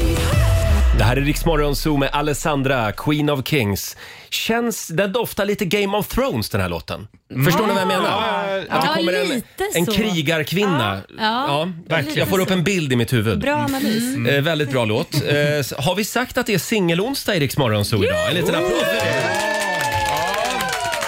[SPEAKER 1] Det här är Riksmorgon Zoo med Alessandra, Queen of Kings. Känns, den doftar lite Game of Thrones den här låten.
[SPEAKER 6] Mm.
[SPEAKER 1] Förstår ni vad jag menar?
[SPEAKER 6] Ja, ja,
[SPEAKER 1] Att det
[SPEAKER 2] ja.
[SPEAKER 1] kommer
[SPEAKER 2] Ja,
[SPEAKER 1] en,
[SPEAKER 2] lite
[SPEAKER 1] en
[SPEAKER 2] så.
[SPEAKER 1] krigarkvinna.
[SPEAKER 2] Ja, ja,
[SPEAKER 1] verkligen.
[SPEAKER 2] lite
[SPEAKER 1] Jag får upp
[SPEAKER 2] så.
[SPEAKER 1] en bild i mitt huvud.
[SPEAKER 2] Bra analys.
[SPEAKER 1] Mm. Eh, väldigt bra låt. Eh, s- har
[SPEAKER 2] Oh.
[SPEAKER 1] vi sagt att det är singelonsdag i Riksmorgon Zoo idag? En liten applåd för det. Ja.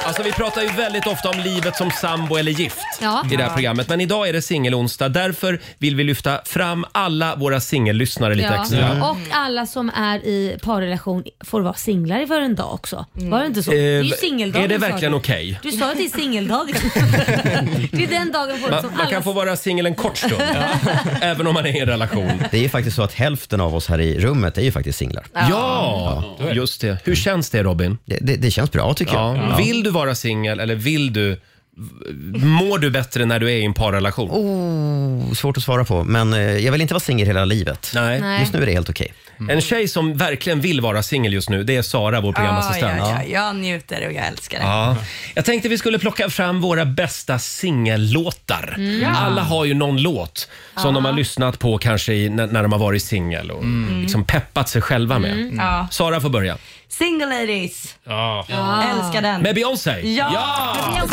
[SPEAKER 1] Alltså vi pratar ju väldigt ofta om livet som sambo eller gift
[SPEAKER 2] Ja.
[SPEAKER 1] i det här programmet. Men idag är det singelonsdag. Därför vill vi lyfta fram alla våra singellyssnare lite
[SPEAKER 2] Ja.
[SPEAKER 1] extra.
[SPEAKER 2] Och alla som är i parrelation får vara singlar för en dag också. Var det inte så?
[SPEAKER 1] Eh,
[SPEAKER 2] det är ju singeldagen
[SPEAKER 1] är det
[SPEAKER 2] du sa
[SPEAKER 1] verkligen okej?
[SPEAKER 2] Du sa att det är singeldagen. det är den dagen på året
[SPEAKER 1] Man,
[SPEAKER 2] som
[SPEAKER 1] man
[SPEAKER 2] alla...
[SPEAKER 1] kan få vara singel en kort stund, även om man är i en relation.
[SPEAKER 3] Det är ju faktiskt så att hälften av oss här i rummet är ju faktiskt singlar.
[SPEAKER 1] Ja, just det. Hur känns det Robin?
[SPEAKER 3] Det, det, det känns bra tycker
[SPEAKER 1] Ja.
[SPEAKER 3] jag. Ja.
[SPEAKER 1] Vill du vara singel eller vill du... Mår du bättre när du är i en parrelation?
[SPEAKER 3] Oh, svårt att svara på, men eh, jag vill inte vara singel hela livet.
[SPEAKER 1] Nej. Nej.
[SPEAKER 3] Just nu är det helt okej.
[SPEAKER 1] En tjej som verkligen vill vara singel just nu, det är Sara, vår programassistent.
[SPEAKER 9] Ja, ja, jag njuter och jag älskar det.
[SPEAKER 1] Ja. Jag tänkte vi skulle plocka fram våra bästa singellåtar.
[SPEAKER 9] Mm. Ja.
[SPEAKER 1] Alla har ju någon låt som de har lyssnat på kanske i, när, när de har varit singel och liksom peppat sig själva med.
[SPEAKER 9] Mm. Ja.
[SPEAKER 1] Sara får börja.
[SPEAKER 9] Single ladies.
[SPEAKER 1] Ja.
[SPEAKER 9] Älskar den.
[SPEAKER 1] Med Beyoncé?
[SPEAKER 9] Ja.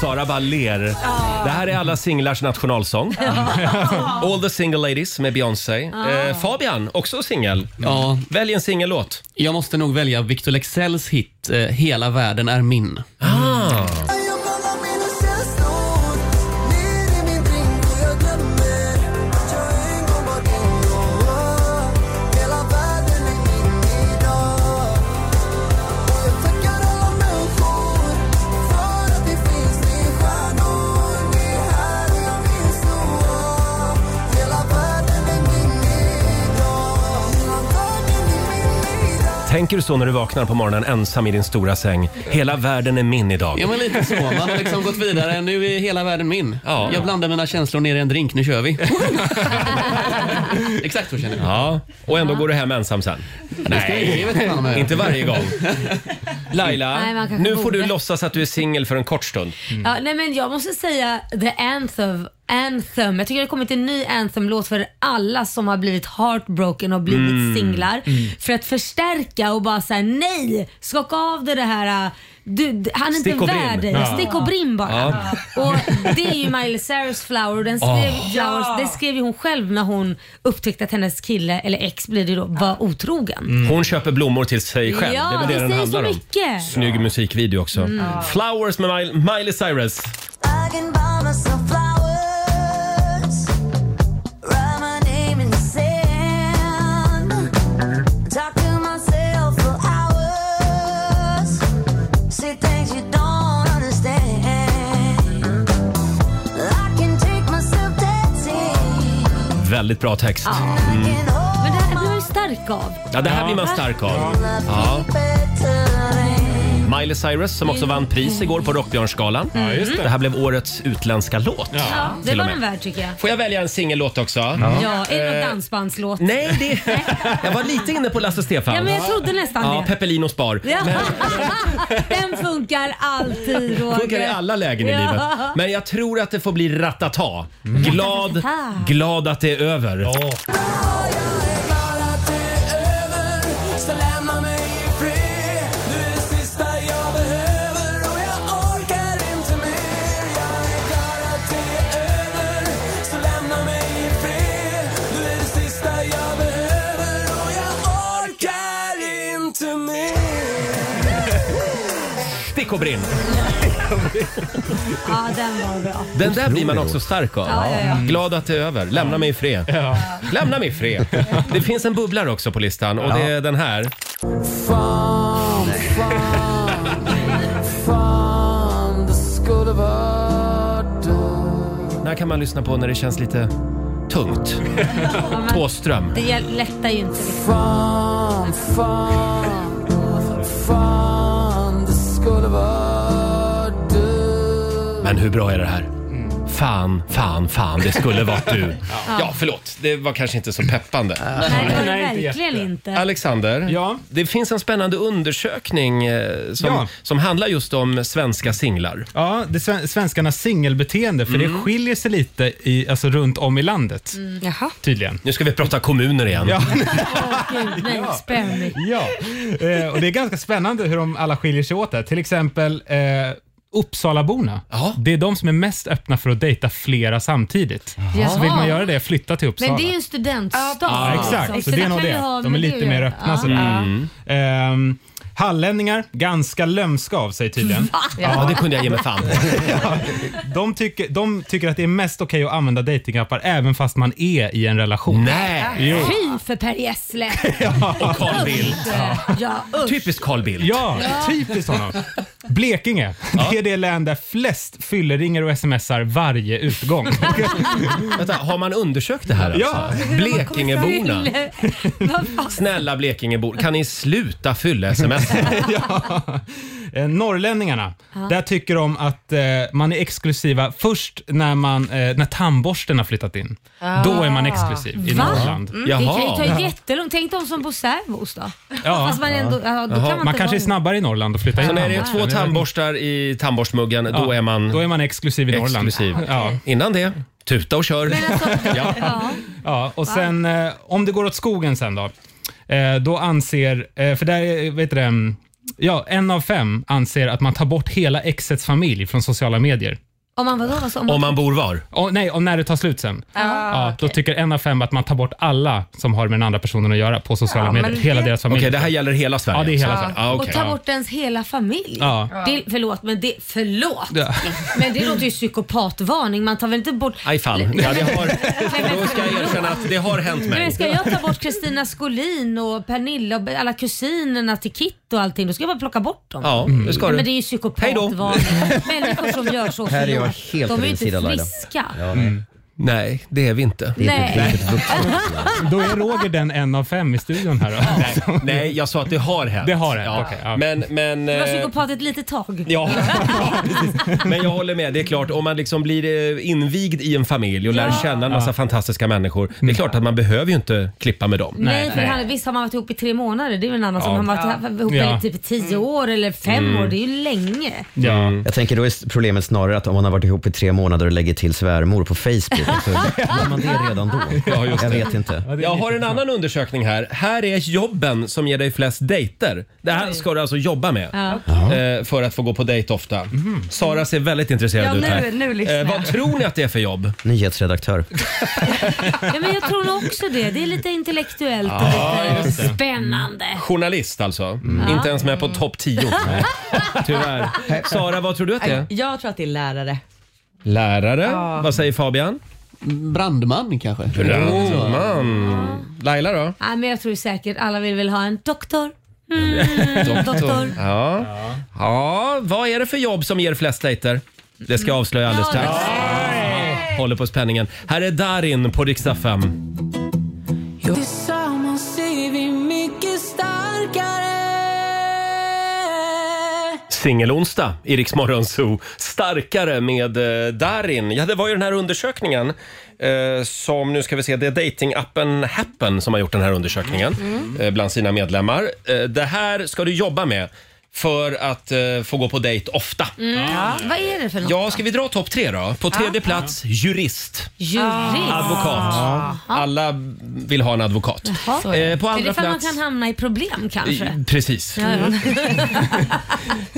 [SPEAKER 1] Sara bara ler. Det här är alla singlars nationalsång. All the single ladies med Beyoncé.
[SPEAKER 10] Ja.
[SPEAKER 1] Eh, Fabian, också singel.
[SPEAKER 10] Ja.
[SPEAKER 1] Välj en singellåt.
[SPEAKER 10] Jag måste nog välja Victor Leksells hit eh, Hela världen är min.
[SPEAKER 1] Ah. Tänker du så när du vaknar på morgonen ensam i din stora säng? Hela världen är min idag.
[SPEAKER 10] Ja, men lite så. Man
[SPEAKER 11] é
[SPEAKER 10] har liksom gått
[SPEAKER 11] né?
[SPEAKER 10] vidare. Nu är hela världen min.
[SPEAKER 1] Ja.
[SPEAKER 10] Jag blandar mina känslor ner i en drink. Nu kör vi. Exakt så känner jag.
[SPEAKER 1] Ja, och ändå går du hem ensam sen?
[SPEAKER 10] jag vet inte vad man gör.
[SPEAKER 1] inte varje gång. Laila,
[SPEAKER 2] Nej, man kanske
[SPEAKER 1] nu får du
[SPEAKER 2] borde. Mm.
[SPEAKER 1] låtsas att du är singel för en kort stund.
[SPEAKER 2] Ja, nej men jag måste säga The Anthem. Anthem. Jag tycker det har kommit en ny Anthem-låt för alla som har blivit heartbroken och blivit
[SPEAKER 7] Mm.
[SPEAKER 2] singlar.
[SPEAKER 7] Mm.
[SPEAKER 2] För att förstärka och bara säga nej, skaka av dig det här. äh, Du, d- han är
[SPEAKER 7] Stick
[SPEAKER 2] inte
[SPEAKER 7] och brim.
[SPEAKER 2] värd dig.
[SPEAKER 7] Ja.
[SPEAKER 2] Stick och brim bara.
[SPEAKER 7] Ja.
[SPEAKER 2] Och det är ju Miley Cyrus flower. och Den skrev,
[SPEAKER 7] Åh.
[SPEAKER 2] flowers, det skrev ju hon själv när hon upptäckte att hennes kille, eller ex blir det då, var otrogen.
[SPEAKER 1] Mm. Hon köper blommor till sig själv.
[SPEAKER 2] Ja,
[SPEAKER 1] det är väl det,
[SPEAKER 2] det
[SPEAKER 1] den
[SPEAKER 2] säger så
[SPEAKER 1] handlar om.
[SPEAKER 2] mycket.
[SPEAKER 1] Snygg musikvideo också.
[SPEAKER 2] Mm.
[SPEAKER 1] Flowers med Mil- Miley Cyrus.
[SPEAKER 7] I can buy myself flowers, write my name in the sand, talk to myself for hours, see things you don't understand. I can take myself dancing.
[SPEAKER 1] Väldigt bra text. Mm.
[SPEAKER 2] Men det här blir man ju stark av.
[SPEAKER 1] Ja, det här blir man stark av. Ja. Miley Cyrus som också vann pris igår på Rockbjörnsgalan.
[SPEAKER 2] Ja, just det.
[SPEAKER 1] det här blev årets utländska låt.
[SPEAKER 2] Mm. Ja, det
[SPEAKER 1] till
[SPEAKER 2] var
[SPEAKER 1] och med.
[SPEAKER 2] den värd tycker jag.
[SPEAKER 1] Får jag välja en singellåt också?
[SPEAKER 2] Ja. är det någon
[SPEAKER 1] Eh,
[SPEAKER 2] dansbandslåt?
[SPEAKER 1] Nej, det... Jag var lite inne på Lasse Stefan.
[SPEAKER 2] Ja, men jag trodde nästan
[SPEAKER 1] ja,
[SPEAKER 2] det.
[SPEAKER 1] Peppelinos bar.
[SPEAKER 2] Ja. Den funkar alltid Roger.
[SPEAKER 1] Funkar i alla lägen i livet. Men jag tror att det får bli ratata. Glad,
[SPEAKER 2] Mm. Ratata.
[SPEAKER 1] glad att det är över.
[SPEAKER 4] Så lämna mig i fred. Du är det sista jag behöver och jag orkar inte mer. Jag är glad att det är över. Så lämna mig i fred. Du är det sista jag behöver och jag orkar inte mer.
[SPEAKER 1] Stick och brinn.
[SPEAKER 2] Ja, den var bra.
[SPEAKER 1] Den där blir man också stark av. Mm.
[SPEAKER 2] Ja, ja, ja.
[SPEAKER 1] Glad att det är över. Lämna mig i fred. Lämna mig i fred. Det finns en bubblare också på listan och det är den här.
[SPEAKER 4] Fan, fan, fan, det skulle varit
[SPEAKER 1] Den här kan man lyssna på när det känns lite tungt. Tåström.
[SPEAKER 2] Det hjäl- lättar ju inte.
[SPEAKER 4] Fan, fan, fan, det skulle varit
[SPEAKER 1] Men hur bra är det här? Fan, fan, fan, det skulle varit du.
[SPEAKER 2] Ja.
[SPEAKER 1] Ja, förlåt. Det var kanske inte så peppande.
[SPEAKER 2] Nej, det var det verkligen inte.
[SPEAKER 1] Alexander, det finns en spännande undersökning eh, som,
[SPEAKER 6] Ja.
[SPEAKER 1] som handlar just om svenska singlar.
[SPEAKER 6] Ja, det sven- svenskarnas singelbeteende, för det
[SPEAKER 1] Mm.
[SPEAKER 6] skiljer sig lite i, alltså, runt om i landet.
[SPEAKER 9] Mm.
[SPEAKER 2] Jaha.
[SPEAKER 6] Tydligen.
[SPEAKER 1] Nu ska vi prata kommuner igen.
[SPEAKER 6] Ja.
[SPEAKER 2] Åh gud, nej, spänn mig.
[SPEAKER 6] Ja, eh, och det är ganska spännande hur de alla skiljer sig åt där. Till exempel eh, Uppsalaborna. Det är de som är mest öppna för att dejta flera samtidigt.
[SPEAKER 2] Jaha.
[SPEAKER 6] Så vill man göra det, flytta till Uppsala.
[SPEAKER 2] Men det är ju en studentstad.
[SPEAKER 6] Ja, exakt, så det är nog det. De är lite mer öppna. Sådär.
[SPEAKER 2] Mm.
[SPEAKER 6] Ehm, hallänningar, ganska lömska av sig tydligen.
[SPEAKER 2] Va? Ja, det kunde jag ge mig fan på.
[SPEAKER 6] Ja. de, tycker, de tycker att det är mest okej att använda datingappar även fast man är i en relation.
[SPEAKER 1] Nej!
[SPEAKER 6] Jo.
[SPEAKER 2] Fy för Per Gessle.
[SPEAKER 1] Och Carl Bildt.
[SPEAKER 2] Ja,
[SPEAKER 1] Typiskt Carl Bildt.
[SPEAKER 6] Ja,
[SPEAKER 2] Ja.
[SPEAKER 6] typiskt honom. Blekinge, det är det län där flest fylleringar och smsar varje utgång.
[SPEAKER 1] Vänta, har man undersökt det här
[SPEAKER 6] Ja.
[SPEAKER 1] alltså? Blekingeborna. Snälla Blekingebor, kan ni sluta fylla sms?
[SPEAKER 6] Eh, Norrlänningarna, där tycker de att eh, man är exklusiva först när, man, eh, när tandborsten har flyttat in. Då är man exklusiv i
[SPEAKER 2] Ah. Va?
[SPEAKER 6] Norrland.
[SPEAKER 2] Mm, det kan ju ta jättelångt. Tänk de som bor särbos då.
[SPEAKER 6] Ja.
[SPEAKER 2] Fast man ändå, ja, då
[SPEAKER 6] Jaha,
[SPEAKER 2] kan man,
[SPEAKER 6] man
[SPEAKER 2] inte
[SPEAKER 6] kanske är
[SPEAKER 2] vara-
[SPEAKER 6] snabbare i Norrland och flyttar in
[SPEAKER 1] Så när det är
[SPEAKER 6] tandborsten.
[SPEAKER 1] två tandborstar i tandborstmuggen, då är man...
[SPEAKER 6] Då är man exklusiv i Norrland.
[SPEAKER 1] Exklusiv.
[SPEAKER 6] Ja.
[SPEAKER 1] Innan det, tuta och kör.
[SPEAKER 2] alltså-
[SPEAKER 1] ja.
[SPEAKER 6] Ja, och sen eh, om det går åt skogen sen då. Eh, då anser, eh, för där är- vet du det, mm, ja, en av fem anser att man tar bort hela exets familj från sociala medier.
[SPEAKER 2] Om man vadå? Alltså, om man,
[SPEAKER 1] bor var?
[SPEAKER 6] nej, om när det tar slut sen.
[SPEAKER 2] Ah,
[SPEAKER 6] ja, Då tycker en av fem att man tar bort alla som har med den andra personen att göra på sociala
[SPEAKER 2] Ja,
[SPEAKER 6] medier.
[SPEAKER 2] men
[SPEAKER 6] Hela
[SPEAKER 2] det- Ah,
[SPEAKER 6] deras familj.
[SPEAKER 1] Okej, det här gäller hela Sverige?
[SPEAKER 6] Ja, det är hela
[SPEAKER 1] Ja.
[SPEAKER 6] Sverige. Ah,
[SPEAKER 1] Ja,
[SPEAKER 2] Och ta bort ens hela familj.
[SPEAKER 6] Ja.
[SPEAKER 2] Det, förlåt, men det, förlåt.
[SPEAKER 6] Ja.
[SPEAKER 2] Men det låter ju psykopatvarning. Man tar väl inte bort...
[SPEAKER 1] Aj fan. Ja, det har, då ska jag erkänna att det har hänt
[SPEAKER 2] Nej,
[SPEAKER 1] mig.
[SPEAKER 2] Men ska jag ta bort Kristina Skolin och Pernilla och alla kusinerna till Kit och allting, då ska jag bara plocka bort dem.
[SPEAKER 1] Ja, det ska du.
[SPEAKER 2] Nej, Men det är ju psykopatvarning. Människor som gör så,
[SPEAKER 1] Här är jag
[SPEAKER 2] förlåt.
[SPEAKER 1] helt
[SPEAKER 2] De är
[SPEAKER 1] på
[SPEAKER 2] ju
[SPEAKER 1] din
[SPEAKER 2] inte
[SPEAKER 1] sida, Laila.
[SPEAKER 2] friska.
[SPEAKER 1] Mm. Nej, det är vi inte.
[SPEAKER 2] Det är inte- det är inte
[SPEAKER 6] Då är Roger den en av fem i studion här då.
[SPEAKER 1] Nej, nej, jag sa att det har hänt.
[SPEAKER 6] Det har hänt,
[SPEAKER 1] Ja.
[SPEAKER 6] okej, ja.
[SPEAKER 1] Men, men,
[SPEAKER 2] Du var
[SPEAKER 1] eh,
[SPEAKER 2] psykopat ett litet tag.
[SPEAKER 1] Ja. men jag håller med. Det är klart, om man liksom blir eh, invigd i en familj och lär
[SPEAKER 2] Ja.
[SPEAKER 1] känna en massa fantastiska människor. Det är klart att man behöver ju inte klippa med dem.
[SPEAKER 2] Nej, för han, visst har man varit ihop i tre månader, det är ju en annan
[SPEAKER 1] Ja.
[SPEAKER 2] som har varit ihop i
[SPEAKER 3] Ja.
[SPEAKER 2] typ tio år eller fem
[SPEAKER 3] Mm.
[SPEAKER 2] år, det är ju länge.
[SPEAKER 3] Jag tänker då är problemet snarare att om man har varit ihop i tre månader och lägger till svärmor på Facebook, Alltså, så gör man det redan då?
[SPEAKER 1] Ja, just
[SPEAKER 3] jag
[SPEAKER 1] det.
[SPEAKER 3] vet inte.
[SPEAKER 1] Jag har en annan undersökning här. Här är jobben som ger dig flest dejter. Det här ska du alltså jobba med
[SPEAKER 9] Ja.
[SPEAKER 1] eh, för att få gå på dejt ofta. Sara ser väldigt intresserad
[SPEAKER 9] Ja,
[SPEAKER 1] ut
[SPEAKER 9] nu-
[SPEAKER 1] här. Eh,
[SPEAKER 9] nu lyssnar jag.
[SPEAKER 1] vad tror ni att det är för jobb?
[SPEAKER 3] Nyhetsredaktör.
[SPEAKER 2] Ja, men jag tror nog också det. Det är lite intellektuellt och
[SPEAKER 1] Ja,
[SPEAKER 2] lite
[SPEAKER 1] just det.
[SPEAKER 2] spännande.
[SPEAKER 1] Journalist alltså.
[SPEAKER 2] Ja.
[SPEAKER 1] Inte ens med på topp 10. Tyvärr. Sara, vad tror du att det är?
[SPEAKER 14] Jag tror att det är lärare.
[SPEAKER 1] Lärare?
[SPEAKER 14] Ja.
[SPEAKER 1] Vad säger Fabian?
[SPEAKER 10] Brandman kanske?
[SPEAKER 1] Brandman. Laila då?
[SPEAKER 2] Ja, men jag tror säkert alla vill väl ha en doktor. Mm, doktor.
[SPEAKER 1] Ja. ja, vad är det för jobb som ger flest dejter? Det ska jag avslöja alldeles strax. Håller på spänningen. Här är Darin på riksdag 5.
[SPEAKER 4] Tillsammans är vi mycket starkare
[SPEAKER 1] Singelonsdag i Rix Morgon Zoo. Starkare med eh, Darin. Ja, det var ju den här undersökningen eh, som, nu ska vi se, det är datingappen Happen som har gjort den här undersökningen
[SPEAKER 4] Mm.
[SPEAKER 1] eh, bland sina medlemmar. Eh, det här ska du jobba med för att eh, få gå på dejt ofta.
[SPEAKER 2] Mm. Vad är det för något?
[SPEAKER 1] Ja, ska vi dra topp tre då? På tredje plats, jurist.
[SPEAKER 2] Jurist.
[SPEAKER 1] Advokat. Alla vill ha en advokat.
[SPEAKER 2] Jaha.
[SPEAKER 1] Eh, på
[SPEAKER 2] är
[SPEAKER 1] andra
[SPEAKER 2] det för att man
[SPEAKER 1] plats...
[SPEAKER 2] kan hamna i problem kanske?
[SPEAKER 1] I- Precis.
[SPEAKER 2] Ja, ja.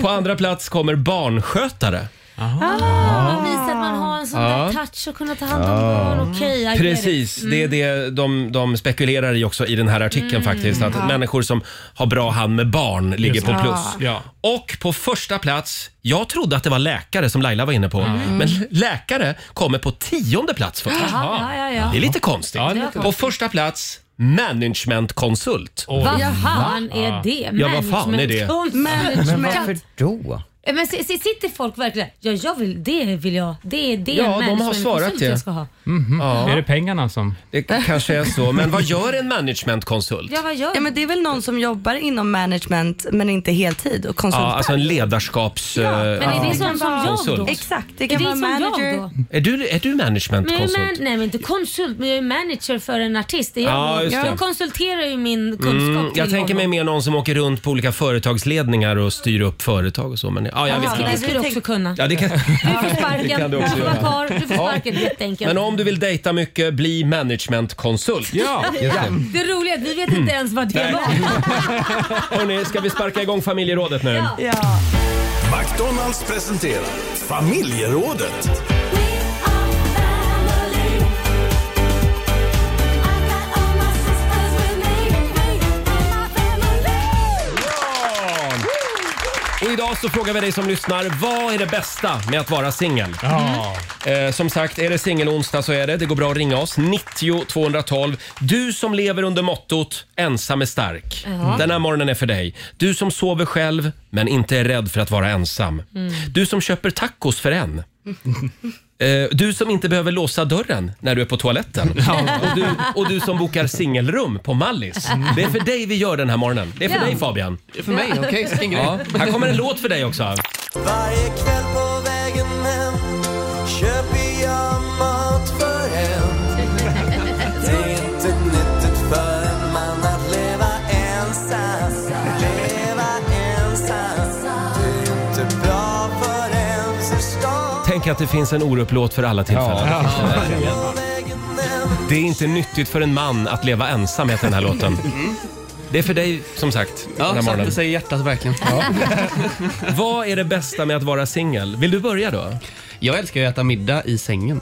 [SPEAKER 1] På andra plats kommer barnskötare.
[SPEAKER 2] Ah, Man visar att man har en sån där
[SPEAKER 1] Ja.
[SPEAKER 2] touch och kunna ta hand om barn. Okej, jag ger
[SPEAKER 1] Ah. Precis, det är det de, de spekulerar i också i den här artikeln
[SPEAKER 2] Mm.
[SPEAKER 1] faktiskt. Att
[SPEAKER 2] Ja.
[SPEAKER 1] människor som har bra hand med barn ligger
[SPEAKER 6] Just
[SPEAKER 1] på
[SPEAKER 6] det.
[SPEAKER 1] plus.
[SPEAKER 6] Ja.
[SPEAKER 1] Och på första plats, jag trodde att det var läkare som Laila var inne på,
[SPEAKER 2] Mm.
[SPEAKER 1] men läkare kommer på tionde plats först.
[SPEAKER 2] Jaha, ja, ja, ja.
[SPEAKER 1] Det är lite konstigt.
[SPEAKER 2] Ja, det är lite
[SPEAKER 1] på första plats, managementkonsult.
[SPEAKER 2] Vad fan är det?
[SPEAKER 1] Ja, vad fan är det?
[SPEAKER 2] Management.
[SPEAKER 3] Men varför då?
[SPEAKER 2] Men s- s- sitter folk verkligen Ja, jag vill, det vill jag. Det är det
[SPEAKER 1] Ja, de har
[SPEAKER 2] management-
[SPEAKER 1] svarat
[SPEAKER 2] konsult
[SPEAKER 1] det.
[SPEAKER 2] Jag ska ha.
[SPEAKER 1] Ja.
[SPEAKER 6] Mhm. Är det pengarna som...
[SPEAKER 1] Det kanske är så, men vad gör en managementkonsult?
[SPEAKER 2] Ja, vad gör
[SPEAKER 9] ja, men Det är väl någon som jobbar inom management men inte heltid och
[SPEAKER 1] Ja,
[SPEAKER 9] konsultar.
[SPEAKER 1] alltså en ledarskaps... eh, Ja,
[SPEAKER 9] men är det sån som jag då?
[SPEAKER 2] Exakt,
[SPEAKER 9] det kan
[SPEAKER 2] är
[SPEAKER 9] vara
[SPEAKER 2] det som
[SPEAKER 9] manager.
[SPEAKER 2] Jag då?
[SPEAKER 1] Är du, är du
[SPEAKER 2] Men jag är
[SPEAKER 1] managementkonsult?
[SPEAKER 2] man, nej men inte konsult, men jag är manager för en artist. Det är
[SPEAKER 1] Ja,
[SPEAKER 2] jag.
[SPEAKER 1] just det.
[SPEAKER 2] jag konsulterar ju min kunskap
[SPEAKER 1] Mm, jag
[SPEAKER 2] till
[SPEAKER 1] tänker mig
[SPEAKER 2] honom.
[SPEAKER 1] mer någon som åker runt på olika företagsledningar och styr upp företag och så. Men, ja, jag
[SPEAKER 2] Jaha,
[SPEAKER 1] vet
[SPEAKER 2] det
[SPEAKER 1] inte.
[SPEAKER 2] skulle du också kunna.
[SPEAKER 1] Ja, det kan,
[SPEAKER 2] Du får
[SPEAKER 1] det kan
[SPEAKER 2] sparken,
[SPEAKER 1] du
[SPEAKER 2] du
[SPEAKER 1] också
[SPEAKER 2] får vara
[SPEAKER 1] göra.
[SPEAKER 2] kvar, du får sparken helt enkelt.
[SPEAKER 1] Men om du vill dejta mycket, bli managementkonsult.
[SPEAKER 2] Det roliga är att vi vet inte ens vad det
[SPEAKER 1] Nej.
[SPEAKER 2] var.
[SPEAKER 1] Hörrni, ska vi sparka igång familjerådet nu?
[SPEAKER 2] Ja.
[SPEAKER 14] McDonalds presenterar familjerådet.
[SPEAKER 1] Och idag så frågar vi dig som lyssnar, vad är det bästa med att vara singel? Eh, som sagt, är det singelonsdag så är det. Det går bra att ringa oss. 90 212. Du som lever under mottot ensam är stark. Mm.
[SPEAKER 4] Ja.
[SPEAKER 1] Den här morgonen är för dig. Du som sover själv men inte är rädd för att vara ensam.
[SPEAKER 4] Mm.
[SPEAKER 1] Du som köper tacos för en. Eh, Du som inte behöver låsa dörren när du är på toaletten. Och, du, och du som bokar singelrum på Mallis. Det är för dig vi gör den här morgonen. Det är för
[SPEAKER 4] Mm. Ja.
[SPEAKER 1] dig Fabian.
[SPEAKER 4] Det är för mig, okej, vilken grej.
[SPEAKER 1] Här kommer en låt för dig också.
[SPEAKER 4] Varje kväll på vägen hem köper jag mat för en. Det är inte nyttigt för en man att leva ensam. Leva ensam. Det är inte bra för en förstånd.
[SPEAKER 1] Tänk att det finns en Orup-låt för alla tillfällen. Det är inte nyttigt för en man att leva ensam, heter den här låten.
[SPEAKER 4] Mm.
[SPEAKER 1] Det är för dig, som sagt.
[SPEAKER 10] Ja,
[SPEAKER 1] den här
[SPEAKER 10] satte
[SPEAKER 1] morgonen.
[SPEAKER 10] sig i hjärtat verkligen.
[SPEAKER 1] Vad är det bästa med att vara singel? Vill du börja då?
[SPEAKER 10] Jag älskar ju att äta middag i sängen.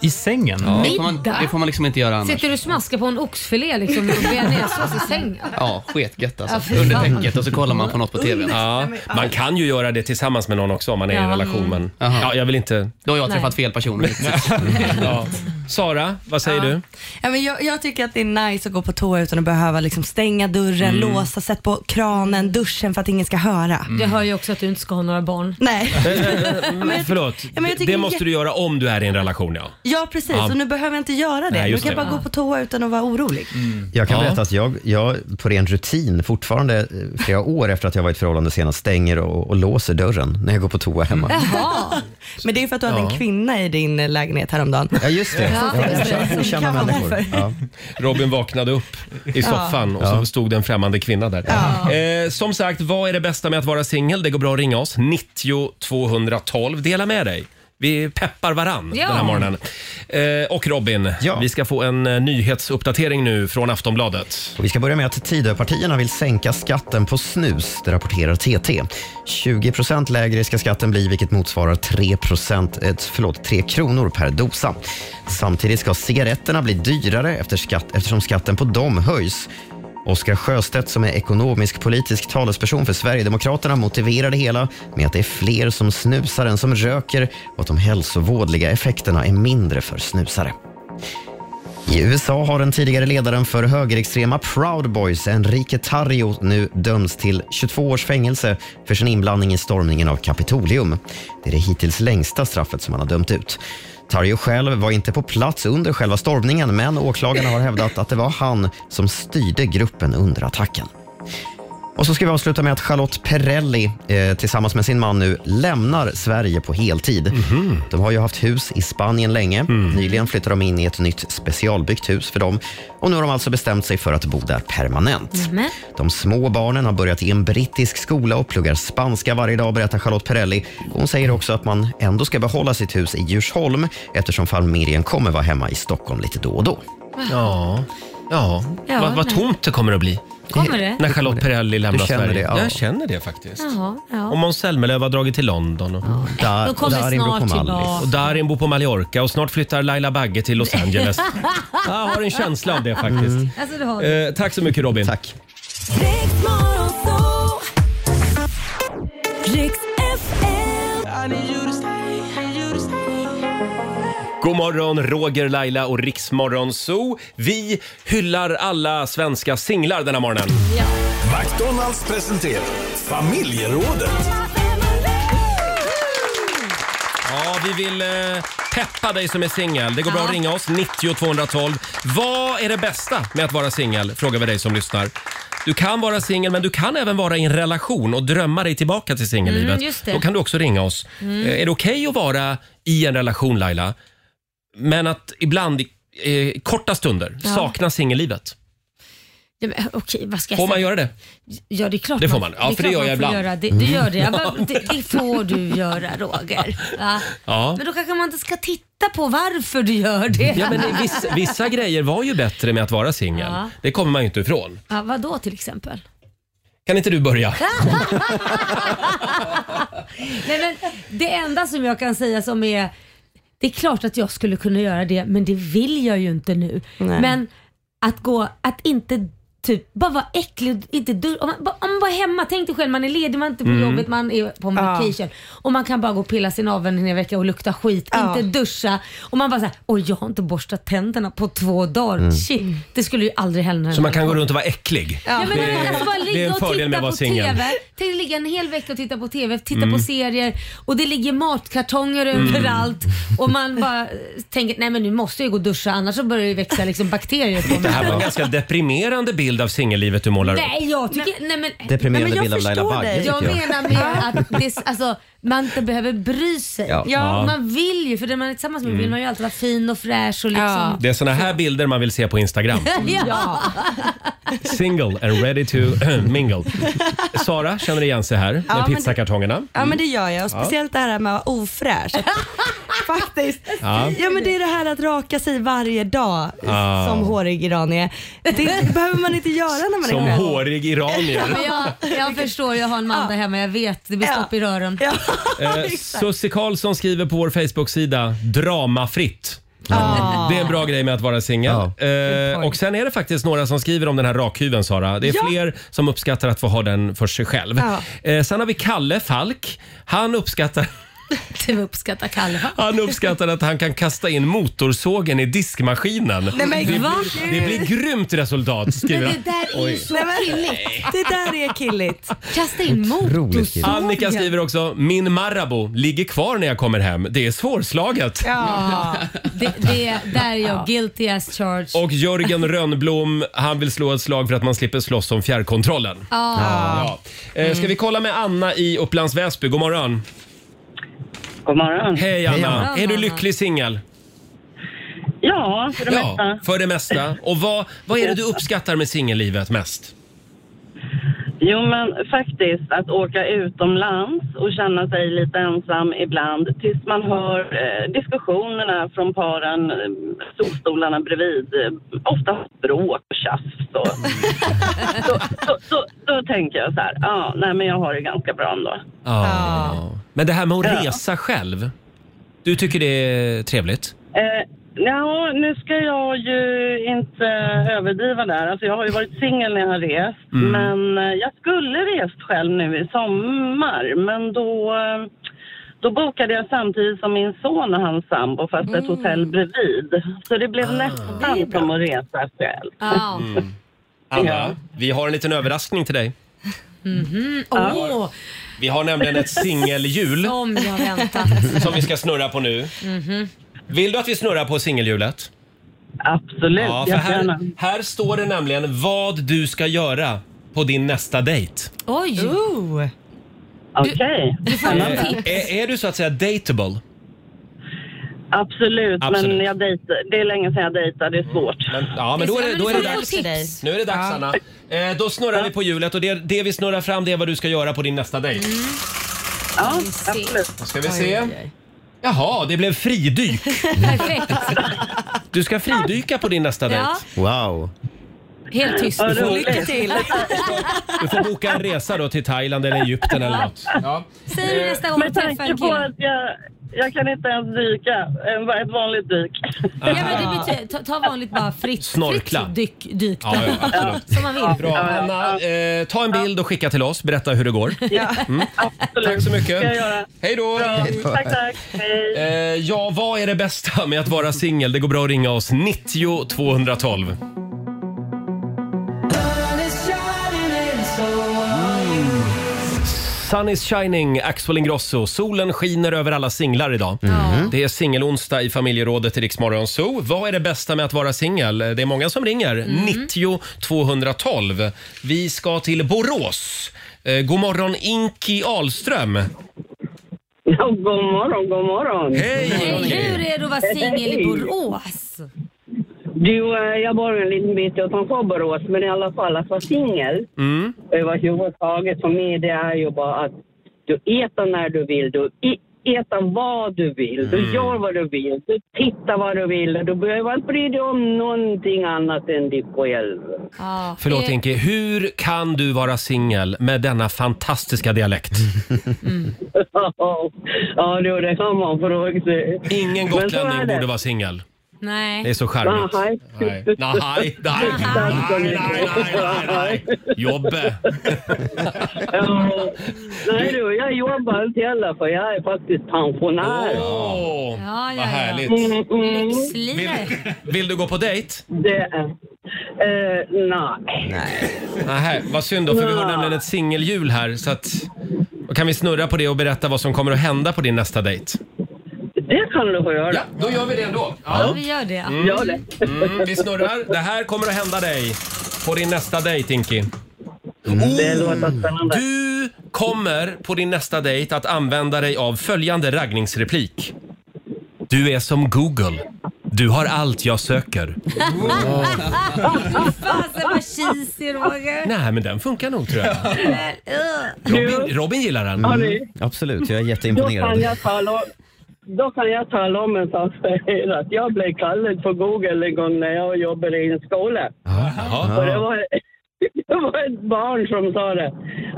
[SPEAKER 6] I sängen?
[SPEAKER 10] Ja, det får man,
[SPEAKER 2] Middag?
[SPEAKER 10] det får man liksom inte göra annars.
[SPEAKER 2] Sitter du och smaskar på en oxfilé liksom och bearnaisesås i sängen?
[SPEAKER 10] Ja, sketgött
[SPEAKER 2] Ja,
[SPEAKER 10] alltså.
[SPEAKER 2] fy
[SPEAKER 10] Under
[SPEAKER 2] fan.
[SPEAKER 10] täcket och så kollar man på något på TV.
[SPEAKER 1] Ja, man kan ju göra det tillsammans med någon också om man är i
[SPEAKER 10] Ja.
[SPEAKER 1] en relation. Men, ja, jag vill inte...
[SPEAKER 10] Då har jag
[SPEAKER 9] Nej.
[SPEAKER 10] träffat fel personer.
[SPEAKER 1] ja. Sara, vad säger du?
[SPEAKER 9] Ja, men jag, jag tycker att det är nice att gå på toa utan att behöva liksom stänga dörren,
[SPEAKER 1] Mm.
[SPEAKER 9] låsa, sätta på kranen, duschen för att ingen ska höra.
[SPEAKER 2] Jag hör ju också att du inte ska ha några barn.
[SPEAKER 9] Nej.
[SPEAKER 1] Eh, eh, Förlåt,
[SPEAKER 9] men jag tycker
[SPEAKER 1] det
[SPEAKER 9] det är
[SPEAKER 1] måste
[SPEAKER 9] jätte-
[SPEAKER 1] du göra om du är i en relation. Ja.
[SPEAKER 9] Ja precis,
[SPEAKER 1] Ja.
[SPEAKER 9] och nu behöver jag inte göra det.
[SPEAKER 1] Nej,
[SPEAKER 9] nu
[SPEAKER 1] just
[SPEAKER 9] kan jag
[SPEAKER 1] det.
[SPEAKER 9] bara gå på toa utan att vara orolig.
[SPEAKER 3] Mm. Jag kan
[SPEAKER 1] Ja.
[SPEAKER 3] berätta att jag, jag på ren rutin fortfarande eh, flera år efter att jag varit i förhållande senast stänger och, och låser dörren när jag går på toa hemma.
[SPEAKER 9] Jaha. Men det är för att du hade
[SPEAKER 3] Ja.
[SPEAKER 9] en kvinna i din eh, lägenhet häromdagen.
[SPEAKER 3] Ja, just det.
[SPEAKER 9] Ja,
[SPEAKER 3] Ja,
[SPEAKER 9] just det. Så
[SPEAKER 3] okända-
[SPEAKER 9] det kan
[SPEAKER 3] okända
[SPEAKER 9] vara
[SPEAKER 3] människor.
[SPEAKER 9] därför.
[SPEAKER 3] Ja.
[SPEAKER 1] Robin vaknade upp i
[SPEAKER 9] Ja.
[SPEAKER 1] soffan och så
[SPEAKER 3] Ja.
[SPEAKER 1] stod det en främmande kvinna där. Eh, som sagt, vad är det bästa med att vara singel? Det går bra att ringa oss. 90 212. Dela med dig. Vi peppar varann
[SPEAKER 4] Ja.
[SPEAKER 1] den här morgonen. Eh, och Robin, vi ska få en eh, nyhetsuppdatering nu från Aftonbladet.
[SPEAKER 3] Och vi ska börja med att Tidöpartierna vill sänka skatten på snus, det rapporterar TT. 20 lägre ska skatten bli, vilket motsvarar 3, eh, förlåt, 3 kronor per dosa. Samtidigt ska cigaretterna bli dyrare efter skatt, eftersom skatten på dem höjs. Oskar Sjöstedt som är ekonomisk politisk talesperson för Sverigedemokraterna motiverar det hela med att det är fler som snusar än som röker och att de hälsovådliga effekterna är mindre för snusare. I USA har den tidigare ledaren för högerextrema Proud Boys, Enrique Tarrio, nu dömts till 22 års fängelse för sin inblandning i stormningen av Kapitolium. Det är det hittills längsta straffet som han har dömt ut. Tarrio själv var inte på plats under själva stormningen, men åklagarna har hävdat att det var han som styrde gruppen under attacken. Och så ska vi avsluta med att Charlotte Perrelli eh, tillsammans med sin man nu lämnar Sverige på heltid.
[SPEAKER 1] Mhm.
[SPEAKER 3] De har ju haft hus i Spanien länge.
[SPEAKER 1] Mm.
[SPEAKER 3] Nyligen flyttade de in i ett nytt specialbyggt hus för dem. Och nu har de alltså bestämt sig för att bo där permanent.
[SPEAKER 2] Nämen.
[SPEAKER 3] De små barnen har börjat i en brittisk skola och pluggar spanska varje dag, berättar Charlotte Perrelli. Hon säger också att man ändå ska behålla sitt hus i Djursholm eftersom familjen kommer vara hemma i Stockholm lite då och då.
[SPEAKER 1] Ja, ja.
[SPEAKER 2] Ja,
[SPEAKER 1] vad, vad
[SPEAKER 2] nej.
[SPEAKER 1] tomt det kommer att bli.
[SPEAKER 2] Kommer det?
[SPEAKER 1] När Charlotte Perrelli lämnar
[SPEAKER 3] Du känner
[SPEAKER 1] Sverige.
[SPEAKER 3] det, ja.
[SPEAKER 1] Jag känner det faktiskt.
[SPEAKER 2] Jaha,
[SPEAKER 1] Och
[SPEAKER 2] ja.
[SPEAKER 1] Måns Zelmerlöw har dragit till London. Och,
[SPEAKER 2] Då och kommer Darin bor snart på Mallis. tillbaka.
[SPEAKER 1] Och Darin bor på Mallorca och snart flyttar Laila Bagge till Los Angeles. Jag har en känsla av det faktiskt.
[SPEAKER 2] Alltså, det har du.
[SPEAKER 1] Eh, tack så mycket Robin. Tack.
[SPEAKER 7] Riks
[SPEAKER 1] God morgon Roger, Laila och Riksmorgon Zoo. Vi hyllar alla svenska singlar den här morgonen.
[SPEAKER 14] McDonalds presenterar familjerådet.
[SPEAKER 1] Ja, vi vill eh, peppa dig som är singel. Det går bra
[SPEAKER 2] Ja.
[SPEAKER 1] att ringa oss, 90 212. Vad är det bästa med att vara singel? Frågar vi dig som lyssnar. Du kan vara singel, men du kan även vara i en relation och drömma dig tillbaka till singellivet.
[SPEAKER 2] Mm, just det.
[SPEAKER 1] Då kan du också ringa oss.
[SPEAKER 2] Mm.
[SPEAKER 1] Eh, Är det okej att vara i en relation, Laila, men att ibland i eh, korta stunder
[SPEAKER 2] Ja.
[SPEAKER 1] sakna singellivet?
[SPEAKER 2] Ja, men, okej, vad ska jag
[SPEAKER 1] Får
[SPEAKER 2] säga?
[SPEAKER 1] man göra det?
[SPEAKER 2] Ja, det är klart
[SPEAKER 1] Det får man. Ja,
[SPEAKER 2] är
[SPEAKER 1] för det
[SPEAKER 2] klart
[SPEAKER 1] gör
[SPEAKER 2] man
[SPEAKER 1] jag
[SPEAKER 2] får
[SPEAKER 1] ibland. Mm.
[SPEAKER 2] Göra. Det, det gör det. Ja, men det. Det får du göra, Roger. Ja.
[SPEAKER 1] Ja.
[SPEAKER 2] Men då kanske man inte ska titta på varför du gör det.
[SPEAKER 1] Ja, men det- vissa, vissa grejer var ju bättre med att vara singel.
[SPEAKER 2] Ja.
[SPEAKER 1] Det kommer man ju inte ifrån.
[SPEAKER 2] Ja, vad då till exempel?
[SPEAKER 1] Kan inte du börja?
[SPEAKER 2] Nej, men det enda som jag kan säga som är det är klart att jag skulle kunna göra det men det vill jag ju inte nu.
[SPEAKER 9] Nej.
[SPEAKER 2] Men att gå, att inte typ bara vara äcklig, och inte dur- om, man, bara- om man bara är hemma, tänk dig själv man är ledig, man är inte på
[SPEAKER 9] Mm.
[SPEAKER 2] jobbet, man är på en
[SPEAKER 9] Ja.
[SPEAKER 2] vacation och man kan bara gå och pilla sin naveln en hel vecka och lukta skit,
[SPEAKER 9] Ja.
[SPEAKER 2] inte duscha och man bara såhär, oj jag har inte borstat tänderna på två dagar,
[SPEAKER 1] Mm.
[SPEAKER 2] shit det skulle ju aldrig hända.
[SPEAKER 1] Så man kan gå runt och vara äcklig.
[SPEAKER 2] Ja, men
[SPEAKER 1] det,
[SPEAKER 2] alltså bara
[SPEAKER 1] det är
[SPEAKER 2] ligga
[SPEAKER 1] en
[SPEAKER 2] och
[SPEAKER 1] fördel med
[SPEAKER 2] titta
[SPEAKER 1] att
[SPEAKER 2] på
[SPEAKER 1] vara singel.
[SPEAKER 2] TV. Tänk att ligga en hel vecka och titta på TV, titta
[SPEAKER 1] Mm.
[SPEAKER 2] på serier och det ligger matkartonger
[SPEAKER 1] Mm.
[SPEAKER 2] överallt och man bara eh, tänker nej men nu måste jag gå och duscha annars så börjar det växa liksom bakterier på mig.
[SPEAKER 1] Det här var en ganska deprimerande bild av singellivet du målar upp.
[SPEAKER 2] Nej, jag tycker... Nej, men,
[SPEAKER 1] Deprimerande
[SPEAKER 2] nej, men jag
[SPEAKER 1] bild av Laila
[SPEAKER 2] förstår
[SPEAKER 1] Bagge,
[SPEAKER 2] dig. Jag
[SPEAKER 1] tycker jag.
[SPEAKER 2] menar mer att det, alltså, man inte behöver bry sig.
[SPEAKER 1] Ja. Ja.
[SPEAKER 2] Man vill ju, för den man är tillsammans med
[SPEAKER 1] Mm.
[SPEAKER 2] vill man ju alltid vara fin och fräsch och liksom...
[SPEAKER 1] Det är såna här bilder man vill se på Instagram.
[SPEAKER 2] ja.
[SPEAKER 1] Single and ready to mingle. Sara känner igen sig här
[SPEAKER 9] Ja,
[SPEAKER 1] med
[SPEAKER 9] men det-
[SPEAKER 1] pizzakartongerna.
[SPEAKER 9] Ja men det gör jag och
[SPEAKER 1] Ja.
[SPEAKER 9] speciellt det här med att vara ofräsch. Att- Faktiskt.
[SPEAKER 1] Ja.
[SPEAKER 9] Ja. men det är det här att raka sig varje dag
[SPEAKER 1] Ja.
[SPEAKER 9] som hårig iranier. Det behöver man inte göra när man
[SPEAKER 1] Som
[SPEAKER 9] är själv.
[SPEAKER 1] hårig iranier.
[SPEAKER 2] Men jag, jag förstår, jag har en man där hemma, jag vet. Det blir stopp i rören.
[SPEAKER 1] Eh, Sussie Karlsson skriver på vår Facebook-sida dramafritt.
[SPEAKER 2] Ja.
[SPEAKER 1] Det är en bra grej med att vara singel. Eh, och sen är det faktiskt några som skriver om den här rakhyveln Sara. Det är
[SPEAKER 14] Ja.
[SPEAKER 1] fler som uppskattar att få ha den för sig själv.
[SPEAKER 2] Ja.
[SPEAKER 1] Eh, sen har vi Kalle Falk. Han uppskattar
[SPEAKER 2] Du Typ uppskattar Kalle. va?
[SPEAKER 1] Han uppskattar att han kan kasta in motorsågen i diskmaskinen.
[SPEAKER 9] Nej, men
[SPEAKER 1] det,
[SPEAKER 9] va?
[SPEAKER 1] blir, det blir grymt resultat skriver han. Oj.
[SPEAKER 9] Nej, men- Det där är killigt.
[SPEAKER 2] Kasta in
[SPEAKER 1] Annika skriver också, min Marabou ligger kvar när jag kommer hem. Det är svårslaget.
[SPEAKER 2] Ja, det, det, där är jag guilty as charged.
[SPEAKER 1] Och Jörgen Rönnblom, han vill slå ett slag för att man slipper slåss om fjärrkontrollen.
[SPEAKER 2] Ja.
[SPEAKER 1] Ja. Eh, Ska vi kolla med Anna i Upplands Väsby? God morgon. God morgon. Hej Anna.
[SPEAKER 4] Hej, Anna.
[SPEAKER 1] Är du lycklig singel?
[SPEAKER 4] Ja, för det mesta.
[SPEAKER 1] För det mesta. Och vad, vad är det du uppskattar med singellivet mest?
[SPEAKER 4] Jo, men faktiskt att åka utomlands och känna sig lite ensam ibland tills man hör eh, diskussionerna från paren, eh, solstolarna bredvid. Eh, ofta bråk och tjafs. Så. så, så, så, då tänker jag så här, ja, nej men jag har det ganska bra ändå.
[SPEAKER 1] Ja. Ah. Men det här med att
[SPEAKER 4] Ja.
[SPEAKER 1] resa själv. Du tycker det är trevligt?
[SPEAKER 4] Eh, Ja, nu ska jag ju inte överdriva där. Alltså jag har ju varit singel när jag har rest.
[SPEAKER 1] Mm.
[SPEAKER 4] Men eh, jag skulle rest själv nu i sommar. Men då, eh, då bokade jag samtidigt som min son och hans sambo, fast ett hotell bredvid. Så det blev nästan som att resa själv.
[SPEAKER 2] Ah.
[SPEAKER 1] Mm. Anna, vi har en liten överraskning till dig.
[SPEAKER 2] Mhm. Åh,
[SPEAKER 1] Ja. Vi har nämligen ett singelhjul
[SPEAKER 2] som jag väntat.
[SPEAKER 1] som vi ska snurra på nu.
[SPEAKER 2] Mhm.
[SPEAKER 1] Vill du att vi snurrar på singelhjulet?
[SPEAKER 4] Absolut,
[SPEAKER 1] ja, för här,
[SPEAKER 4] jättegärna.
[SPEAKER 1] här står det nämligen vad du ska göra på din nästa dejt.
[SPEAKER 2] Oj!
[SPEAKER 4] Okej.
[SPEAKER 1] Eh, är, är du så att säga dateable?
[SPEAKER 4] Absolut,
[SPEAKER 1] Absolut.
[SPEAKER 4] men jag dejtar, det är länge sedan jag dejtade. Det är svårt.
[SPEAKER 1] Ja, men då är det, då är det dags.
[SPEAKER 4] dags.
[SPEAKER 1] Nu är det dags, Anna. Eh, då snurrar vi på hjulet och det, det vi snurrar fram det är vad du ska göra på din nästa dejt.
[SPEAKER 2] Mm.
[SPEAKER 4] Ja, absolut.
[SPEAKER 1] Då ska vi se. Jaha, det blev fridyk.
[SPEAKER 2] Perfekt.
[SPEAKER 1] Du ska fridyka på din nästa dejt.
[SPEAKER 2] Ja.
[SPEAKER 1] Wow.
[SPEAKER 2] Helt tyst.
[SPEAKER 1] Vad roligt.
[SPEAKER 2] Lycka till.
[SPEAKER 1] Du får boka en resa då till Thailand eller Egypten eller något. Ja.
[SPEAKER 2] Säg det nästa gång du
[SPEAKER 4] Med
[SPEAKER 2] träffar
[SPEAKER 4] tanke
[SPEAKER 2] en
[SPEAKER 4] på
[SPEAKER 2] kille.
[SPEAKER 4] att jag, jag kan inte ens dyka, eh, bara ett vanligt dyk.
[SPEAKER 2] Ja, men det betyder, ta, ta vanligt bara fritt,
[SPEAKER 1] Snorkla.
[SPEAKER 2] fritt dyk, dyk
[SPEAKER 1] Ja, ja, absolut.
[SPEAKER 2] som man vill.
[SPEAKER 1] Bra. Anna, eh, ta en bild och skicka till oss. Berätta hur det går. Mm. Tack så mycket.
[SPEAKER 4] Ska jag göra.
[SPEAKER 1] Hej då!
[SPEAKER 4] Tack, tack. Hej.
[SPEAKER 1] Eh, ja, vad är det bästa med att vara singel? Det går bra att ringa oss. 90 212. Mm. Sun is shining, Axel Ingrosso. Solen skiner över alla singlar idag.
[SPEAKER 2] Ja.
[SPEAKER 1] Det är singelonsdag i familjerådet i Rix Morgon Zoo. Vad är det bästa med att vara singel? Det är många som ringer. 90 212. Vi ska till Borås. Eh, god morgon Inki Ahlström.
[SPEAKER 15] Ja, god morgon, god morgon.
[SPEAKER 1] Hej!
[SPEAKER 2] Hur är det att vara singel i Borås?
[SPEAKER 15] Du, eh, jag bor en liten bit utanför Borås, men i alla fall att vara singel
[SPEAKER 1] Mm.
[SPEAKER 15] överhuvudtaget för mig, det är ju bara att du äter när du vill, du i- äter vad du vill, du
[SPEAKER 16] Mm.
[SPEAKER 15] gör vad du vill, du tittar vad du vill och du behöver inte bry dig om någonting annat än dig själv.
[SPEAKER 1] Förlåt
[SPEAKER 2] Eh.
[SPEAKER 1] Inki, hur kan du vara singel med denna fantastiska dialekt?
[SPEAKER 15] ja, du, det kan man fråga sig.
[SPEAKER 1] Ingen gotlänning borde vara singel.
[SPEAKER 2] Nej.
[SPEAKER 1] Det är så charmigt.
[SPEAKER 15] Nej.
[SPEAKER 1] Nej, nej, nej, nej, nej, nej, nej. Jobbe.
[SPEAKER 15] Nej du, jag jobbar inte heller för jag är faktiskt pensionär. Mm,
[SPEAKER 1] Åh,
[SPEAKER 2] ja, Mm,
[SPEAKER 1] vad härligt.
[SPEAKER 2] Lyxlirare.
[SPEAKER 1] Vill du gå på dejt?
[SPEAKER 15] Det är... Eh, nej.
[SPEAKER 1] Nähä, vad synd då för vi har
[SPEAKER 15] Ja.
[SPEAKER 1] nämligen ett singelhjul här så att då kan vi snurra på det och berätta vad som kommer att hända på din nästa dejt.
[SPEAKER 15] Det kan du få göra.
[SPEAKER 1] Ja, då gör vi det ändå.
[SPEAKER 2] Ja, vi gör det.
[SPEAKER 1] Mm. Mm, vi snurrar. Det här kommer att hända dig på din nästa dejt, Inki.
[SPEAKER 15] Det låter spännande.
[SPEAKER 1] Du kommer på din nästa dejt att använda dig av följande raggningsreplik. Du är som Google. Du har allt jag söker.
[SPEAKER 2] Fasen vad cheesy Roger.
[SPEAKER 1] Nej, men den funkar nog tror jag.
[SPEAKER 2] Men, ugh.
[SPEAKER 1] Robin, Robin gillar den.
[SPEAKER 15] Ja, det-
[SPEAKER 3] Absolut, jag
[SPEAKER 15] Då
[SPEAKER 3] är
[SPEAKER 15] kan
[SPEAKER 3] jätteimponerad.
[SPEAKER 15] jag tala om... Då kan jag tala om en sak för er att jag blev kallad för Google en gång när jag jobbade i en skola. Och det var, det var ett barn som sa det.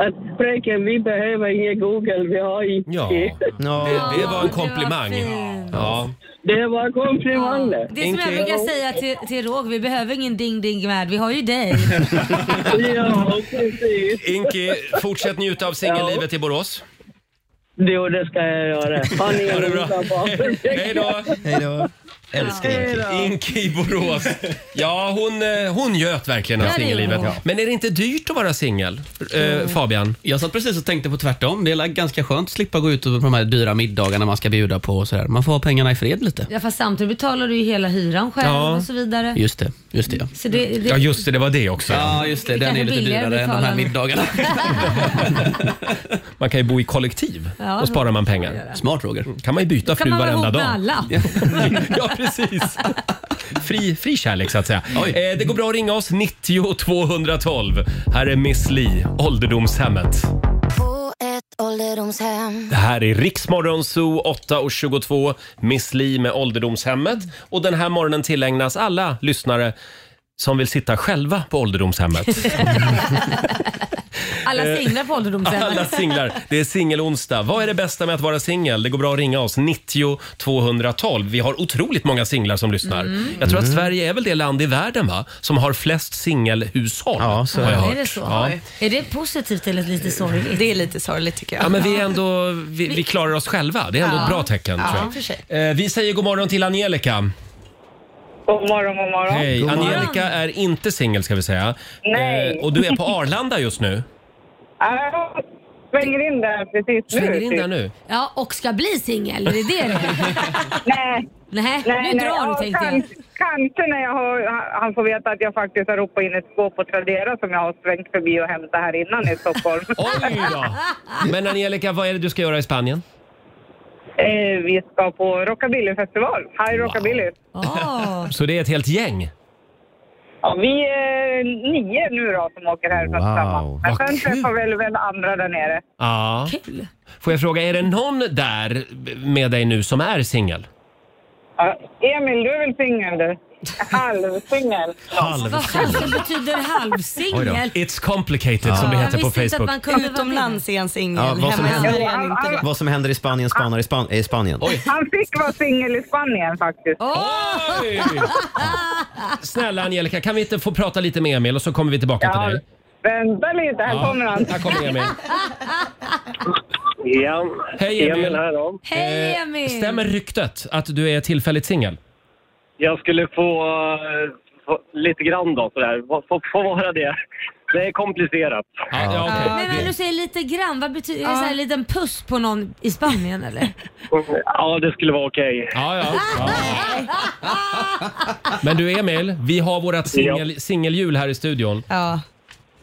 [SPEAKER 15] Att fröken, vi behöver inget Google, vi har IT.
[SPEAKER 1] Ja. Det, det var en komplimang. Ja.
[SPEAKER 15] Det var komplimanger.
[SPEAKER 2] Det är som jag brukar säga till, till Roger, vi behöver ingen ding ding värld, vi har ju dig.
[SPEAKER 1] Inki, fortsätt njuta av singellivet i Borås.
[SPEAKER 15] Jo, det ska jag göra. Ha ni
[SPEAKER 1] Ha det
[SPEAKER 15] en
[SPEAKER 1] bra. Hej då!
[SPEAKER 3] Hej då!
[SPEAKER 1] Älskar Inki i Borås. Ja, hon, eh, hon njöt verkligen av
[SPEAKER 10] Ja, det gjorde
[SPEAKER 1] singellivet.
[SPEAKER 10] hon.
[SPEAKER 1] Men är det inte dyrt att vara singel?
[SPEAKER 2] Mm.
[SPEAKER 1] Eh, Fabian?
[SPEAKER 10] Jag satt precis och tänkte på tvärtom. Det är like ganska skönt att slippa gå ut på de här dyra middagarna man ska bjuda på och sådär. Man får ha pengarna i fred lite.
[SPEAKER 2] Ja, fast samtidigt betalar du ju hela hyran själv
[SPEAKER 10] Ja.
[SPEAKER 2] och så vidare.
[SPEAKER 10] Just det, just det ja.
[SPEAKER 2] Så det, det,
[SPEAKER 1] Ja, just det. Det var det också.
[SPEAKER 10] Ja, just det.
[SPEAKER 2] Det
[SPEAKER 10] Den
[SPEAKER 2] kanske
[SPEAKER 10] är lite
[SPEAKER 2] billigare
[SPEAKER 10] dyrare än de här
[SPEAKER 2] betalande.
[SPEAKER 10] middagarna.
[SPEAKER 1] Man kan ju bo i kollektiv.
[SPEAKER 2] Ja,
[SPEAKER 1] Då sparar man
[SPEAKER 2] det kan
[SPEAKER 1] pengar.
[SPEAKER 2] man
[SPEAKER 1] Smart Roger. kan man ju byta
[SPEAKER 2] Då kan
[SPEAKER 1] fru
[SPEAKER 2] man vara
[SPEAKER 1] varenda
[SPEAKER 2] ihop
[SPEAKER 1] dag.
[SPEAKER 2] med alla.
[SPEAKER 1] ja, precis. Fri, fri kärlek så att säga. Eh, det går bra att ringa oss 90 212. Här är Miss Li, ålderdomshemmet.
[SPEAKER 17] På ett ålderdomshem.
[SPEAKER 1] Det här är Riksmorgon Zoo 8.22, Miss Li med ålderdomshemmet. Och den här morgonen tillägnas alla lyssnare som vill sitta själva på ålderdomshemmet.
[SPEAKER 2] Alla
[SPEAKER 1] Eh,
[SPEAKER 2] singlar på
[SPEAKER 1] Alla
[SPEAKER 2] ålderdomshemmen.
[SPEAKER 1] singlar. Det är singelonsdag. Vad är det bästa med att vara singel? Det går bra att ringa oss. 90 212. Vi har otroligt många singlar som lyssnar.
[SPEAKER 2] Mm.
[SPEAKER 1] Jag tror att
[SPEAKER 2] Mm.
[SPEAKER 1] Sverige är väl det land i världen va? som har flest singelhushåll. Ja, så
[SPEAKER 2] är det så?
[SPEAKER 1] Ja.
[SPEAKER 2] Är det positivt eller lite sorgligt?
[SPEAKER 16] Det är lite sorgligt tycker jag.
[SPEAKER 1] Ja, men vi, är ändå, vi, vi klarar oss själva. Det är ändå
[SPEAKER 16] Ja.
[SPEAKER 1] ett bra tecken.
[SPEAKER 16] Ja,
[SPEAKER 1] Tror
[SPEAKER 16] för sig.
[SPEAKER 1] jag. Eh, Vi säger god morgon till Angelica.
[SPEAKER 18] God morgon, god morgon.
[SPEAKER 1] Hej. Angelica är inte singel ska vi säga.
[SPEAKER 18] Nej.
[SPEAKER 1] Eh, Och du är på Arlanda just nu.
[SPEAKER 18] Ja, svänger in där precis nu. typ.
[SPEAKER 1] Svänger in där nu.
[SPEAKER 2] Ja, och ska bli singel, det är det det
[SPEAKER 18] Nej.
[SPEAKER 2] Nej,
[SPEAKER 18] Nej,
[SPEAKER 2] nu
[SPEAKER 18] nej.
[SPEAKER 2] drar du
[SPEAKER 18] Ja,
[SPEAKER 2] tänkte jag.
[SPEAKER 18] kanske, kanske när jag har, han- han får veta att jag faktiskt har ropat in ett skåp på Tradera som jag har svängt förbi och hämtat här innan i Stockholm.
[SPEAKER 1] Oj då! Men Angelica, vad är det du ska göra i Spanien?
[SPEAKER 18] eh, vi ska på Rockabillyfestival. High Rockabilly.
[SPEAKER 2] Ah.
[SPEAKER 1] Så det är ett helt gäng?
[SPEAKER 18] Ja, vi är nio nu då som åker härifrån
[SPEAKER 1] Wow,
[SPEAKER 18] tillsammans. Men
[SPEAKER 1] vad
[SPEAKER 18] sen träffar vi väl, väl andra där nere.
[SPEAKER 1] Ja.
[SPEAKER 2] Kul.
[SPEAKER 1] Får jag fråga, är det någon där med dig nu som är singel?
[SPEAKER 18] Ja, Emil, du är väl singel du? Halvsingel.
[SPEAKER 1] Halvsingel.
[SPEAKER 2] Vad fasen betyder halvsingel?
[SPEAKER 1] It's complicated som det
[SPEAKER 2] Ja.
[SPEAKER 1] heter
[SPEAKER 2] Jag
[SPEAKER 1] på
[SPEAKER 2] visste inte att
[SPEAKER 1] Facebook.
[SPEAKER 2] man kunde vara
[SPEAKER 16] Utomlands är en singel,
[SPEAKER 3] Ja, vad som
[SPEAKER 16] hemma i
[SPEAKER 3] händer-
[SPEAKER 16] Sverige är den inte det.
[SPEAKER 3] Vad som händer i Spanien spanar i, Span- i Spanien.
[SPEAKER 18] Han fick vara singel i Spanien faktiskt.
[SPEAKER 1] Oj! Snälla Angelica, kan vi inte få prata lite med Emil och så kommer vi tillbaka till dig?
[SPEAKER 18] Vänta lite, här
[SPEAKER 1] Ja,
[SPEAKER 18] kommer han.
[SPEAKER 1] Här kommer Emil.
[SPEAKER 11] Ja.
[SPEAKER 1] Hej Emil!
[SPEAKER 11] Emil här då.
[SPEAKER 2] Hej,
[SPEAKER 1] Eh,
[SPEAKER 2] Emil.
[SPEAKER 1] Stämmer ryktet att du är tillfälligt singel?
[SPEAKER 11] Jag skulle få, eh, få lite grann då sådär. Få, få, få vara det. Det är komplicerat.
[SPEAKER 2] Men, men du säger lite grann, vad betyder är det? Så här, en liten puss på någon i Spanien eller?
[SPEAKER 11] Ja, det skulle vara okej.
[SPEAKER 1] Ja, ja. Men du Emil, vi har vårt singel, singelhjul här i studion.
[SPEAKER 2] Ja.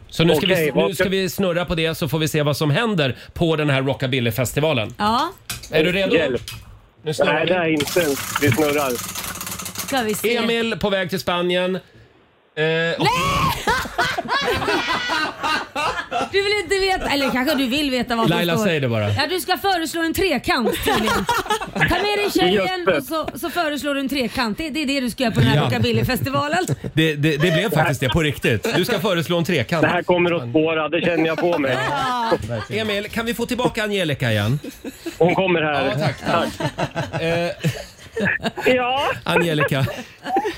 [SPEAKER 1] Så nu ska,
[SPEAKER 11] Okej,
[SPEAKER 1] vi,
[SPEAKER 11] vad
[SPEAKER 1] nu
[SPEAKER 11] ska-
[SPEAKER 1] ska vi snurra på det så får vi se vad som händer på den här rockabillyfestivalen.
[SPEAKER 2] Ja,
[SPEAKER 1] Är du redo?
[SPEAKER 11] Hjälp.
[SPEAKER 1] Nu snurrar
[SPEAKER 11] Nej,
[SPEAKER 1] vi.
[SPEAKER 11] det är inte. Vi snurrar.
[SPEAKER 2] ska vi se.
[SPEAKER 1] Emil på väg till Spanien. Eh, och-
[SPEAKER 2] Du vill inte veta, eller kanske du vill veta vad
[SPEAKER 1] Laila,
[SPEAKER 2] som står.
[SPEAKER 1] säg det bara.
[SPEAKER 2] Ja, du ska föreslå en trekant tydligen. Ta med dig tjejen och så, så föreslår du en trekant. Det, det är det du ska göra på den här
[SPEAKER 1] Ja.
[SPEAKER 2] rockabillyfestivalen.
[SPEAKER 1] det, det, det blev faktiskt det på riktigt. Du ska föreslå en trekant.
[SPEAKER 11] Det här kommer att spåra, det känner jag på mig.
[SPEAKER 1] Emil, kan vi få tillbaka Angelica igen?
[SPEAKER 11] Hon kommer här.
[SPEAKER 1] Ja, tack, tack. Eh,
[SPEAKER 11] Ja,
[SPEAKER 1] Angelica,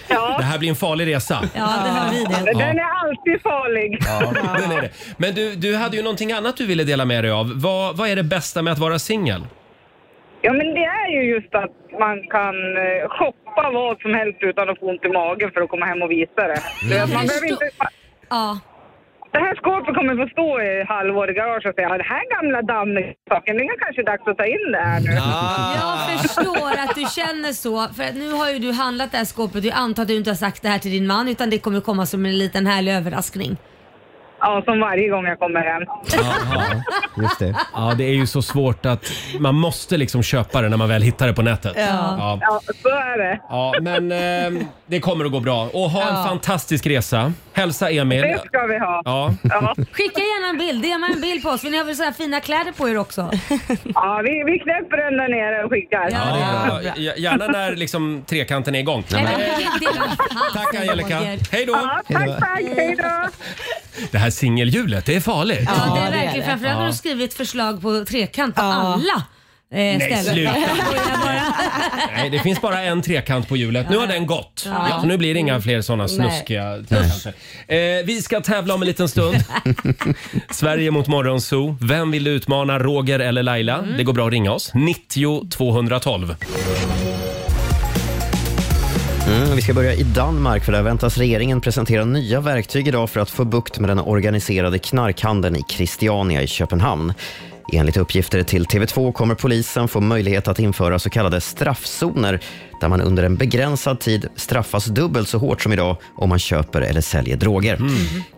[SPEAKER 11] ja.
[SPEAKER 1] det här blir en farlig resa.
[SPEAKER 2] Ja, det hör vi det.
[SPEAKER 1] Den
[SPEAKER 11] är alltid farlig.
[SPEAKER 1] Ja, den är det. Men du, du hade ju någonting annat du ville dela med dig av. Vad, vad är det bästa med att vara singel?
[SPEAKER 18] Ja, men det är ju just att man kan eh, shoppa vad som helst utan att få ont i magen för att komma hem och visa det.
[SPEAKER 1] Mm.
[SPEAKER 18] Så att man behöver inte...
[SPEAKER 2] Ja.
[SPEAKER 18] Det här skåpet kommer få stå i halvår i garaget och säga "Ja, den här gamla dammiga saken, det är kanske dags att ta in det här nu.
[SPEAKER 2] Jag förstår att du känner så. För att nu har ju du handlat det här skåpet. Jag antar att du inte har sagt det här till din man utan det kommer komma som en liten härlig överraskning.
[SPEAKER 18] Ja, som varje gång jag kommer hem.
[SPEAKER 1] Just det. Ja, det är ju så svårt att man måste liksom köpa det när man väl hittar det på nätet.
[SPEAKER 18] Ja. ja, så är det.
[SPEAKER 1] Ja, men eh, det kommer att gå bra. Och ha en
[SPEAKER 18] Ja.
[SPEAKER 1] fantastisk resa. Hälsa Emil.
[SPEAKER 18] Det ska vi ha.
[SPEAKER 1] Ja.
[SPEAKER 2] Skicka gärna en bild. DMa en bild på oss för ni har väl så här fina kläder på er också?
[SPEAKER 18] Ja, vi, vi knäpper den där nere och skickar.
[SPEAKER 1] Ja, det är bra. G- Gärna när liksom trekanten är igång.
[SPEAKER 2] Tack
[SPEAKER 1] Angelica. Hej då!
[SPEAKER 18] tack, tack. Hej då.
[SPEAKER 1] Det här singelhjulet, det är farligt.
[SPEAKER 2] Ja, det är verkligen. Framförallt har
[SPEAKER 1] Ja.
[SPEAKER 2] du skrivit förslag på trekant på alla eh,
[SPEAKER 1] Nej,
[SPEAKER 2] ställen.
[SPEAKER 1] sluta.
[SPEAKER 2] Jag skojar bara.
[SPEAKER 1] Nej, det finns bara en trekant på hjulet. Nu har den gått.
[SPEAKER 2] Ja.
[SPEAKER 1] Så nu blir det inga fler såna
[SPEAKER 2] Nej.
[SPEAKER 1] snuskiga trekanter. Eh, vi ska tävla om en liten stund. Sverige mot Morgonzoo. Vem vill utmana, Roger eller Laila?
[SPEAKER 2] Mm.
[SPEAKER 1] Det går bra att ringa oss. 90 212.
[SPEAKER 3] Mm, vi ska börja i Danmark för där väntas regeringen presentera nya verktyg idag för att få bukt med den organiserade knarkhandeln i Christiania i Köpenhamn. Enligt uppgifter till TV2 kommer polisen få möjlighet att införa så kallade straffzoner där man under en begränsad tid straffas dubbelt så hårt som idag om man köper eller säljer droger.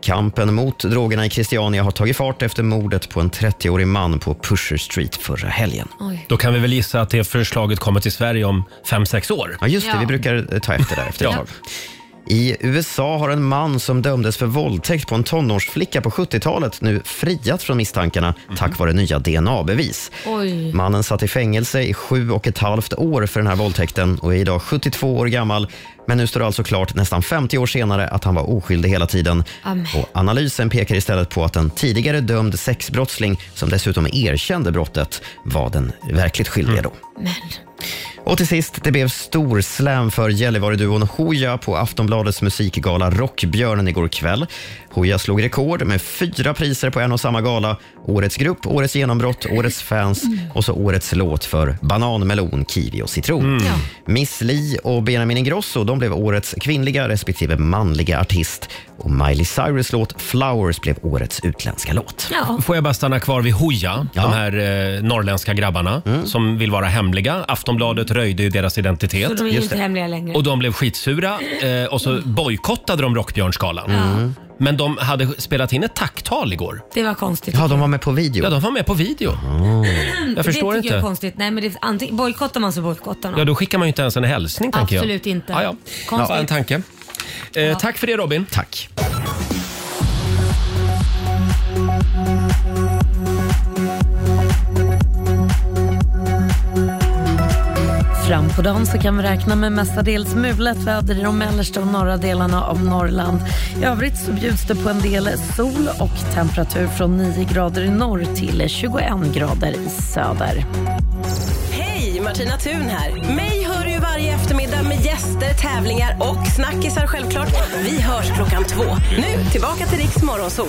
[SPEAKER 3] Kampen mot drogerna i Christiania har tagit fart efter mordet på en 30-årig man på Pusher Street förra helgen.
[SPEAKER 1] Då kan vi väl gissa att det förslaget kommer till Sverige om 5-6 år.
[SPEAKER 3] Ja, just det.
[SPEAKER 1] Ja.
[SPEAKER 3] Vi brukar eh, ta efter där efter ett
[SPEAKER 1] Ja.
[SPEAKER 3] tag. I USA har en man som dömdes för våldtäkt på en tonårsflicka på 70-talet nu friat från misstankarna tack vare nya DNA-bevis.
[SPEAKER 2] Oj.
[SPEAKER 3] Mannen satt i fängelse i sju och ett halvt år för den här våldtäkten och är idag 72 år gammal. Men nu står det alltså klart nästan 50 år senare att han var oskyldig hela tiden.
[SPEAKER 2] Amen.
[SPEAKER 3] Och analysen pekar istället på att en tidigare dömd sexbrottsling som dessutom erkände brottet var den verkligt skyldiga då. Och till sist, det blev stor slam för Gällivare-duon Hooja på Aftonbladets musikgala Rockbjörnen igår kväll. Hooja slog rekord med fyra priser på en och samma gala. Årets grupp, Årets genombrott, Årets fans och så Årets låt för banan, melon, kiwi och citron. Miss Li och Benjamin Ingrosso de blev Årets kvinnliga respektive manliga artist. Och Miley Cyrus låt Flowers blev Årets utländska låt.
[SPEAKER 1] Får jag bara stanna kvar vid Hooja, de här eh, norrländska grabbarna
[SPEAKER 3] Mm.
[SPEAKER 1] som vill vara hemliga. Aftonbladet röjde ju deras identitet.
[SPEAKER 2] Så de är ju inte hemliga längre.
[SPEAKER 1] Och de blev skitsura eh, och så
[SPEAKER 2] Mm.
[SPEAKER 1] bojkottade de Rockbjörnsgalan.
[SPEAKER 3] Mm.
[SPEAKER 1] Men de hade spelat in ett tacktal igår.
[SPEAKER 2] Det var konstigt.
[SPEAKER 3] Ja, de var med på video. Ah.
[SPEAKER 1] Ja, de var med på video. Jag förstår
[SPEAKER 2] det tycker jag är
[SPEAKER 1] inte.
[SPEAKER 2] konstigt. Nej, men det, antingen bojkottar man så bojkottar man.
[SPEAKER 1] Ja, då skickar man ju inte ens en hälsning tänker jag.
[SPEAKER 2] Absolut inte.
[SPEAKER 1] Ja, ja.
[SPEAKER 2] Konstigt.
[SPEAKER 1] Bara en tanke. Eh, Tack för det Robin.
[SPEAKER 3] Tack.
[SPEAKER 16] Fram på dagen så kan vi räkna med mestadels mulet väder i de mellersta och norra delarna av Norrland. I övrigt så bjuds det på en del sol och temperatur från 9 grader i norr till 21 grader i söder.
[SPEAKER 19] Hej, Martina Thun här. Mig hör du ju varje eftermiddag med gäster, tävlingar och snackisar självklart. Vi hörs klockan två. Nu tillbaka till Riks Morgonzoo.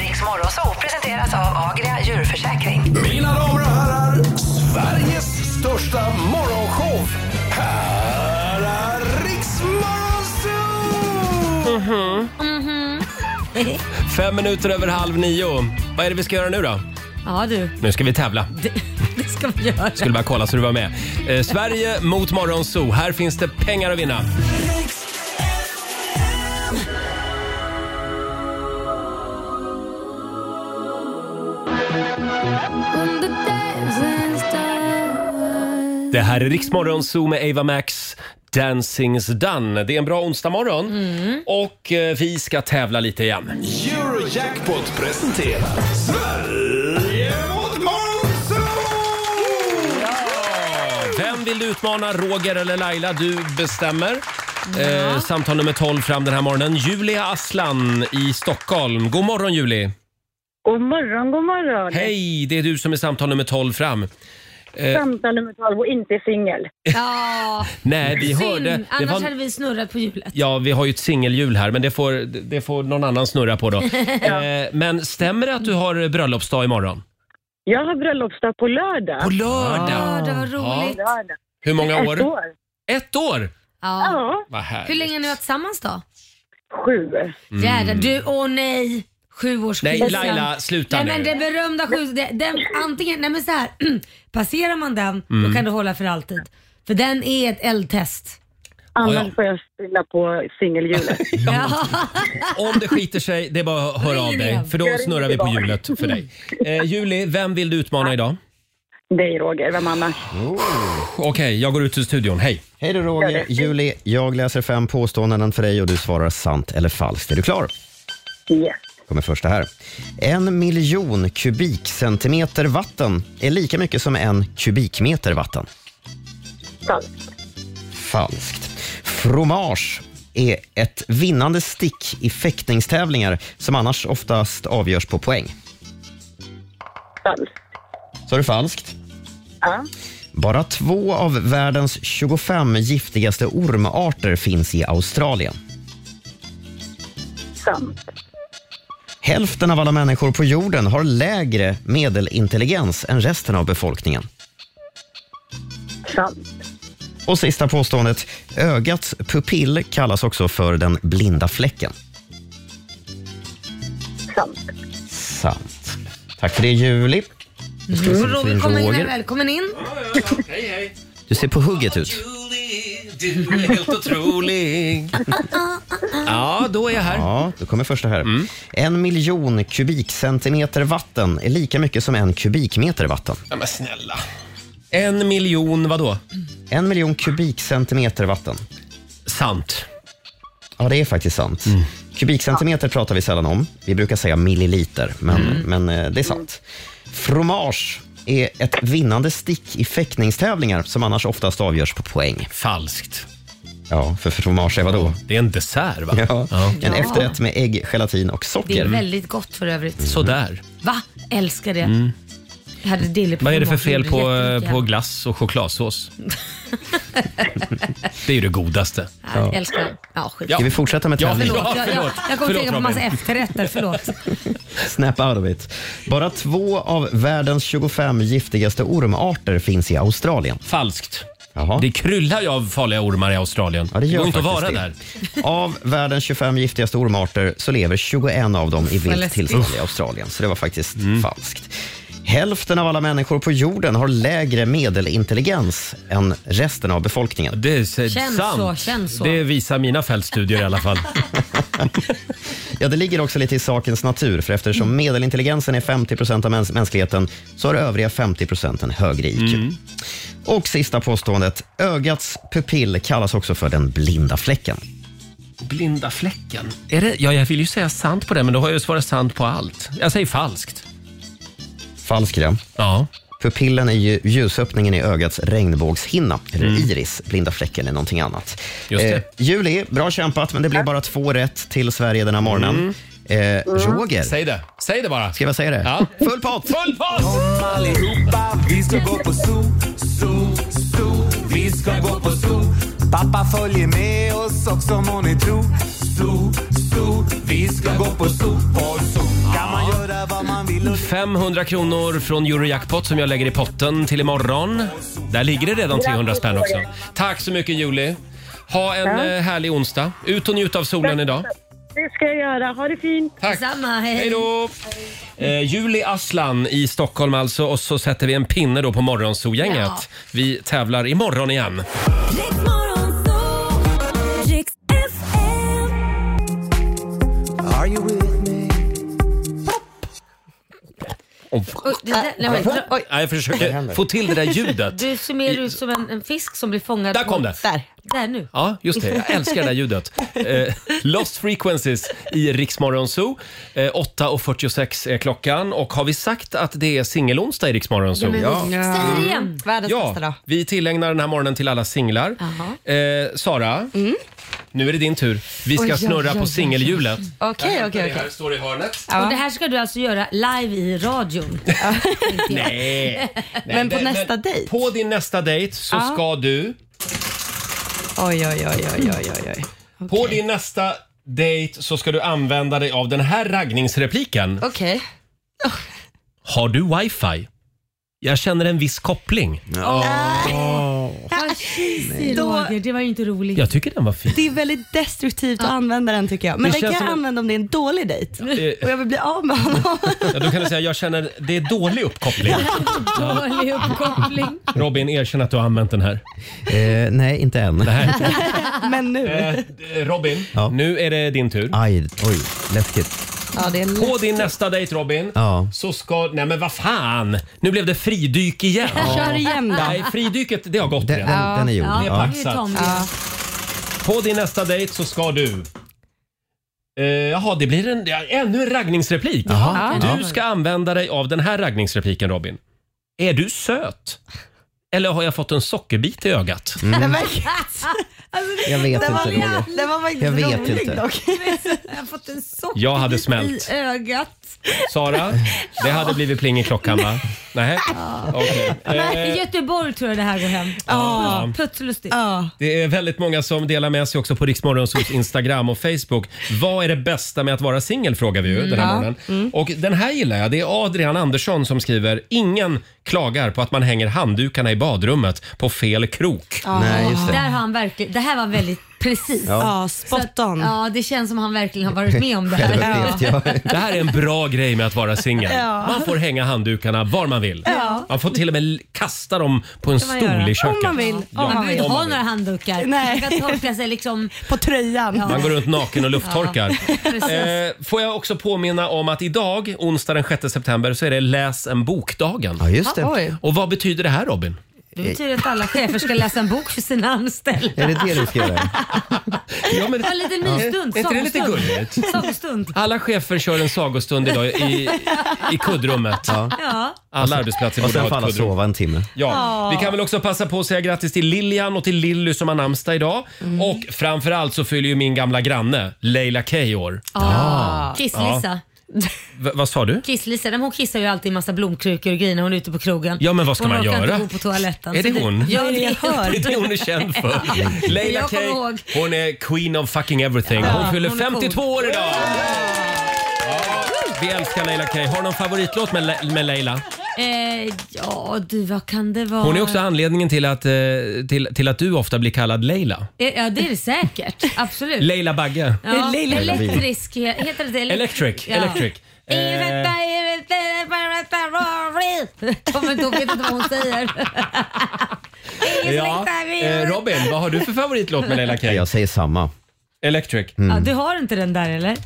[SPEAKER 20] Riks Morgonzoo presenteras av Agria djurförsäkring.
[SPEAKER 14] Mina damer och herrar, Sveriges största morgonshow. Här är Riksmorgon Zoo!
[SPEAKER 2] Mhm.
[SPEAKER 1] Fem minuter över halv nio. Vad är det vi ska göra nu då?
[SPEAKER 2] Ja du,
[SPEAKER 1] Nu ska vi tävla.
[SPEAKER 2] det ska vi göra.
[SPEAKER 1] Skulle bara kolla så du var med. Eh, Sverige mot Morgonzoo. Här finns det pengar att vinna. Det här är Riksmorgonzoo med Ava Max. Dancing's done. Det är en bra onsdagmorgon
[SPEAKER 2] Mm.
[SPEAKER 1] och eh, vi ska tävla lite igen.
[SPEAKER 14] Eurojackpot presenterar Sverige mot Monzo!
[SPEAKER 1] Vem vill du utmana, Roger eller Laila? Du bestämmer. Eh, samtal nummer 12 fram den här morgonen. Julia Aslan i Stockholm. God morgon Julie!
[SPEAKER 21] God morgon, god morgon.
[SPEAKER 1] Hej, det är du som är samtal nummer 12 fram. Eh,
[SPEAKER 21] Samtal nummer 12 och inte singel.
[SPEAKER 2] Ja,
[SPEAKER 1] nej, vi
[SPEAKER 2] synd.
[SPEAKER 1] hörde... det
[SPEAKER 2] Annars
[SPEAKER 1] var-
[SPEAKER 2] hade vi snurrat på hjulet.
[SPEAKER 1] Ja, vi har ju ett singelhjul här, men det får, det får någon annan snurra på då.
[SPEAKER 21] Ja.
[SPEAKER 1] Eh, men stämmer det att du har bröllopsdag imorgon?
[SPEAKER 21] Jag har bröllopsdag på lördag.
[SPEAKER 1] På lördag? Ah, det var roligt.
[SPEAKER 21] Lördag.
[SPEAKER 1] Hur många år?
[SPEAKER 21] Ett år.
[SPEAKER 1] Ett år?
[SPEAKER 2] Ja.
[SPEAKER 1] Vad härligt.
[SPEAKER 2] Hur länge har ni varit tillsammans då?
[SPEAKER 21] Sju.
[SPEAKER 1] Mm.
[SPEAKER 2] Jädrar, du, åh nej. Sju års
[SPEAKER 1] Nej,
[SPEAKER 2] skilsmässa.
[SPEAKER 1] Laila, sluta
[SPEAKER 2] nej,
[SPEAKER 1] nu.
[SPEAKER 2] Men det berömda sju, det, den, antingen, nej men så här. passerar man den,
[SPEAKER 1] Mm.
[SPEAKER 2] då kan du hålla för alltid. För den är ett eldtest.
[SPEAKER 1] Annars Ja.
[SPEAKER 21] får jag spilla på singelhjulet.
[SPEAKER 1] Om det skiter sig, det är bara att höra av
[SPEAKER 21] Ring
[SPEAKER 1] dig.
[SPEAKER 21] igen.
[SPEAKER 1] För då
[SPEAKER 21] Jag ringer
[SPEAKER 1] snurrar vi på
[SPEAKER 21] tillbaka.
[SPEAKER 1] hjulet för dig. Eh, Julie, vem vill du utmana idag?
[SPEAKER 21] Dig Roger, vem annars?
[SPEAKER 1] Okej, jag går ut ur studion. Hej!
[SPEAKER 3] Oh. Hej då Roger. Juli, jag läser fem påståenden för dig och du svarar sant eller falskt. Är du klar?
[SPEAKER 21] Yes.
[SPEAKER 3] kommer första här. En miljon kubikcentimeter vatten är lika mycket som en kubikmeter vatten.
[SPEAKER 21] Falskt.
[SPEAKER 3] Falskt. Fromage är ett vinnande stick i fäktningstävlingar som annars oftast avgörs på poäng.
[SPEAKER 21] Falskt.
[SPEAKER 3] Så är det falskt?
[SPEAKER 21] Ja.
[SPEAKER 3] Bara två av världens 25 giftigaste ormarter finns i Australien.
[SPEAKER 21] Sant.
[SPEAKER 3] Hälften av alla människor på jorden har lägre medelintelligens än resten av befolkningen.
[SPEAKER 21] Sant.
[SPEAKER 3] Och sista påståendet. Ögats pupill kallas också för den blinda fläcken.
[SPEAKER 21] Sant.
[SPEAKER 3] Sant. Tack för det, Juli. Nu ska vi se om vi får
[SPEAKER 2] Roger, Mm. kom
[SPEAKER 3] in
[SPEAKER 2] in här,
[SPEAKER 3] Roger.
[SPEAKER 2] välkommen in.
[SPEAKER 1] Hej, hej.
[SPEAKER 3] Du ser på hugget ut.
[SPEAKER 1] Du är helt otrolig. Ja, då är jag här. Mm.
[SPEAKER 3] Ja, då kommer första här. En miljon kubikcentimeter vatten är lika mycket som en kubikmeter vatten.
[SPEAKER 1] Ja, men snälla. En miljon vadå?
[SPEAKER 3] En miljon kubikcentimeter vatten.
[SPEAKER 1] Sant. Mm.
[SPEAKER 3] Ja, det är faktiskt sant. Kubikcentimeter pratar vi sällan om. Vi brukar säga milliliter, men,
[SPEAKER 1] Mm.
[SPEAKER 3] men eh, det är sant. Fromage är ett vinnande stick i fäktningstävlingar som annars oftast avgörs på poäng.
[SPEAKER 1] Falskt.
[SPEAKER 3] Ja, för fromage är vadå?
[SPEAKER 1] Det är en dessert, va? Mm.
[SPEAKER 3] Ja, en
[SPEAKER 2] Ja.
[SPEAKER 3] efterrätt med ägg, gelatin och
[SPEAKER 2] Det är
[SPEAKER 3] socker.
[SPEAKER 2] väldigt gott för övrigt.
[SPEAKER 1] Sådär.
[SPEAKER 2] Va? Älskar det.
[SPEAKER 1] Mm.
[SPEAKER 2] Jag hade dille på
[SPEAKER 1] Vad är det för
[SPEAKER 2] tomat,
[SPEAKER 1] fel
[SPEAKER 2] gjorde
[SPEAKER 1] på, eh,
[SPEAKER 2] jättemycket.
[SPEAKER 1] på glass och chokladsås? det är ju det godaste.
[SPEAKER 2] Ja, jag älskar det. Ja, skit.
[SPEAKER 3] Ska vi fortsätta med
[SPEAKER 2] Ja,
[SPEAKER 3] tävlingen?
[SPEAKER 2] förlåt. Jag, jag, jag kommer
[SPEAKER 3] Förlåt,
[SPEAKER 2] tänka på massa
[SPEAKER 3] Robin.
[SPEAKER 2] efterrätter, förlåt.
[SPEAKER 3] Snap out of it. Bara två av världens 25 giftigaste ormarter finns i Australien.
[SPEAKER 1] Falskt.
[SPEAKER 3] Jaha.
[SPEAKER 1] Det kryllar ju av farliga ormar i Australien.
[SPEAKER 3] Ja, det gör
[SPEAKER 1] går inte att vara
[SPEAKER 3] faktiskt
[SPEAKER 1] där.
[SPEAKER 3] det. Av världens 25 giftigaste ormarter så lever 21 av dem i
[SPEAKER 1] vad
[SPEAKER 3] vilt
[SPEAKER 1] läskigt.
[SPEAKER 3] tillstånd i
[SPEAKER 1] Uff. Mm.
[SPEAKER 3] Australien, så det var faktiskt falskt. Hälften av alla människor på jorden har lägre medelintelligens än resten av befolkningen.
[SPEAKER 1] Det är sant.
[SPEAKER 2] Känn så, känn så.
[SPEAKER 1] Det visar mina fältstudier i alla fall.
[SPEAKER 3] Ja, det ligger också lite i sakens natur, för eftersom medelintelligensen är 50 procent av mäns- mänskligheten så har övriga 50 procent en högre IQ.
[SPEAKER 1] Mm.
[SPEAKER 3] Och sista påståendet. Ögats pupill kallas också för den blinda fläcken.
[SPEAKER 1] Blinda fläcken. Är det, ja, jag vill ju säga sant på det, men då har jag ju svarat sant på allt. Jag säger falskt.
[SPEAKER 3] Falsk ja.
[SPEAKER 1] ja.
[SPEAKER 3] Pupillen är ju ljusöppningen i ögats regnbågshinna, eller iris. Blinda fläcken är någonting annat.
[SPEAKER 1] Mm.
[SPEAKER 3] Eh,
[SPEAKER 1] Just det.
[SPEAKER 3] Juli, bra kämpat, men det blev bara två rätt till Sverige den här morgonen. Eh, Roger.
[SPEAKER 1] Mm. Säg det. Säg det bara.
[SPEAKER 3] Ska jag säga det?
[SPEAKER 1] Ja.
[SPEAKER 3] Full pott!
[SPEAKER 1] Full pott!
[SPEAKER 14] Kom allihopa, vi ska gå på zoo, zoo, zoo. Vi ska gå på zoo. Pappa följer med oss också må ni tro. Zoo, zoo. Vi ska gå på zoo, på zoo. Kan man göra vad man vill och
[SPEAKER 1] 500 kronor från Eurojackpot som jag lägger i potten till imorgon. Där ligger det redan 300 spänn också. Tack så mycket Julie. Ha en
[SPEAKER 21] Ja.
[SPEAKER 1] eh, härlig onsdag. Ut och njut av solen idag.
[SPEAKER 21] Det ska jag göra. Ha det fint.
[SPEAKER 1] Tack.
[SPEAKER 21] Detsamma.
[SPEAKER 1] Hej då. Eh, Julie Aslan i Stockholm alltså och så sätter vi en pinne då på Morgonzoo-gänget.
[SPEAKER 7] Ja.
[SPEAKER 1] Vi tävlar imorgon igen.
[SPEAKER 14] Are you with me?
[SPEAKER 2] Oj, det där- nej, men- oj.
[SPEAKER 1] Nej, jag
[SPEAKER 2] Vad
[SPEAKER 1] försöker
[SPEAKER 2] händer?
[SPEAKER 1] få till det där ljudet.
[SPEAKER 2] Du ser mer ut som en, en fisk som blir fångad.
[SPEAKER 1] Där kom det.
[SPEAKER 2] Där. Där nu.
[SPEAKER 1] Ja, just det. Jag älskar det där ljudet. Eh, Lost Frequencies i Riksmorgon Zoo. Eh, 8.46 är klockan och har vi sagt att det är singelonsdag i Riksmorgon Zoo?
[SPEAKER 2] Säg det igen.
[SPEAKER 5] Världens
[SPEAKER 1] Ja, vi tillägnar den här morgonen till alla singlar. Eh, Sara, nu är det din tur. Vi
[SPEAKER 2] Mm.
[SPEAKER 1] ska
[SPEAKER 2] Oj, oj,
[SPEAKER 1] snurra
[SPEAKER 2] oj,
[SPEAKER 1] på
[SPEAKER 2] oj,
[SPEAKER 1] singelhjulet.
[SPEAKER 5] Okej,
[SPEAKER 1] Jag hämtar
[SPEAKER 5] okej,
[SPEAKER 1] det här.
[SPEAKER 5] okej.
[SPEAKER 1] Det står i hörnet.
[SPEAKER 2] Och det här ska du alltså göra live i radion.
[SPEAKER 1] Nej.
[SPEAKER 5] Men på nästa
[SPEAKER 1] dejt? På din nästa dejt så
[SPEAKER 5] Ja.
[SPEAKER 1] ska du...
[SPEAKER 5] Oj, oj, oj, oj, oj, oj. oj.
[SPEAKER 1] På din nästa dejt så ska du använda dig av den här raggningsrepliken.
[SPEAKER 5] Okej.
[SPEAKER 1] Har du wifi? Jag känner en viss koppling. Oh.
[SPEAKER 2] Vad cheesy Roger, det var ju inte roligt.
[SPEAKER 1] Jag tycker den var fin.
[SPEAKER 9] Det är väldigt destruktivt att använda den tycker jag. Men
[SPEAKER 1] Det
[SPEAKER 9] den kan
[SPEAKER 1] känns
[SPEAKER 9] jag
[SPEAKER 1] som-
[SPEAKER 9] använda om det är en dålig dejt
[SPEAKER 1] Eh.
[SPEAKER 9] och jag vill bli av med honom.
[SPEAKER 1] Ja, då kan du säga jag känner det är dålig uppkoppling. Ja.
[SPEAKER 2] Dålig uppkoppling.
[SPEAKER 1] Robin, erkänn att du har använt den här.
[SPEAKER 3] Eh, nej, inte än.
[SPEAKER 9] Men nu.
[SPEAKER 1] Eh, eh, Robin, nu är det din tur.
[SPEAKER 3] Aj, oj, läskigt.
[SPEAKER 5] Ja, det är
[SPEAKER 1] På
[SPEAKER 5] lätt.
[SPEAKER 1] din nästa dejt Robin,
[SPEAKER 3] Ja.
[SPEAKER 1] så ska... Nej men vad fan! Nu blev det fridyk igen.
[SPEAKER 5] Ja. Kör igen då.
[SPEAKER 1] Nej, fridyket det har gått
[SPEAKER 3] Den,
[SPEAKER 1] redan.
[SPEAKER 3] den är gjord.
[SPEAKER 1] Det är paxat.
[SPEAKER 5] Ja.
[SPEAKER 1] På din nästa dejt så ska du... Eh, jaha, det blir en, ja, ännu en raggningsreplik.
[SPEAKER 5] Jaha. Ja.
[SPEAKER 1] Du ska använda dig av den här raggningsrepliken Robin. Är du söt? Eller har jag fått en sockerbit i ögat?
[SPEAKER 3] Mm.
[SPEAKER 9] Den var, alltså,
[SPEAKER 1] Mm. Jag vet
[SPEAKER 9] den var,
[SPEAKER 1] inte, Roger.
[SPEAKER 9] Den var faktiskt
[SPEAKER 1] Jag vet
[SPEAKER 9] rolig
[SPEAKER 1] inte.
[SPEAKER 9] dock.
[SPEAKER 2] Jag har fått en sock
[SPEAKER 1] Jag hade smält.
[SPEAKER 2] i ögat.
[SPEAKER 1] Sara, det hade blivit pling i klockan va? Nej. Okej.
[SPEAKER 2] Nej, I
[SPEAKER 1] Eh,
[SPEAKER 2] Göteborg tror jag det här går hem.
[SPEAKER 1] Ja.
[SPEAKER 2] Puts- Putslustigt.
[SPEAKER 1] det är väldigt många som delar med sig också på Riksmorgonsols Instagram och Facebook. Vad är det bästa med att vara singel frågar vi ju
[SPEAKER 5] Mm.
[SPEAKER 1] den här
[SPEAKER 5] Ja.
[SPEAKER 1] morgonen. Och den här gillar jag. Det är Adrian Andersson som skriver “Ingen klagar på att man hänger handdukarna i badrummet på fel krok”.
[SPEAKER 2] Ja. Där har han verkligen, det här var väldigt precis.
[SPEAKER 1] Ja.
[SPEAKER 2] spot on. Ja, det känns som han verkligen har varit med om det här.
[SPEAKER 1] Självupplevt, ja. Det här är en bra grej med att vara singel.
[SPEAKER 2] Ja.
[SPEAKER 1] Man får hänga handdukarna var man vill.
[SPEAKER 2] Ja.
[SPEAKER 1] Man får till och med l- kasta dem på en
[SPEAKER 2] kan man
[SPEAKER 1] stol
[SPEAKER 2] göra.
[SPEAKER 1] i köket. Ja,
[SPEAKER 2] Man behöver inte
[SPEAKER 1] om
[SPEAKER 2] ha
[SPEAKER 1] man vill.
[SPEAKER 2] några handdukar.
[SPEAKER 9] Nej.
[SPEAKER 2] Man kan torka sig liksom...
[SPEAKER 9] På tröjan.
[SPEAKER 1] Man går runt naken och lufttorkar.
[SPEAKER 2] Ja, precis.
[SPEAKER 1] eh, får jag också påminna om att idag, onsdag den 6 september, så är det läs en bokdagen.
[SPEAKER 3] Ja, just det. Ah, oj.
[SPEAKER 1] Och vad betyder det här Robin?
[SPEAKER 2] Det betyder att alla chefer ska läsa en bok för sina anställda.
[SPEAKER 3] Är det det du ska göra?
[SPEAKER 1] Ja, men-
[SPEAKER 2] Ja, en liten mysstund.
[SPEAKER 1] Är inte det lite
[SPEAKER 2] sagostund.
[SPEAKER 1] gulligt?
[SPEAKER 2] Sagostund.
[SPEAKER 1] Alla chefer kör en sagostund idag i, i Ah. kuddrummet.
[SPEAKER 2] Ja.
[SPEAKER 1] Alla arbetsplatser
[SPEAKER 3] Alltså, Och
[SPEAKER 1] borde
[SPEAKER 3] sen får
[SPEAKER 1] ha ett
[SPEAKER 3] alla
[SPEAKER 1] kuddrum.
[SPEAKER 3] sova en timme.
[SPEAKER 1] Ja.
[SPEAKER 2] Ja.
[SPEAKER 1] Vi kan väl också passa på att säga grattis till Lilian och till Lilly som har namnsdag idag.
[SPEAKER 2] Mm.
[SPEAKER 1] Och framförallt så fyller ju min gamla granne Leila Kay år.
[SPEAKER 2] Ah.
[SPEAKER 1] Ja.
[SPEAKER 2] Kiss-Lisa.
[SPEAKER 1] V- vad sa du?
[SPEAKER 2] Kiss-Lisa, nej, men hon kissar ju alltid i massa blomkrukor och grejer när hon är ute på krogen.
[SPEAKER 1] Ja, men vad ska
[SPEAKER 2] hon
[SPEAKER 1] man
[SPEAKER 2] orkar
[SPEAKER 1] göra?
[SPEAKER 2] Inte gå på toaletten.
[SPEAKER 1] Är
[SPEAKER 2] Så
[SPEAKER 1] det hon?
[SPEAKER 2] Ja, Alltså, det är hon.
[SPEAKER 1] Det är det hon är känd för. Leila
[SPEAKER 2] Jag kommer
[SPEAKER 1] Kay,
[SPEAKER 2] ihåg.
[SPEAKER 1] hon är queen of fucking everything. Hon
[SPEAKER 2] Ja,
[SPEAKER 1] fyller
[SPEAKER 2] hon är cool.
[SPEAKER 1] 52 år idag! Ja, vi älskar Leila Kay. Har du någon favoritlåt med, Le- med Leila?
[SPEAKER 2] Eh, ja, du vad kan det vara?
[SPEAKER 1] Hon är också anledningen till att, eh, till, till att du ofta blir kallad Leila.
[SPEAKER 2] Eh, Ja, det är det säkert. Absolut.
[SPEAKER 1] Leila Bagge.
[SPEAKER 2] Ja, elektrisk, heter det det?
[SPEAKER 1] Electric.
[SPEAKER 2] Ja.
[SPEAKER 1] Electric. Eh,
[SPEAKER 2] Kommer inte ihåg, vet inte vad hon säger.
[SPEAKER 1] ja. eh, Robin, vad har du för favoritlåt med Leila Kay?
[SPEAKER 3] Jag säger samma. Mm.
[SPEAKER 1] Electric.
[SPEAKER 2] Ja, du har inte den där eller?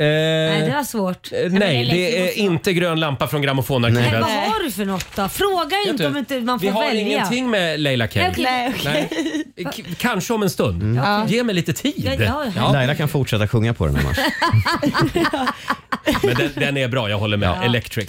[SPEAKER 2] Nej, det var svårt.
[SPEAKER 1] Eh,
[SPEAKER 2] men
[SPEAKER 1] Nej,
[SPEAKER 2] Electric
[SPEAKER 1] det är
[SPEAKER 2] måste-
[SPEAKER 1] inte grön lampa från
[SPEAKER 2] Nej,
[SPEAKER 1] grammofonarkivet.
[SPEAKER 2] vad har du för något då? Fråga
[SPEAKER 1] Vet
[SPEAKER 2] inte
[SPEAKER 1] du,
[SPEAKER 2] om inte man får
[SPEAKER 1] Vi har
[SPEAKER 2] välja.
[SPEAKER 1] ingenting med Leila Kay.
[SPEAKER 2] Nej, okej. Nej, okej.
[SPEAKER 1] Nej. K- Kanske om en stund.
[SPEAKER 2] Ja.
[SPEAKER 1] Ge mig lite tid.
[SPEAKER 2] Ja, ja, ja.
[SPEAKER 3] Mm. Laila kan fortsätta sjunga på den annars.
[SPEAKER 1] Men den, den är bra, jag håller med. Electric.